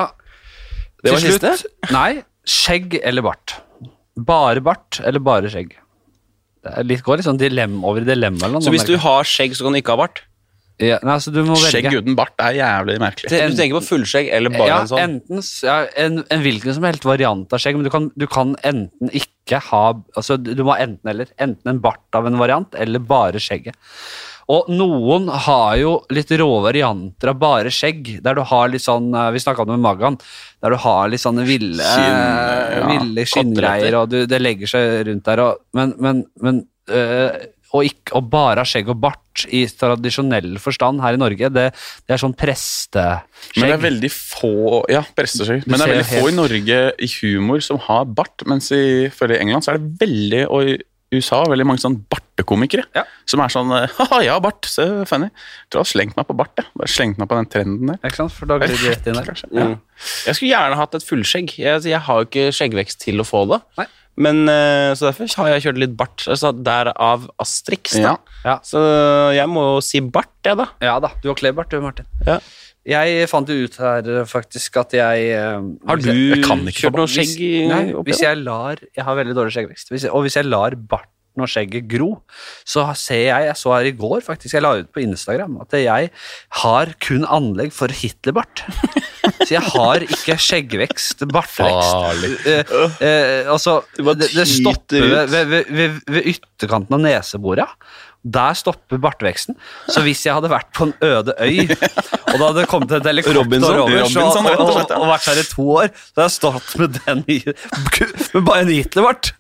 Det var
Til slutt-
siste?
Nei. Skjegg eller bart? Bare bart eller bare skjegg? Det er litt, går litt sånn dilemma over i dilemma. Eller noe,
Så hvis du
merker
har skjegg, så kan du ikke ha bart?
jeg. ja, nei, så du må
Skjegg
velge.
uten bart er jævlig merkelig.
Du tenker på fullskjegg eller bare
ja,
en sånn?
enten, s- ja, en, en hvilken som helst variant av skjegg, men du kan, du kan enten ikke ha altså, Du du må ha enten eller. Enten en bart av en variant, eller bare skjegget. Og noen har jo litt rå varianter av bare skjegg, der du har litt sånn eh, Vi snakka om det med Magan. Der du har litt sånne ville, eh,
Skinn, ja,
ville
koteletter.
skinngreier, og du, det legger seg rundt der. Og, men men, men eh, og, ikke, og bare ha skjegg og bart i tradisjonell forstand her i Norge, det, det er sånn presteskjegg.
Men det er veldig få ja, presteskjegg. Men det
ser
er
jo
veldig få
helt-
i Norge i humor som har bart, mens i, for i England så er det veldig og i USA veldig mange sånn bartekomikere
Ja.
som er sånn [LAUGHS] eh, Haha, ja, bart. Se, funny. Jeg tror jeg har slengt meg på bart. Jeg. Bare slengt meg på den trenden der.
Ikke sant? For da blir du rett inn der.
Kanskje.
Mm. Jeg skulle gjerne hatt et fullskjegg. Jeg, altså, jeg har jo ikke skjeggvekst til å få det.
Nei.
Men, eh, så derfor har jeg kjørt litt bart. Altså, Derav Astrix. Da.
Ja.
Ja.
Så jeg må jo si bart, jeg, da.
Ja da, du har klebart du, Martin.
Ja.
Jeg fant jo ut her eh, faktisk at jeg eh,
Har
hvis
du
jeg-
kan ikke få
kjørt noe
Hvis-
skjegg
Nei,
i- oppi
hvis
det?
jeg lar Jeg har veldig dårlig skjeggvekst. Hvis jeg, og hvis jeg lar barten og skjegget gro, så ser jeg Jeg så her i går, faktisk, jeg la ut på Instagram at jeg har kun anlegg for Hitlerbart. Så jeg har ikke skjeggvekst, bartevekst. Eh, eh, altså, det, det stopper ved, ved, ved- ved, ved ytterkanten av neseborene. Der stopper barteveksten. Så hvis jeg hadde vært på en øde
[LAUGHS]
øy, og det hadde kommet et helikopter
Robinson,
over så,
Robinson,
og,
rett og
og,
slett, ja.
og vært her i to år, så hadde jeg stått med den i Med bare en Hitlerbart!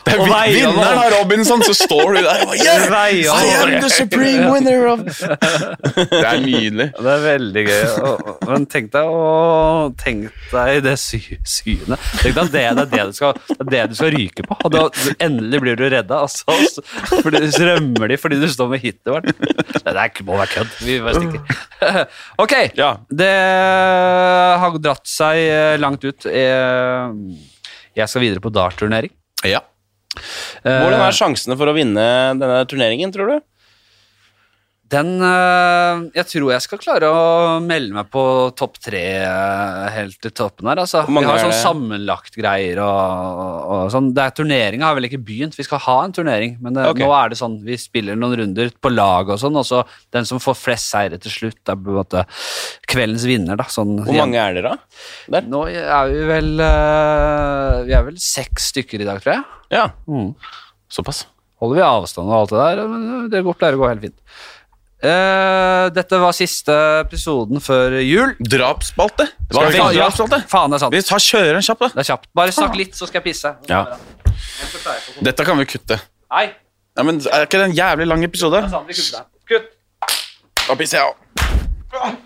Det er
Og
vin-
veier
vinneren av Robinson, så står du der og bare, yeah,
Veier
I
over.
am the supreme winner of Det er nydelig.
Det er veldig gøy. og- og- Men tenk deg å Tenk deg det sy synet. Tenk deg at det, det, er det, du skal, det er det du skal ryke på. Og da, du, endelig blir du redda, altså. og så- For du så rømmer de fordi du står med Hitlerbart. Det der må være kødd. Vi bare stikker. Ok.
Ja.
Det har dratt seg eh, langt ut. Eh, Jeg skal videre på dartturnering.
Ja.
Hvordan er sjansene for å vinne denne turneringen, tror du?
Den øh, Jeg tror jeg skal klare å melde meg på topp tre øh, helt til toppen her. Altså.
Hvor
Vi
mange
har
er
sånn
det?
sammenlagt greier og, og sånn. Det er Turneringa har vel ikke begynt. Vi skal ha en turnering, men det,
Ok.
nå er det sånn vi spiller noen runder på lag og sånn, og så den som får flest seire til slutt, er på en måte kveldens vinner, da. Sånn,
Hvor mange er dere, da? Der?
Nå er vi vel øh, Vi er vel seks stykker i dag, tror jeg.
Ja.
Mm.
Såpass.
holder vi avstand og alt det der, men det går, pleier å gå helt fint. Eh, dette var siste episoden før jul.
Drapsspalte.
var
Skal vi ta
veldig-
drapsspalte?
Faen, det er sant.
Vi tar kjører en kjapp, da.
Det er kjapt. Bare snakk litt, så skal jeg pisse.
Ja.
Dette kan vi kutte.
Nei, det
Ja, men Er ikke det en jævlig lang episode?
er sant. Vi kutter den. Kutt!
Da pisser jeg òg.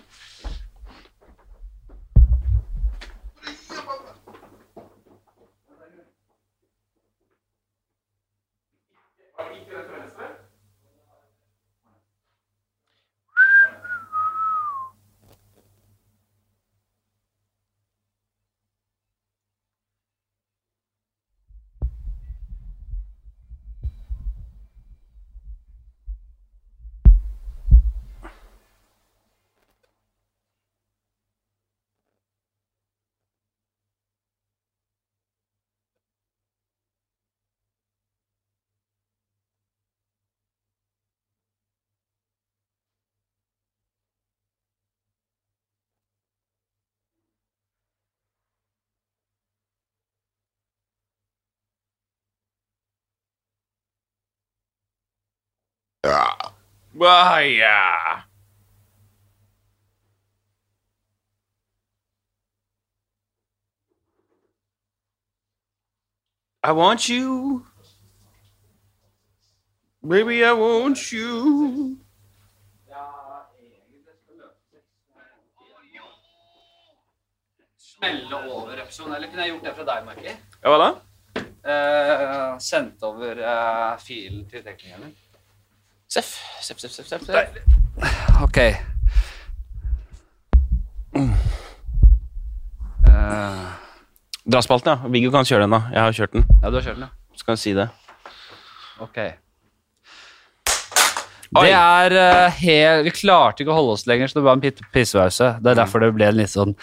I want you. Baby, I want you.
Smelle over episoden, eller kunne jeg gjort det fra deg, Marki?
Ja, hva da?
Eh, sendt over eh, filen til teknikeren din.
Seff, seff, seff, seff, seff. seff.
Ok. Eh,
Draspalten, ja. Viggo kan kjøre den, da. Jeg har kjørt den.
ja, du har kjørt den, ja.
Så kan jeg si det.
Ok. Det er eh, helt Vi klarte ikke å holde oss lenger, så det var en pit- pissepause. Det
Mm.
er derfor det ble en litt sånn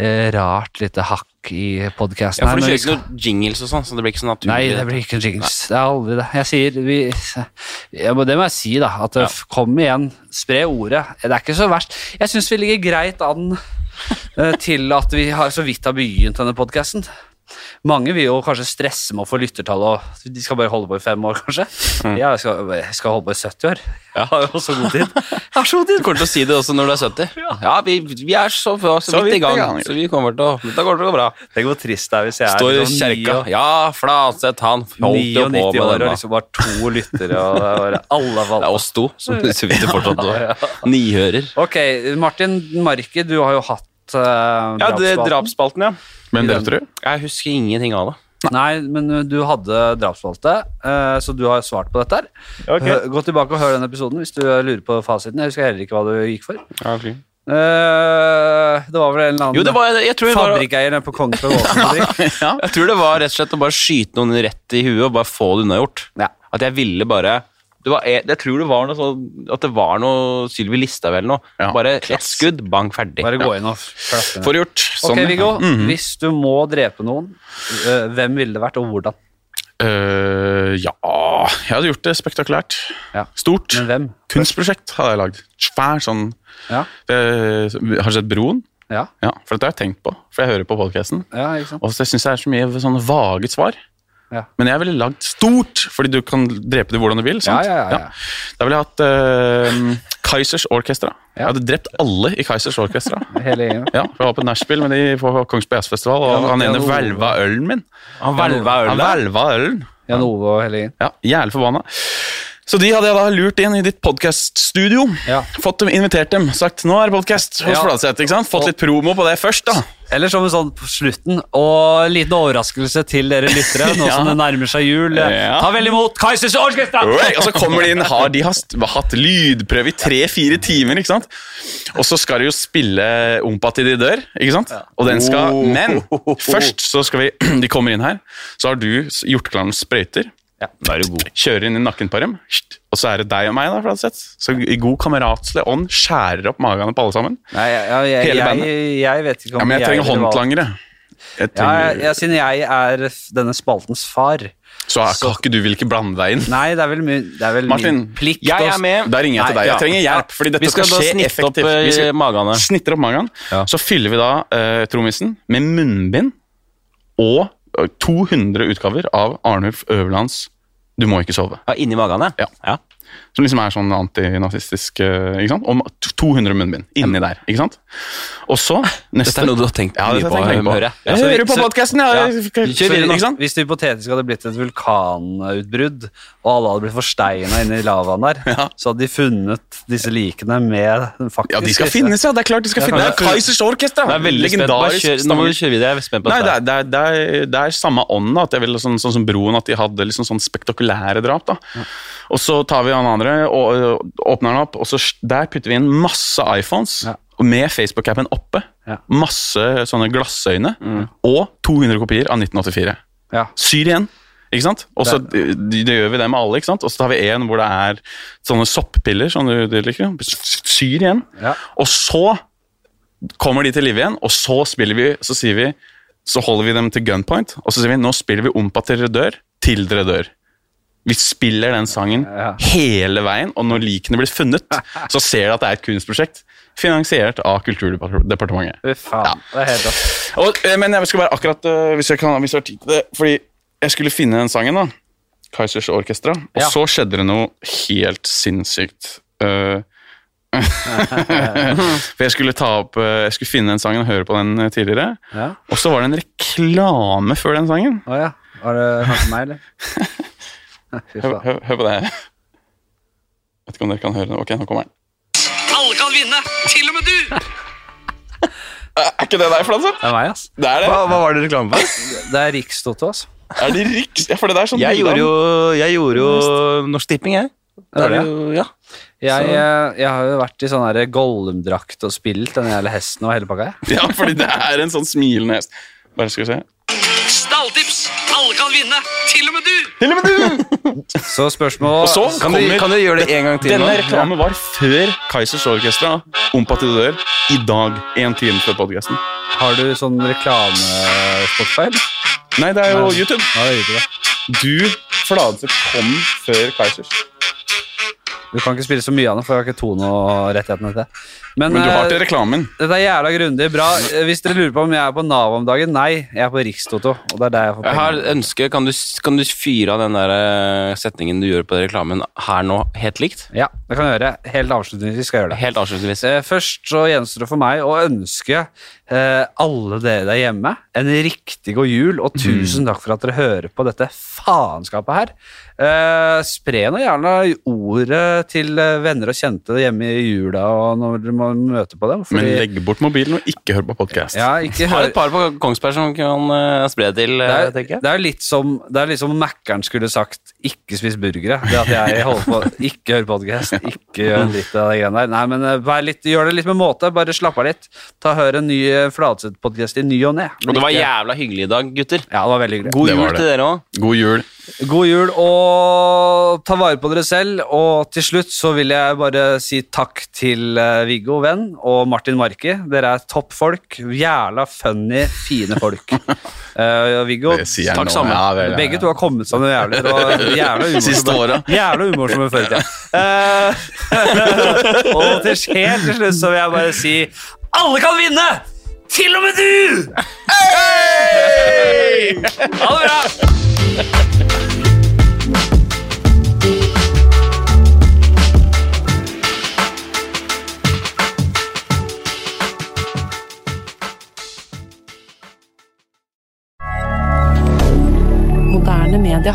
eh, rart lite hakk i podkasten.
Ja, for du kjører ikke noen jingles og sånn, så det blir ikke så naturlig.
Nei, det blir ikke jingles. Det er aldri det. Jeg sier vi, ja, men Det må jeg si, da. At det f- kom igjen, spre ordet. Det er ikke så verst. Jeg syns vi ligger greit an eh, til at vi har så vidt har begynt denne podkasten. Mange vil jo kanskje stresse med å få lyttertall, og de skal bare holde på i fem år, kanskje. Jeg skal, jeg skal holde på i 70 år. Jeg har jo så [LAUGHS] god tid. Jeg har så god
Du
tid.
kommer til å si det også når du er 70. Ja, vi, vi er så, så, vidt i gang, så vi kommer til å Dette kommer til å gå bra.
Tenk hvor trist det er hvis jeg
Står i
sånn
kjerka.
ni-
Ja, Flatseth, han holdt jo
99
på med
år og
den. da.
liksom bare to lyttere, og det er bare alle
Det
valgte
er oss to som så vidt det [LAUGHS] fortsatt var. Nihører.
Ok, Martin Marki, du har jo hatt eh,
Ja, det
drapsspalten.
drapsspalten, ja.
Men det tror jeg.
Jeg husker ingenting av det.
Nei, men eh, du hadde drapsspalte, eh, så du har svart på dette. her Hø- Gå tilbake og hør den episoden hvis du eh, lurer på fasiten. Jeg husker heller ikke hva du gikk for. Eh, det var vel en eller annen
Jo, det var, jeg, tror det var,
fabrikkeier nede på Kongsberg Våpenfabrikk.
[LAUGHS] jeg tror det var rett og slett å bare skyte noen rett i huet og bare få det unnagjort.
Ja.
At jeg ville bare det var, jeg, jeg tror det var noe sånn at det var noe Sylvi Listhaug eller noe.
Ja,
bare ett skudd, bang, ferdig.
Bare gå inn og klappe ned.
Får gjort. Sånn.
Ok, Viggo.
Mhm.
Hvis du må drepe noen, eh, hvem ville det vært, og hvordan?
Øh, ja Jeg hadde gjort det spektakulært.
Ja.
Stort.
Men hvem?
Kunstprosjekt hadde jeg lagd. Svær sånn
Ja,
det, Har du sett Broen?
ja,
Ja, for dette har jeg tenkt på, for jeg hører på podkasten.
ja ikke sant?
Og så syns jeg det er så mye sånn vage svar.
Ja.
Men jeg ville lagd stort, fordi du kan drepe det hvordan du vil.
Ja,
sant?
ja, ja, ja.
Da ville jeg hatt øh, Kaizers Orkestra.
Ja.
Jeg hadde drept alle i Kaizers
[LAUGHS]
Orkestra.
Hele gjengen.
Ja, for jeg var på nachspiel med de på Kongsberg Jazzfestival, og
Ja,
han
ja, oh.
ene
det var-
hvelva ølen min.
Han hvelva
Han
ølet.
hvelva ølen.
Jan Ove og hele gjengen.
Ja, jævlig forbanna. Så de hadde jeg da lurt inn i ditt podcaststudio.
Ja.
Fått dem, invitert dem, sagt 'nå er det podkast' hos
Ja.
Fladseth. ikke sant? Fått litt promo på det først, da.
Eller som en sånn på slutten, og en liten overraskelse til dere lyttere,
[LAUGHS]
nå som det nærmer seg jul.
Ja.
Ta vel imot Kaizers Orkestra!
Oi, altså, Og så kommer de inn, har, de har st- hatt lydprøve i tre-fire timer, ikke sant? Og så skal de jo spille Ompa til de dør, ikke sant? Og den skal, Men først så skal vi [CLEARS THROAT] De kommer inn her, så har du s- gjort klar noen sprøyter.
Da er du god.
kjører inn i nakken på dem, og så er det deg og meg, da, Fladseth. Så i god kameratslig ånd skjærer opp magene på alle sammen.
Nei, jeg, jeg,
Hele
jeg,
bandet?
jeg, jeg vet ikke om
Ja, men jeg trenger
ville valgt-
håndklangere. Jeg
Ja, jeg,
trenger,
jeg, siden jeg er denne spaltens far.
så er ikke- ikke du vil ikke blande deg inn.
Nei, det er vel min, det er vel
Martin,
min plikt
jeg
å-
er med.
Da ringer jeg til
Nei,
deg.
ja.
Jeg trenger hjelp, fordi
Vi
dette
skal
skal,
da
skje
snitte opp,
effektivt.
eh,
Vi skal-
magene.
Snitter opp magen.
Ja.
Så fyller vi da uh, trommisen med munnbind og eh, 200 utgaver av Arnulf Øverlands 'Du må ikke sove'.
Ja, inni magene?
Ja.
ja.
Som liksom er sånn antinazistisk eh, ikke sant? Om 200 munnbind inni der. ikke sant? Og så neste
[LAUGHS] Dette er noe du har tenkt
Ja,
mye
dette
på,
har jeg tenkt lenge på.
hører jeg.
Jeg
Ja, så-
hører på
så-
podcasten, ja. Kjør
Så
videre, ikke sant?
Hvis det hypotetisk hadde blitt et vulkanutbrudd, og alle hadde blitt forsteina inne i lavaen der, så hadde de funnet disse likene med faktisk
Ja, de skal
disse-
finnes, ja. Det er klart de skal finnes. Det er Kaizers Orkestra!
Det er veldig spent. Bare kjør, nå må du kjøre videre. Jeg er spent på
Nei, det
dette.
er, det, er, det, er, det er samme ånd, da. At jeg ville sånn, sånn som Broen, at de hadde liksom sånn spektakulære drap. da. Og så tar vi han andre og ø, åpner den opp, og så s- der putter vi inn masse iPhones.
Ja.
og Med Facebook-appen oppe.
Ja.
Masse sånne glassøyne. Og 200 kopier av 1984.
Ja.
Syr igjen. Ikke sant? Og så det, det gjør vi det med alle. ikke sant? Og så tar vi en hvor det er sånne soppiller. som du du liker. Syr igjen.
Ja.
Og så kommer de til live igjen, og så spiller vi, så sier vi, så holder vi dem til gunpoint, og så sier vi, nå spiller vi ompa til dere dør, til dere dør. Vi spiller den sangen
Ja.
hele veien, og når likene blir funnet, så ser de at det er et kunstprosjekt, finansiert av Kulturdepartementet.
Fy faen, det er helt rått.
Og, eh, men jeg skal bare akkurat, eh, hvis jeg kan, hvis jeg har tid til det, fordi jeg skulle finne den sangen da, Kaizers Orkestra. Og
Ja.
så skjedde det noe helt sinnssykt. Eh, [LAUGHS] for jeg skulle ta opp eh, Jeg skulle finne den sangen og høre på den eh, tidligere.
Ja.
Og så var det en reklame før den sangen.
Å ja. Var det kanskje meg, eller? [LAUGHS] Fy
Hør,
faen.
hør, hør på det. Vet ikke om dere kan høre det. Ok, nå kommer den.
Alle kan vinne, til og med du!
[LAUGHS] Er ikke det der flaut,
Det er meg, ass.
Det er det.
Hva, hva var det reklame for?
Det er Rikstoto, ass.
Er det riks... Ja, for det der er sånn
Jeg
bilde av-
gjorde jo, jeg gjorde jo Norsk Tipping, jeg.
Det er det.
jo, ja.
Jeg, eh, jeg har jo vært i sånn her Gollum-drakt og spilt den jævla hesten og hele pakka. jeg.
[LAUGHS] Ja, fordi det er en sånn smilende hest. Bare skal vi se.
Stalltips, alle kan vinne, til og med du!
Så spørsmål
Og så
sånn?
Kan, du,
kommer
kan du gjøre det en gang til
Denne
nå?
reklamen var før Kaizers Orkestra. Om Patidør i dag, én time før podkasten.
Har du sånn reklamespotfeil?
Nei, det er jo YouTube.
Ja, det er YouTube, da.
Du, Fladseth, kom før Kaizers.
Du kan ikke spille så mye av den, for jeg har ikke tone og rettighetene til det. Men,
Men du har
eh,
til reklamen.
Dette er jævla grundig. Bra. Eh, Hvis dere lurer på om jeg er på Nav om dagen, nei, jeg er på Rikstoto. Og det er der jeg får
Jeg har
penger.
et ønske, kan du, kan du fyre av den der eh, setningen du gjør på den reklamen her nå, helt likt?
Ja, det kan jeg gjøre. Helt avslutningsvis skal jeg gjøre det.
Helt avslutningsvis.
Eh, Først så gjenstår det for meg å ønske eh, alle dere der hjemme en riktig god jul,
Mm.
og tusen takk for at dere hører på dette faenskapet her. Eh, spre nå gjerne ordet til eh, venner og kjente hjemme i jula og når dere må møte på dem.
Men
fordi-
legg bort mobilen og ikke hør på podkast.
ja, ikke
Har
hør,
et par på Kongsberg som kan eh, spre til, eh,
det er,
tenker jeg.
det er jo litt som, det er litt som Mækkern skulle sagt 'ikke spis burgere'. Det at jeg holder på Ikke hør podcast, ikke gjør litt av de greiene der. Nei, men eh, vær litt, gjør det litt med måte. Bare slapp av litt. Ta Hør en ny eh, Fladseth-podcast i ny og ne. Men
Og det var
ikke-
jævla hyggelig i dag, gutter.
ja, det var veldig hyggelig.
God
Det var
jul
det.
til dere òg.
God jul.
God jul, og ta vare på dere selv. Og til slutt så vil jeg bare si takk til eh, Viggo, venn, og Martin Marki. Dere er topp folk. Jævla funny, fine
[LAUGHS]
folk. Eh, Viggo,
Det sier jeg
takk
nå.
sammen.
Ja, vel, ja, ja.
Begge to har kommet sammen jævlig. Det var jævla
Siste
umorsomt.
året.
Jævla umorsomme før i tida. Eh, [LAUGHS] og til helt til slutt så vil jeg bare si alle kan vinne! Til og med du! [LAUGHS] Ha det bra!
Moderne media.